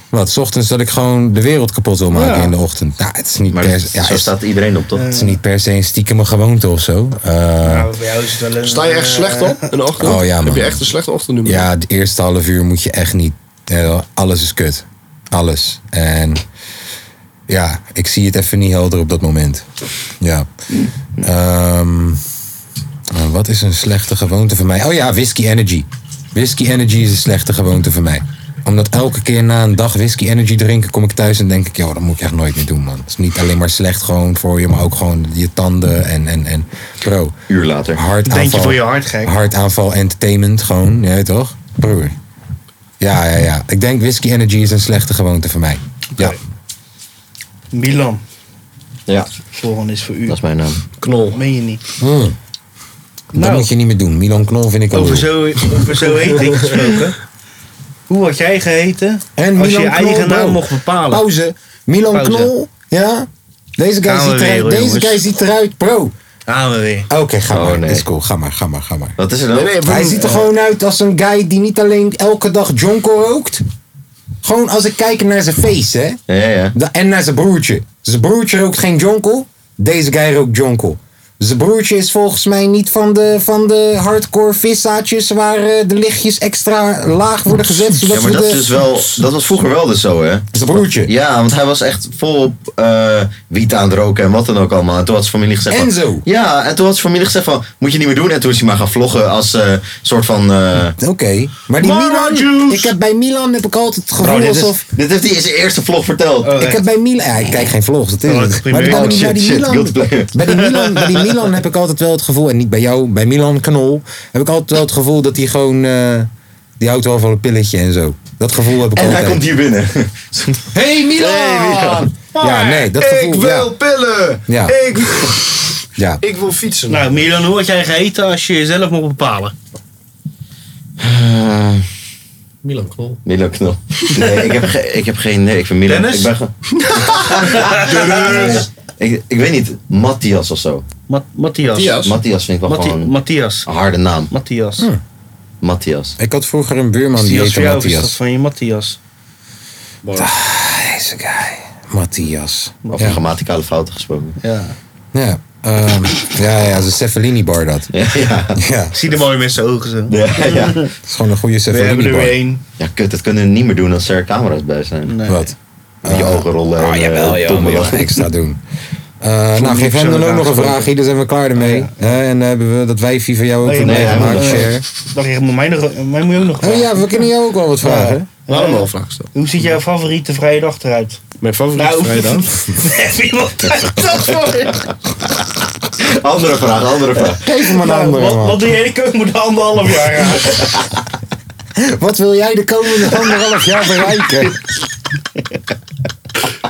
A: Wat, 's ochtends dat ik gewoon de wereld kapot wil maken
D: Ja.
A: in de ochtend? Nou, het is niet,
B: Maar
A: per,
B: dat-
A: ja,
B: zo
A: het
B: staat iedereen op, toch?
A: is niet per se een stiekeme gewoonte of zo. Eh,
D: Nou, bij jou is het wel een... eh,
C: Sta je echt slecht op in de ochtend?
A: Oh, ja, man.
C: Heb je echt een slechte ochtend nu?
A: Ja, het eerste half uur moet je echt niet. eh, Alles is kut. Alles. En ja, ik zie het even niet helder op dat moment. Ja. Ehm, eh, wat is een slechte gewoonte van mij? Oh ja, whisky energy. Whisky energy is een slechte gewoonte van mij. Omdat elke keer na een dag whisky energy drinken, kom ik thuis en denk ik, joh, dat moet ik echt nooit meer doen, man. Het is niet alleen maar slecht gewoon voor je, maar ook gewoon je tanden en, en, en. Bro,
B: uur later.
A: hartaanval.
D: Denk je voor je hart gek? Mm.
A: Hartaanval entertainment, gewoon. Ja, toch? Broer. Ja, ja, ja. Ik denk whisky energy is een slechte gewoonte voor mij. Ja.
D: Milan,
B: Ja,
D: volgende is voor u.
B: dat is mijn naam.
C: Knol.
D: Dat meen je niet.
A: Hmm. Dat
D: Nou.
A: moet je niet meer doen. Milan Knol vind ik wel
D: Over
A: lul.
D: zo, over zo heet ik gesproken.
A: [laughs]
D: Hoe had jij geheten
A: En
D: als je
A: Milan
D: je eigen
A: Knol,
D: naam
A: bro.
D: mocht bepalen?
A: Pauze. Milan
D: Pauze.
A: Knol. Ja. Deze guy,
D: Gaan we
A: ziet
D: weer,
A: eruit, deze
D: jongens.
A: guy ziet eruit, bro.
D: Gaan we weer.
A: Oké, ga
B: Oh,
A: maar.
B: nee.
A: Is cool. Ga maar, ga maar, ga maar.
B: Wat is er dan?
A: Hij ziet er gewoon uit als een guy die niet alleen elke dag jonko rookt. Gewoon als ik kijk naar zijn face, hè.
B: Ja, ja, ja.
A: Da- En naar zijn broertje. Zijn broertje rookt geen jonkel. Deze guy rookt jonkel. Zijn broertje is volgens mij niet van de, van de hardcore vissaatjes waar eh, de lichtjes extra laag worden gezet. Zodat
B: Ja, maar
A: ze
B: dat is
A: de...
B: dus wel... Dat was vroeger wel dus zo, hè?
A: Zijn broertje.
B: Ja, want hij was echt volop eh wiet aan het roken en wat dan ook allemaal. En toen had zijn familie gezegd van...
A: Enzo.
B: Ja, en toen had zijn familie gezegd van... Moet je niet meer doen. En toen is hij maar gaan vloggen als eh soort van... eh
A: Oké. Maar die Milan, ik heb bij Milan heb ik altijd het gevoel
B: Bro, dit, is,
A: alsof...
B: dit heeft hij in zijn eerste vlog verteld.
D: Oh,
A: Ik heb bij Milan... Ja, ik kijk geen vlogs, dat is
D: Oh, dat is
A: het.
D: primair.
A: Maar bij
B: Oh,
A: die, bij
B: shit,
A: die
B: shit,
A: Milan,
B: guilty pleasure.
A: bij, die Milan, bij die Milan heb ik altijd wel het gevoel... En niet bij jou, bij Milan Knol... heb ik altijd wel het gevoel dat hij gewoon... eh, die houdt wel van een pilletje en zo. Dat gevoel heb ik
B: En
A: altijd.
B: hij komt hier binnen. [laughs]
A: Hey Milan! Ja, nee, dat
C: Ik
A: gevoel.
C: wil
A: Ja,
C: pillen!
A: Ja.
C: Ik,
A: ja.
C: ik wil fietsen.
D: Nou, Milan, hoe had jij geheten als je jezelf mocht bepalen?
B: Eh,
K: Milan Knol.
B: Milo Knol. Nee, ik heb, ge- ik heb geen... Nee, ik vind Milo...
D: Dennis?
B: Ik ben gewoon... ik, ik weet niet. Matthias of zo.
D: Ma- Matthias. Ah.
C: Matthias.
B: Matthias vind ik wel
D: Matti-
B: gewoon
D: Matthias.
B: een harde naam.
D: Matthias.
B: Matthias.
A: Ik had vroeger een buurman die Oh,
D: Matthias
A: heette
D: voor jou of is dat
A: Matthias.
D: van je Matthias?
A: Deze guy. Matthias.
B: Of
A: Ja.
B: een grammaticale fouten gesproken. [laughs]
D: Ja.
A: Ja. ehm, ja, ja, ze Cefalini bar dat. [laughs]
B: Ja, ja.
A: Ja, het
D: Zie er mooi met zijn ogen zo.
B: Ja, ja.
A: is gewoon een goede
D: We hebben
A: Cefalini
D: er weer
A: bar.
D: één.
B: ja, kut. Dat kunnen we niet meer doen als er camera's bij zijn.
D: Nee.
A: Wat?
B: Je ogen rollen. en,
A: Ah,
B: eh,
A: jawel, joh.
B: dommelen.
A: maar wat [laughs] extra doen. Eh, nou, geef hem
D: zo
A: dan ook
D: elkaar
A: nog een
D: gesproken.
A: vraagje, dan zijn we klaar ermee. Hè, en dan hebben we dat wijfie van jou ook
D: Nee,
A: voor
D: nee,
B: hij
A: meegemaakt,
B: moet-
D: eh,
A: share.
D: Dan moet mij, nog, mij moet je ook nog
A: Oh ja,
D: vragen.
A: we kunnen jou ook wel wat vragen.
C: Laat hem wel vragen stellen.
D: Hoe ziet jouw favoriete vrije dag eruit? Nou,
C: Mijn favoriete
A: Nou,
B: nou.
D: Heb iemand dat voor je?
B: [laughs] Andere vraag, andere vraag.
C: [laughs]
A: Geef hem een andere,
D: [laughs] Wat,
A: man.
D: wat doe jij de komende anderhalf jaar?
A: [laughs]
D: aan?
A: Wat wil jij de komende anderhalf jaar bereiken?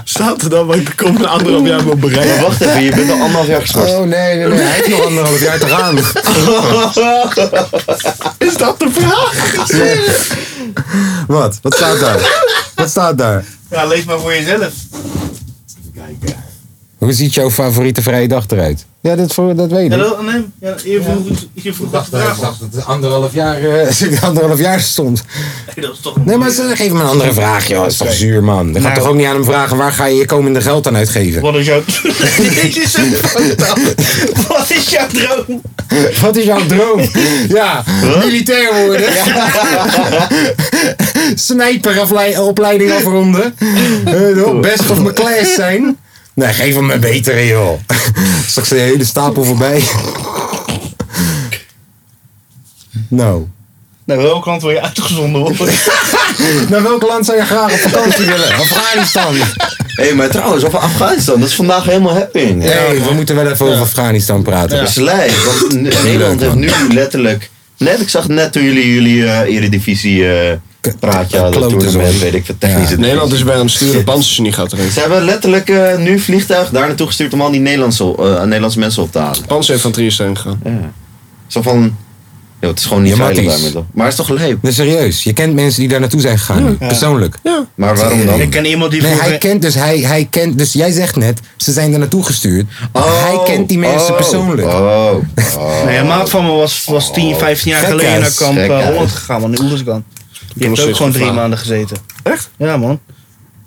C: Staat er dan wat ik de komende anderhalf jaar wil bereiken?
B: Maar wacht even, je bent al anderhalf jaar geschorst.
A: Oh nee, nee, nee. Hij heeft nog anderhalf jaar te [laughs] gaan.
C: Is dat de vraag?
A: Wat? Wat staat daar? Wat staat daar?
D: Ja, lees maar voor jezelf.
A: Hoe ziet jouw favoriete vrije dag eruit? Ja, dat, voor, dat weet ik.
D: Hallo, Annem? Ja, je vroeg, je vroeg achteraf.
A: dat het anderhalf jaar, [laughs] eh, anderhalf jaar stond.
D: Nee, dat is toch een
A: Nee, maar ze- geef hem een andere vraag, joh. Dat is toch zuur, man. Dan gaat
D: Nou.
A: toch ook niet aan hem vragen waar ga je je komende geld aan uitgeven?
D: Wat
A: [laughs]
D: is jouw... [laughs] Dit is een foto. Wat is jouw droom?
A: Wat is jouw droom? [laughs] Ja, militair worden. [laughs] Sniperopleiding afronden. [laughs] Eh, joh, Best of my class zijn. Nee, geef hem een betere, joh. [laughs] Straks de hele stapel voorbij. [laughs] Nou.
D: Nou, welk land wil je uitgezonden worden?
A: Naar welk land zou je graag op vakantie willen? Afghanistan.
B: Hé, maar trouwens, over Afghanistan, dat is vandaag helemaal happening.
A: Nee, we moeten wel even over Afghanistan praten.
B: Dat is lijp,
C: [laughs]
B: want N- Nederland heeft nu letterlijk... Net, ik zag net toen jullie jullie eh, eredivisie eh praatje hadden.
C: klote
B: Tournament,
C: zooi.
B: weet ik veel technisch. het
C: [laughs] Nederland is bij hem sturen, panzers niet gaat erin.
B: Ze hebben letterlijk eh, nu vliegtuig daar naartoe gestuurd om al die Nederlandse, eh, Nederlandse mensen op te halen.
C: Panzer heeft van Trier zijn gegaan.
B: Ja. Zo van, joh, het is gewoon niet
A: Ja,
B: veilig
A: Matties.
B: daar middel. Maar het is toch leuk?
A: Nee, serieus. Je kent mensen die daar naartoe zijn gegaan.
B: Ja.
A: Persoonlijk.
C: Ja.
B: Maar waarom dan?
D: Ik ken iemand die
A: Nee,
D: vroeger-
A: hij kent dus, hij, hij kent dus, jij zegt net, ze zijn er naartoe gestuurd.
B: Oh,
A: hij kent die mensen
B: oh,
A: persoonlijk.
B: Oh,
A: [laughs]
D: Nee, een maat van me was, was 10, 15 jaar
A: Gekhuis,
D: geleden naar kamp eh,
B: gekhuis.
D: Holland gegaan, man, in Oeversgan. Die
C: nog
D: heeft ook
C: steeds
D: gewoon drie
C: gevraagd.
D: maanden gezeten. Echt? Ja, man.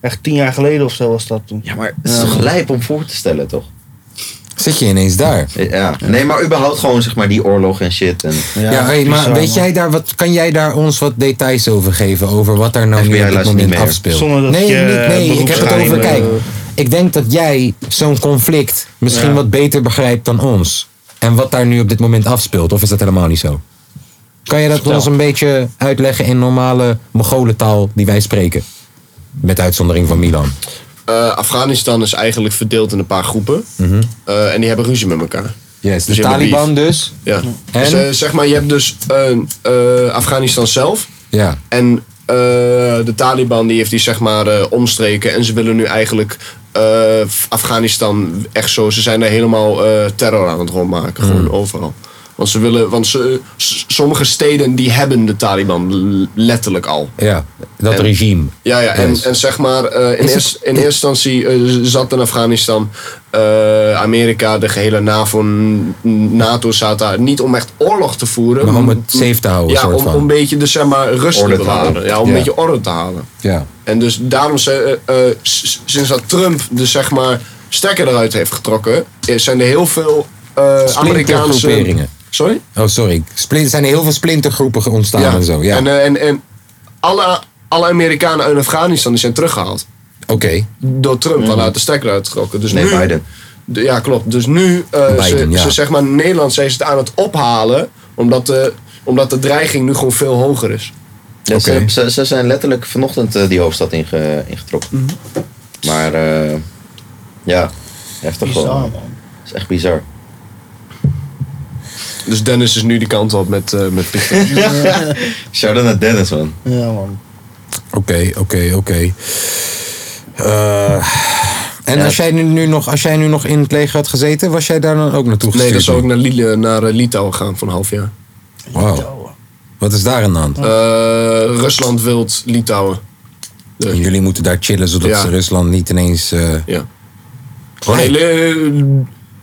D: Echt tien jaar geleden of zo was dat toen.
B: Ja, maar het is toch lijp om voor te stellen, toch?
A: Zit je ineens daar?
B: Ja. Nee, maar überhaupt gewoon zeg maar die oorlog en shit. En
A: Ja, hey, maar
D: bizar,
A: weet
D: man.
A: jij daar wat, kan jij daar ons wat details over geven? Over wat daar nou
B: FBI
A: nu op dit
B: luistert
A: moment
B: niet meer.
A: afspeelt?
D: Zonder dat
A: nee,
D: je,
A: niet, nee ik heb het
D: beroepsgeheim,
A: over,
D: eh,
A: kijk. Ik denk dat jij zo'n conflict misschien
D: Ja.
A: wat beter begrijpt dan ons. En wat daar nu op dit moment afspeelt. Of is dat helemaal niet zo? Kan je dat ons een beetje uitleggen in normale Mogolentaal die wij spreken? Met uitzondering van Milan.
C: Eh, Afghanistan is eigenlijk verdeeld in een paar groepen. Eh, en die hebben ruzie met elkaar.
A: Mhm. Yes, de
C: Dus je hebt een
A: Taliban dus.
C: Ja.
A: En?
C: Dus, eh, zeg maar, je hebt dus een, eh, Afghanistan zelf.
A: Ja.
C: En eh, de Taliban die heeft die zeg maar eh, omstreken. En ze willen nu eigenlijk eh, Afghanistan echt zo. Ze zijn daar helemaal eh, terror aan het rondmaken.
A: Mhm.
C: Gewoon overal. Want, ze willen, want ze, s- sommige steden die hebben de Taliban l- letterlijk al.
A: Ja, dat
C: En-
A: regime.
C: Ja, ja en,
A: Yes.
C: en zeg maar, eh, in,
A: Is het-
C: eerst, in eerste instantie eh, zat in Afghanistan eh, Amerika, de gehele NAVO, n- NATO zat daar. Niet om echt oorlog te voeren.
A: Maar om het safe te houden,
C: Ja,
A: soort
C: om,
A: van.
C: om een beetje de, zeg maar, rust
B: Orde
C: te
B: te
C: bewaren.
B: houden.
C: Ja, om
A: Ja.
C: een beetje orde te halen.
A: Ja.
C: En dus daarom, ze, eh, eh, s- sinds dat Trump de zeg maar, stekker eruit heeft getrokken, eh, zijn er heel veel eh, Amerikaanse...
A: Splintergroeperingen.
C: Sorry?
A: Oh, sorry. Splin- er zijn heel veel splintergroepen ontstaan en zo. Ja.
C: En, eh, en, en alle, alle Amerikanen uit Afghanistan die zijn teruggehaald.
A: Oké.
C: door
A: Mm.
C: Trump al uit de stekker uitgetrokken. Dus
B: Nee,
C: nu,
B: Biden.
C: De- ja, klopt. Dus nu, eh,
A: Biden,
C: ze,
A: ja.
C: ze, zeg maar, Nederland zijn ze het aan het ophalen, omdat de, omdat de dreiging nu gewoon veel hoger is.
B: Ja, ze-
A: Oké.
B: ze, ze zijn letterlijk vanochtend eh, die hoofdstad inge, ingetrokken.
A: Mhm.
B: Maar eh, ja, heftig
D: Bizar,
B: gewoon.
D: man.
B: Dat is echt bizar.
C: Dus Dennis is nu die kant op met, eh met Pieter.
A: [laughs]
B: Shout-out naar Dennis, man.
D: Ja, man.
A: Oké, oké, oké. Eh, En
B: Ja.
A: als jij nu, nu nog, als jij nu nog in het leger had gezeten, was jij daar dan ook naartoe
C: nee,
A: gestuurd?
C: dan zou ik naar, Lille, naar eh, Litouwen gaan van een half jaar.
A: Wauw. Wat is daar aan de hand?
C: Eh, Rusland wilt Litouwen.
A: En Jullie moeten daar chillen zodat
C: Ja.
A: ze Rusland niet ineens. eh,
C: Ja.
A: Oh,
C: Gewoon heel, eh,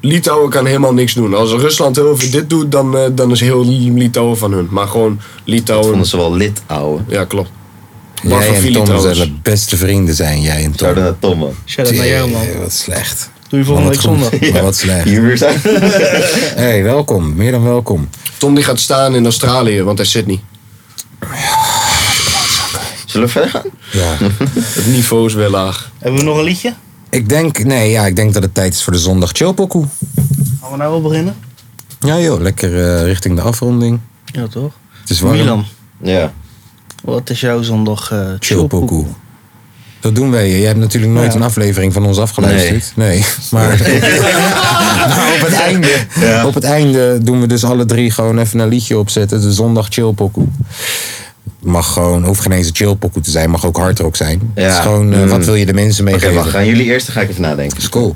C: Litouwen kan helemaal niks doen. Als Rusland heel veel dit doet, dan, eh, dan is heel Litouwen van hun. Maar gewoon Litouwen.
B: Vonden ze wel lid, ouwe.
C: Ja, klopt. Bart van
A: jij en
C: Vili
A: Tom
C: trouwens.
A: zullen beste vrienden zijn, jij en Tom.
B: Shout-out naar Tom, man.
D: Shout out naar jou, man.
A: Tee, Wat slecht.
D: Doe
A: Man,
D: je volgende
A: wat
D: week
A: goed.
D: zondag.
A: Maar wat slecht.
B: Hier weer zijn. [laughs]
A: hey, welkom. Meer dan welkom.
C: Tom die gaat staan in Australië, want hij zit niet.
B: Zullen we verder gaan?
C: [laughs]
A: Ja.
C: Het niveau is weer laag.
D: [laughs] Hebben we nog een liedje?
A: ik denk, nee, ja, ik denk dat het tijd is voor de zondag chillpokoe.
D: Gaan we nou wel beginnen?
A: Ja joh, lekker eh, richting de afronding.
D: Ja, toch?
A: Het is warm.
D: Milan,
B: Ja.
D: wat is jouw zondag eh
A: Chillpokoe.
D: chillpokoe?
A: Dat doen wij. Jij hebt natuurlijk nooit
D: Ja.
A: een aflevering van ons afgeluisterd. Nee. [laughs] Maar, maar op, het einde,
B: Ja.
A: op het einde doen we dus alle drie gewoon even een liedje opzetten. De zondag chillpokoe. Mag gewoon, hoeft geen eens een chillpokoe te zijn. Mag ook hardrock zijn.
B: Ja.
A: Het is gewoon, eh,
B: Mm.
A: wat wil je de mensen
B: Oké,
A: meegeven?
B: wacht. Gaan jullie eerst? Dan ga ik even nadenken. Dus
A: is cool.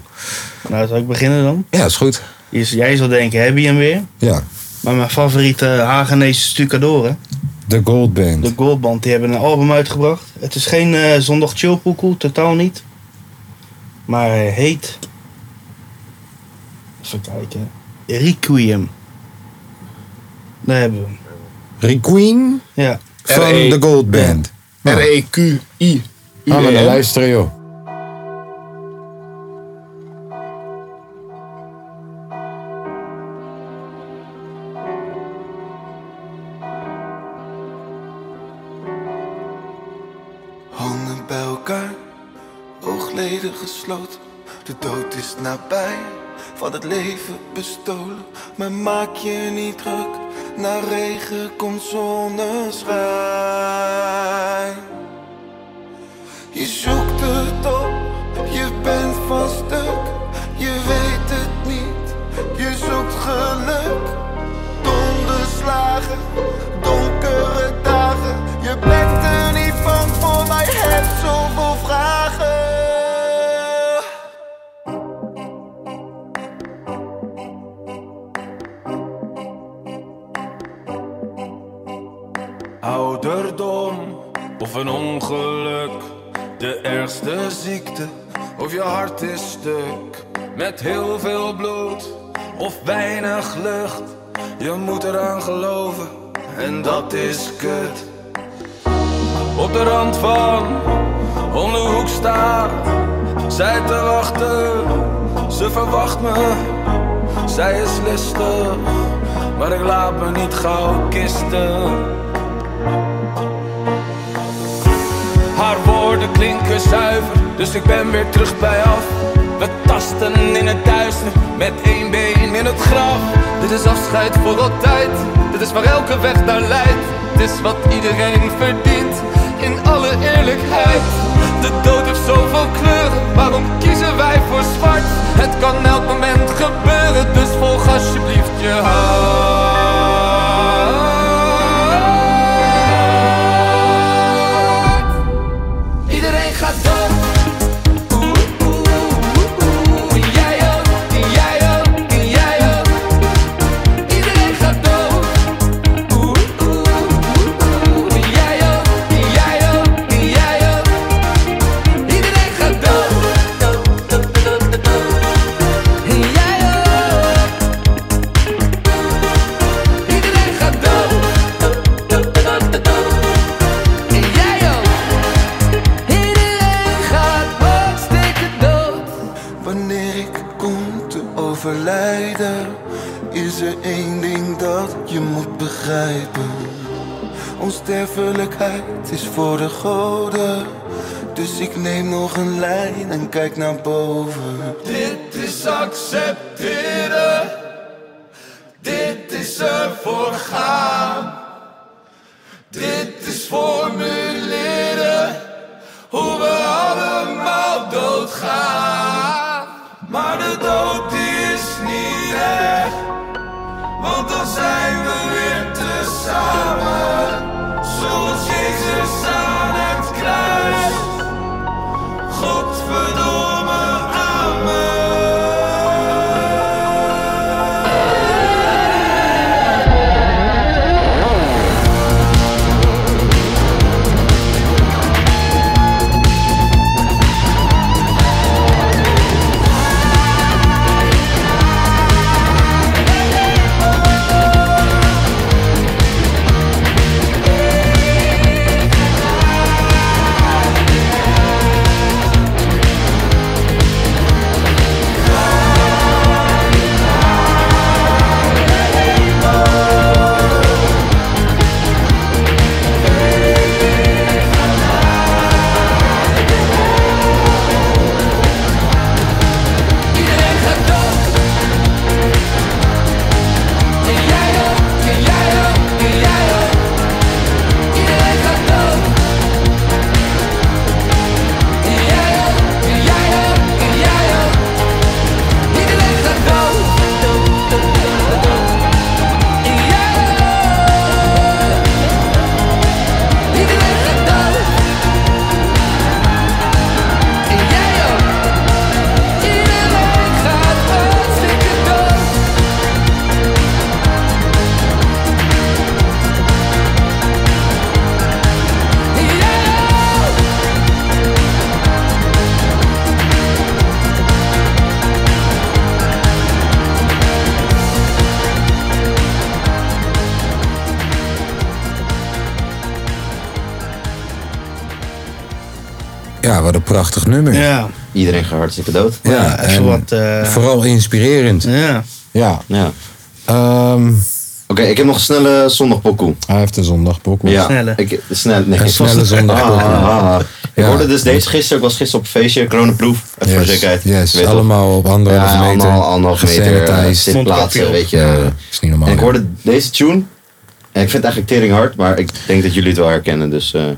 D: Nou, zou ik beginnen dan?
A: Ja, is goed.
D: Is, jij zal denken, heb je hem weer?
A: Ja.
D: Maar mijn favoriete Hagenese stucadoren,
A: De Gold Band.
D: de Goldband, die hebben een album uitgebracht. Het is geen eh, zondag chillpokoe, totaal niet. Maar hij heet... Even kijken. Requiem. Daar hebben we hem.
A: Requeen
D: Ja.
A: van
C: R.E..
A: de Gold Band. Ja.
C: E R-E-Q-I.
A: Gaan
C: E
A: we naar luisteren joh.
F: Handen bij elkaar, oogleden gesloten. De dood is nabij, van het leven bestolen. Maar maak je niet druk, na regen komt zonneschijn. Je zoekt het op,
K: Je bent van stuk, je weet het niet. Je zoekt geluk. Donderslagen, donkere dagen. Je bent er niet van voor, maar je hebt zoveel vragen.
L: Ouderdom of een ongeluk, de ergste ziekte of je hart is stuk. Met heel veel bloed of weinig lucht, je moet eraan geloven en dat is kut. Op de rand van, om de hoek staat, zij te wachten, ze verwacht me, zij is listig, maar ik laat me niet gauw kisten. Haar woorden klinken zuiver, dus ik ben weer terug bij af. We tasten in het duister, met één been in het graf. Dit is afscheid voor altijd, dit is waar elke weg naar leidt. Het is wat iedereen verdient, in alle eerlijkheid. De dood heeft zoveel kleuren, waarom kiezen wij voor zwart? Het kan elk moment gebeuren, dus volg alsjeblieft je hart. Iedereen gaat dood. Oeh, oeh, oeh, oeh. Jij ook, en jij ook, en jij ook. Iedereen gaat dood. Oeh, oeh, oeh, oeh. En jij ook, en jij ook, en jij ook. Iedereen gaat dood. Dood, dood, dood, dood, dood. En jij ook. Iedereen gaat dood. Dood, dood, dood, dood, dood. En jij ook. Iedereen gaat hartstikke dood.
K: Wanneer ik kom te overlijden, is er één ding dat je moet begrijpen. Onsterfelijkheid is voor de goden. Dus ik neem nog een lijn en kijk naar boven.
L: Dit is accepteren. Dit is ervoor gaan. Dit is formuleren hoe we allemaal doodgaan. Maar de dood die is niet echt, want dan zijn we weer tezamen. Zoals Jezus aan het kruis. Godverdomme,
A: Ja, wat een prachtig nummer.
D: Ja.
A: Iedereen gaat hartstikke dood. Ja,
D: Ja, even
A: en
D: wat, eh,
A: Vooral inspirerend.
D: Ja.
A: Ja.
B: ja.
A: Oké,
B: ik heb nog een snelle zondagpokoe.
A: Hij heeft een dus- zondagpokoe.
B: Ja, Snelle. ik- snel- nee,
A: een
B: ik-
A: snelle zondagpokoe.
B: Ah, ah, ah. Ik
A: Ja.
B: hoorde dus deze gisteren, ik was gisteren op een feestje, coronaproof, even voor de
A: Yes,
B: zekerheid.
A: yes,
B: Je weet
A: allemaal op anderhalve
B: ja,
A: meter,
B: Allemaal, anderhalve meter eh,
A: gesanitized.
B: zitplaatsen,
A: Mondkapje
B: weet je.
A: op. Ja, is niet normaal,
B: En ik
A: hè?
B: hoorde deze tune, en ik vind het eigenlijk tering hard, maar ik denk dat jullie het wel herkennen, dus eh moet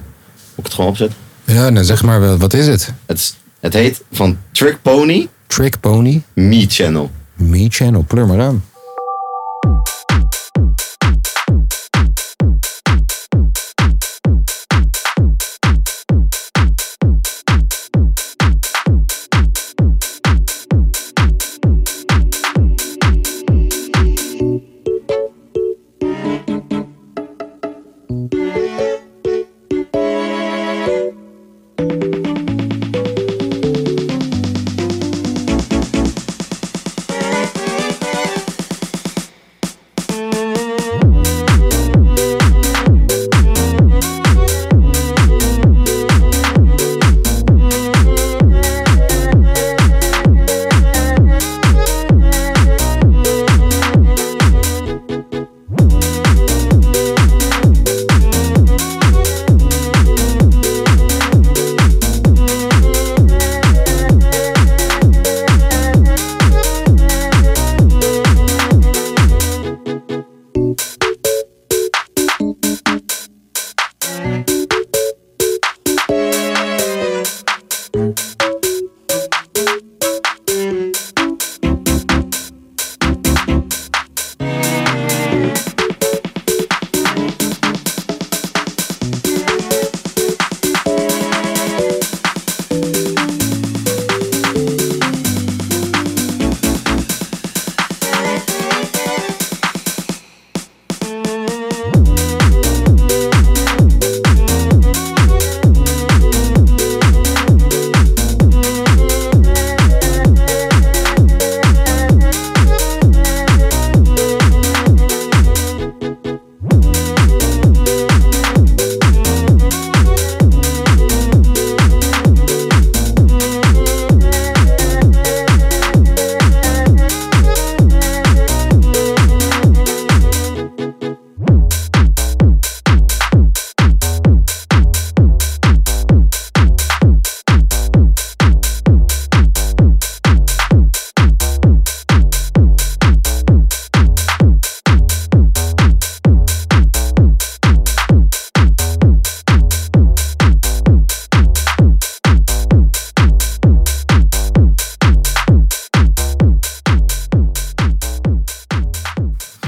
B: ik het gewoon opzetten.
A: Ja, nou zeg maar, wel, wat is het?
B: Het is Het heet van Trick Pony.
A: Trick Pony.
B: Me Channel.
A: Me Channel, pleur maar aan.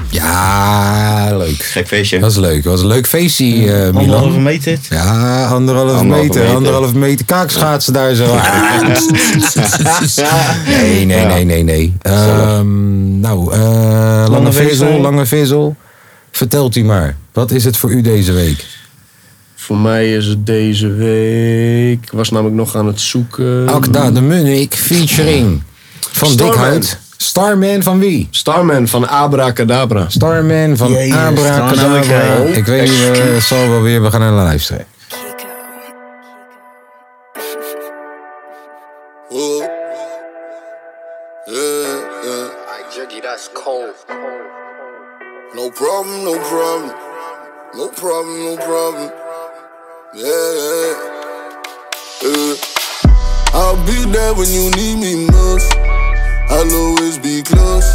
A: Ja, leuk.
B: Gek feestje.
A: Dat is leuk. Dat was een leuk feestje, eh, Milan.
D: Anderhalve meter.
A: Ja, anderhalf
D: Anderhalve
A: meter,
D: meter.
A: anderhalf meter kaakschaatsen daar zo. nee, nee, nee, nee, nee. Ehm, nou, eh, lange
J: Vezel.
A: vezel, lange vezel. Vertelt u maar, wat is het voor u deze week?
C: Voor mij is het deze week. Ik was namelijk nog aan het zoeken.
A: Akda de Munnik featuring Van Dikhout. Starman van wie?
C: Starman van Abracadabra.
A: Starman van
C: Jezus,
A: Abracadabra.
C: nou, nou, ik-
A: Ik weet niet, eh, zal wel weer, we gaan naar luisteren.
M: Whoa. Yeah, yeah. I juggy, that's cold. No problem, no problem. No problem, no problem. Yeah, yeah. Yeah. I'll be there when you need me most. I'll always be close.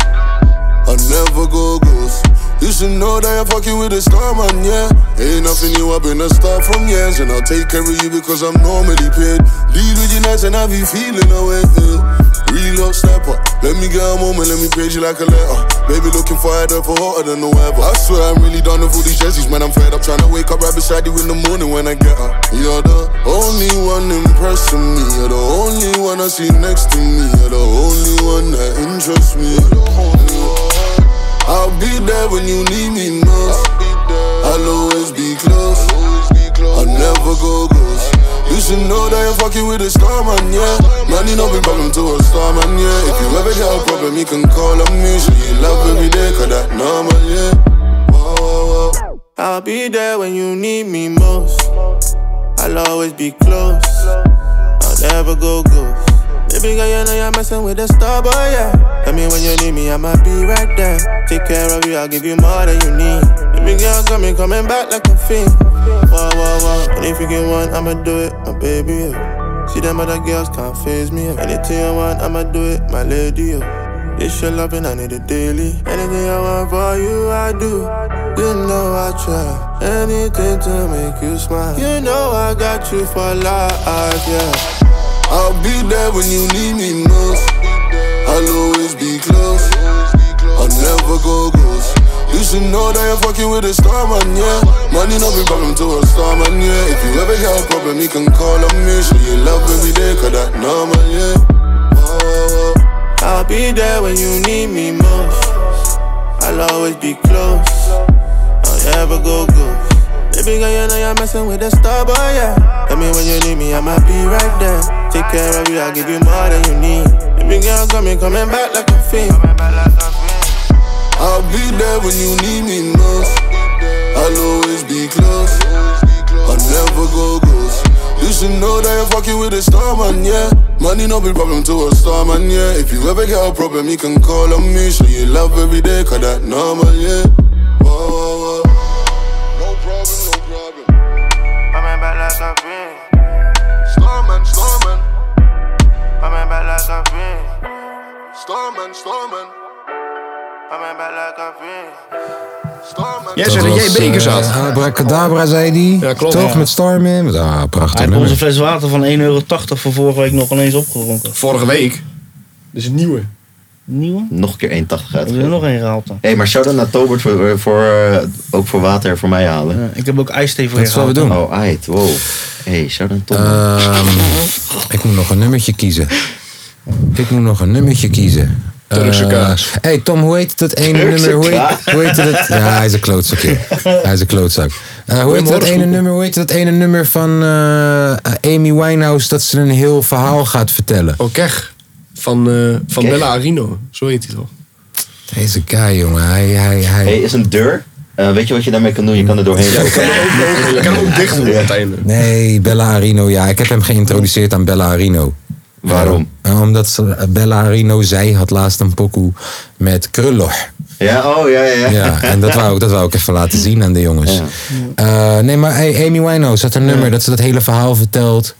M: I'll never go ghost. You should know that I'm fucking with a star, man, yeah. Ain't nothing new, I've been a star from years. And I'll take care of you because I'm normally paid. Lead with your nights and I be feeling away. uh. Yeah. Real love snapper. Let me get a moment, let me page you like a letter. Baby looking fired up for hotter than no ever. I swear I'm really done with all these jerseys, man. I'm fed up trying to wake up right beside you in the morning when I get up. You're the only one impressing me. You're the only one I see next to me. You're the only one that interests me. You're the only one. I'll be there when you need me most. I'll always be close. I'll never go ghost. You should know that you're fucking with a star man, yeah. Man, you know big problem to a star man, yeah. If you ever get a problem, you can call on me. Show you love every day, cause that normal, yeah.
N: I'll be there when you need me most. I'll always be close. I'll never go ghost. Baby girl, you know you're messing with a star boy, yeah. Tell me when you need me, I'ma be right there. Take care of you, I'll give you more than you need. Baby girl, coming, coming back like a fiend. Whoa, whoa, whoa. And if you get one, I'ma do it, my baby. Yeah. See them other girls can't phase me. Yeah. Anything you want, I'ma do it, my lady. Yeah. This your loving, I need it daily. Anything I want for you, I do. You know I try anything to make you smile. You know I got you for life, yeah.
M: I'll be there when you need me most. I'll always be close. I'll never go ghost. You should know that you're fucking with a star man, yeah. Money not be problem to a star man, yeah. If you ever get a problem, you can call on me. Show you love every day, cause that normal, yeah.
N: I'll be there when you need me most. I'll always be close. I'll never go ghost. Baby girl, you know you're messing with the star boy, yeah. I mean, when you need me, I might be right there. Take care of you, I'll give you more than you need. Baby girl, coming, coming back like a fiend.
M: I'll be there when you need me most. I'll always be close. I'll never go ghost. You should know that you're fucking with a star man, yeah. Money no be problem to a star man, yeah. If you ever get a problem, you can call on me. Show you love every day, cause that normal, yeah. Whoa, whoa, whoa.
N: Coming back like a fiend. Storming, storming. Coming back like a fiend. Storming, storming. Coming back like a fiend.
A: Dat was, eh, Abracadabra zei die. Ja,
D: klopt.
A: Toch
D: Ja.
A: met Stormin. Ah, prachtig.
D: Hij heeft
A: nummer.
D: onze fles water van 1,80 euro van vorige week nog ineens opgedronken.
C: Vorige week?
D: Dus een nieuwe. Nieuwe?
B: Nog een keer 1,80 uit.
D: Hebben we er nog één gehaald dan?
B: Hé, maar shout-out naar Tobert voor, eh, voor, eh, ook voor water en voor mij halen.
D: Eh, ik heb ook ijsthee voor
B: je
D: je gehaald.
B: Oh, ait, wow. Hé, hey, shout-out Tobert.
A: Ehm, ik moet nog een nummertje kiezen. Ik moet nog een nummertje kiezen.
B: Turkse
A: Eh,
B: kaas.
A: hey Tom, hoe heet dat ene
B: Turkse
A: nummer? Hoe heet,
B: kaas.
A: hoe heet dat? Ja, hij is een klootzak. joh. Hij is een klootzak. Eh, hoe, heet dat ene nummer, hoe heet dat ene nummer van eh, Amy Winehouse dat ze een heel verhaal gaat vertellen?
C: Oh, Kech. Van, eh, van
A: Kech?
C: Bella Arino. Zo heet hij toch?
A: Deze guy, jongen. Hij, hij, hij.
B: Hé, is een deur. Eh, weet je wat je daarmee kan doen? Je kan er doorheen lopen.
A: [laughs]
C: Je kan hem ook dicht doen aan het einde.
A: Nee, Bella Arino, ja. Ik heb hem geïntroduceerd aan Bella Arino.
B: Waarom?
A: Eh, omdat ze, Bella Arino, zij had laatst een pokoe met Krulloch.
B: Ja, oh ja, ja, ja.
D: [laughs]
A: Ja, en dat wou, ik, dat wou ik even laten zien aan de jongens. Eh, nee, maar hey, Amy Winehouse had een nummer dat ze dat hele verhaal vertelt.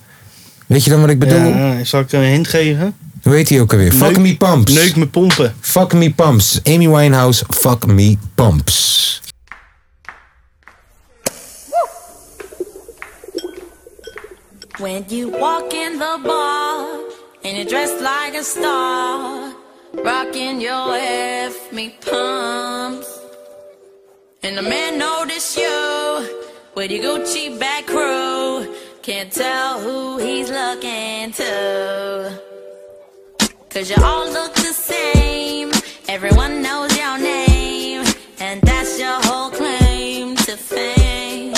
A: Weet je dan wat ik bedoel?
D: Ja, eh, zal ik een hint geven?
A: Hoe heet die ook alweer? Fuck
D: Neuk-
A: Me Pumps.
D: neuk me pompen.
A: Fuck Me Pumps. Amy Winehouse, Fuck Me Pumps.
O: When you walk in the bar and you're dressed like a star, rocking your F me pumps, and the man notice you with your Gucci back crew, can't tell who he's looking to. Cause you all look the same, everyone knows your name, and that's your whole claim to fame.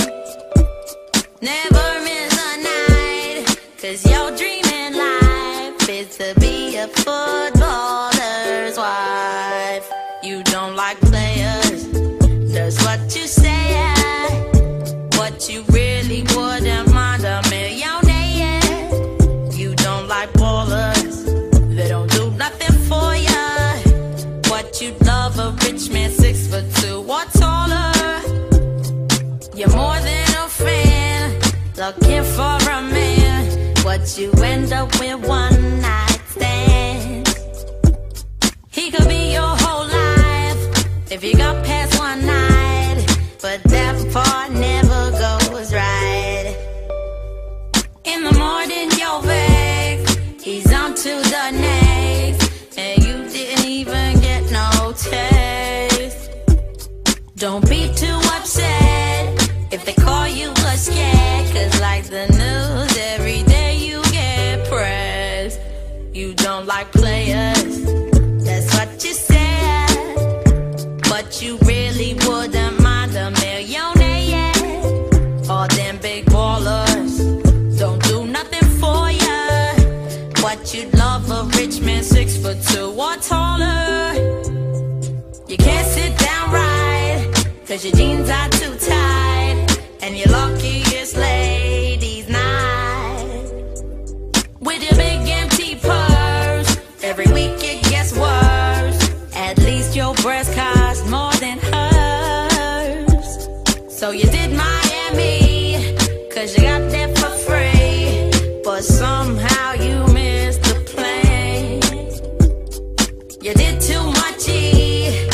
O: Never miss a night, cause your dreaming life is to be a footballer's wife. You don't like players, that's what you say. But you really wouldn't mind a millionaire. You don't like ballers, they don't do nothing for ya. But you love a rich man six foot two or taller. You're more than a fan, looking for a man. What you end up with one night stands. He could be your whole life if you got past one night, but that part never goes right. In the morning, you're vague, he's on to the next, and you didn't even get no taste. Don't be too upset if they call you a scared. Cause like the news, every day you get pressed. You don't like players, that's what you said. But you really wouldn't mind a millionaire. All them big ballers don't do nothing for ya. But you love a rich man six foot two or taller. You can't sit down right, cause your jeans are too tight, and you're lucky it's ladies' night. With your big empty purse, every week it gets worse. At least your breast cost more than hers. So you did Miami, cause you got that for free, but somehow you missed the plane. You did too much, E.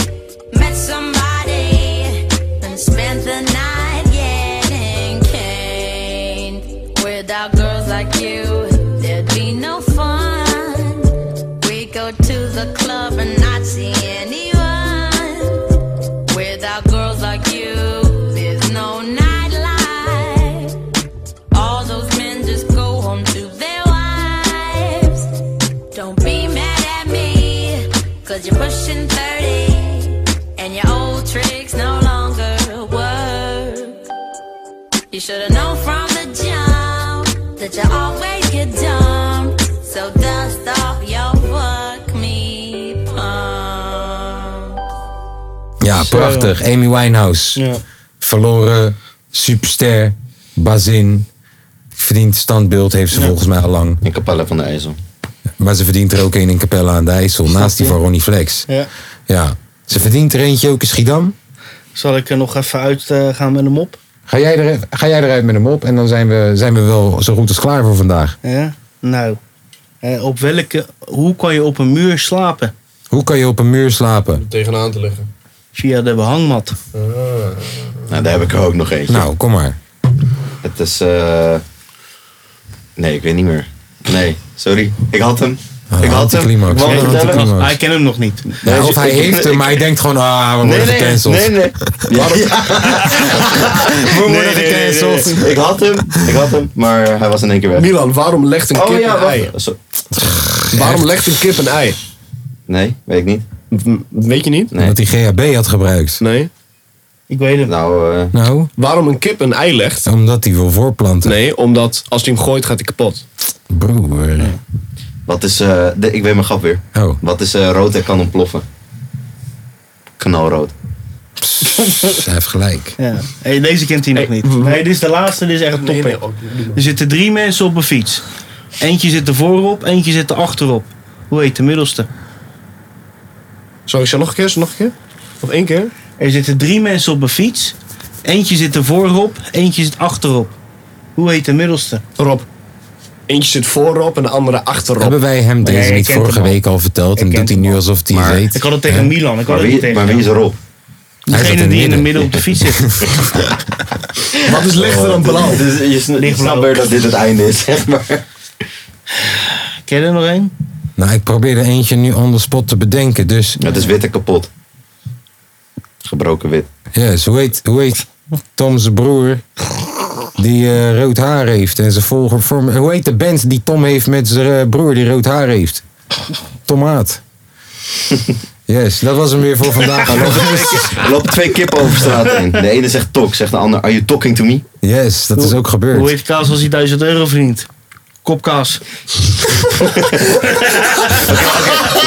O: met somebody, and spent the night getting caned. Without girls like you, there'd be no should've known from the jump that you always get dumped. So dust off your fuck me pump.
A: Ja, prachtig. Amy Winehouse. Verloren, superster, bazin. Verdient standbeeld, heeft ze volgens mij al lang. In Capella van de IJssel. Maar ze verdient er ook een in Capella aan de IJssel, naast die van Ronnie Flex.
D: Ja.
A: Ja. Ze verdient er eentje ook in Schiedam.
D: Zal ik er nog even uit eh, gaan met hem op?
A: Ga jij, er, ga jij eruit met hem op en dan zijn we, zijn we wel zo goed als klaar voor vandaag.
D: Ja? Nou, eh, op welke, hoe kan je op een muur slapen?
A: Hoe kan je op een muur slapen?
C: Tegenaan te leggen.
D: Via de behangmat.
B: Nou, daar heb ik er ook nog eentje.
A: Nou, kom maar.
B: Het is. eh, Nee, ik weet niet meer. Nee, sorry. Ik had hem.
A: Ah,
B: ik had hem. Ik wou hem vertellen.
D: Hij kent hem nog niet.
B: Ja, of hij heeft hem, maar
A: Nou, hij denkt gewoon, ah, we
B: Nee, nee,
A: [laughs]
B: nee, nee.
A: We worden gecanceld.
B: Ik had hem, ik had hem, maar hij was in één keer weg.
J: Milan, waarom legt een
B: Oh,
J: kip
B: ja,
J: een
B: wacht.
J: ei? Waarom legt een kip een ei?
B: Nee, weet ik niet.
J: Weet je niet?
A: Dat hij GHB had gebruikt.
J: Nee.
D: Ik weet het.
B: Nou,
A: nou.
J: Waarom een kip een ei legt?
A: Omdat hij wil voorplanten.
J: Nee, omdat als hij hem gooit gaat hij kapot.
A: Broer.
B: Wat is, eh, de, ik weet mijn grap weer.
A: Oh.
B: Wat is eh, rood en kan ontploffen? Knalrood.
A: dus Hij heeft gelijk.
D: Ja. Hey, deze kent hij nog niet. Nee, dit is de laatste, dit is echt een topper. er zitten drie mensen op een fiets. Eentje zit er voorop, eentje zit er achterop. Hoe heet de middelste?
J: Sorry, zo nog een keer, nog een keer? Of één keer?
D: Er zitten drie mensen op een fiets. Eentje zit er voorop, eentje zit achterop. Hoe heet de middelste?
J: Rob. Eentje zit voorop en de andere achterop.
A: Hebben wij hem deze
D: Nee, ik
A: niet
D: ken
A: vorige
D: hem al.
A: week al verteld? En doet hij nu alsof hij het weet?
D: Ik had het tegen
A: Hè?
D: Milan, ik had het niet tegen jou.
A: Hij zat
D: Degene
A: in
D: die in de
A: midden.
D: midden op de fiets zit.
J: Wat is lichter dan blauw?
B: Dus je sn- je snapt weer dat dit het einde is, zeg
J: [laughs]
B: maar.
D: Ken je er nog één?
A: Nou, ik probeer er eentje nu on the spot te bedenken, dus...
B: Het is wit en kapot. Gebroken wit.
A: Yes, hoe heet, hoe heet Tom zijn broer die eh, rood haar heeft en zijn volger... Vorm, hoe heet de band die Tom heeft met zijn eh, broer die rood haar heeft? Tomaat. Yes, dat was hem weer voor vandaag.
B: Er lopen twee- er lopen twee kippen over straat heen. De ene zegt tok, zegt de ander, are you talking to me?
A: Yes, dat is ook gebeurd.
D: Hoe heet kaas als hij 1000 euro verdient? Kopkaas.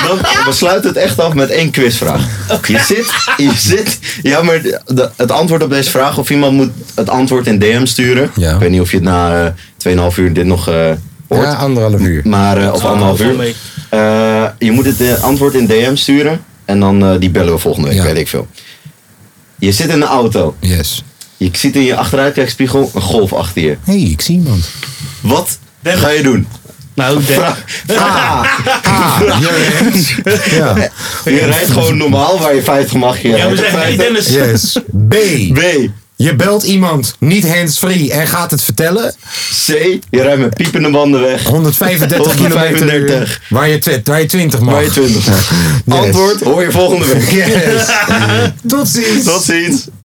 B: Dan besluit het echt af met één quizvraag. Je zit, je zit, ja maar de- de- het antwoord op deze vraag, of iemand moet het antwoord in DM sturen. Ik weet niet of je het na eh 2,5 uur dit nog eh hoort.
A: Ja, anderhalf uur.
B: Maar, eh, of anderhalf uur. Eh, je moet het eh, antwoord in DM sturen en dan eh, die bellen we volgende week, weet ik veel. Je zit in de auto.
A: Yes.
B: Je ziet in je achteruitkijkspiegel een golf achter je.
A: Hé, hey, ik zie iemand.
B: Wat ga je doen?
D: Nou,
B: [laughs]
A: Ah, Ja.
B: Je rijdt gewoon normaal waar je 50 mag. Je rijdt op 50.
A: Yes. B.
B: B.
A: Je belt iemand niet hands-free en gaat het vertellen.
B: C. Je rijdt met piepende banden weg.
A: 135 kilometer per uur, Waar je, twi- waar je 20 mag.
B: Waar je 20
A: Yes.
B: Antwoord hoor je volgende week.
A: Yes. [laughs] Tot ziens.
B: Tot ziens.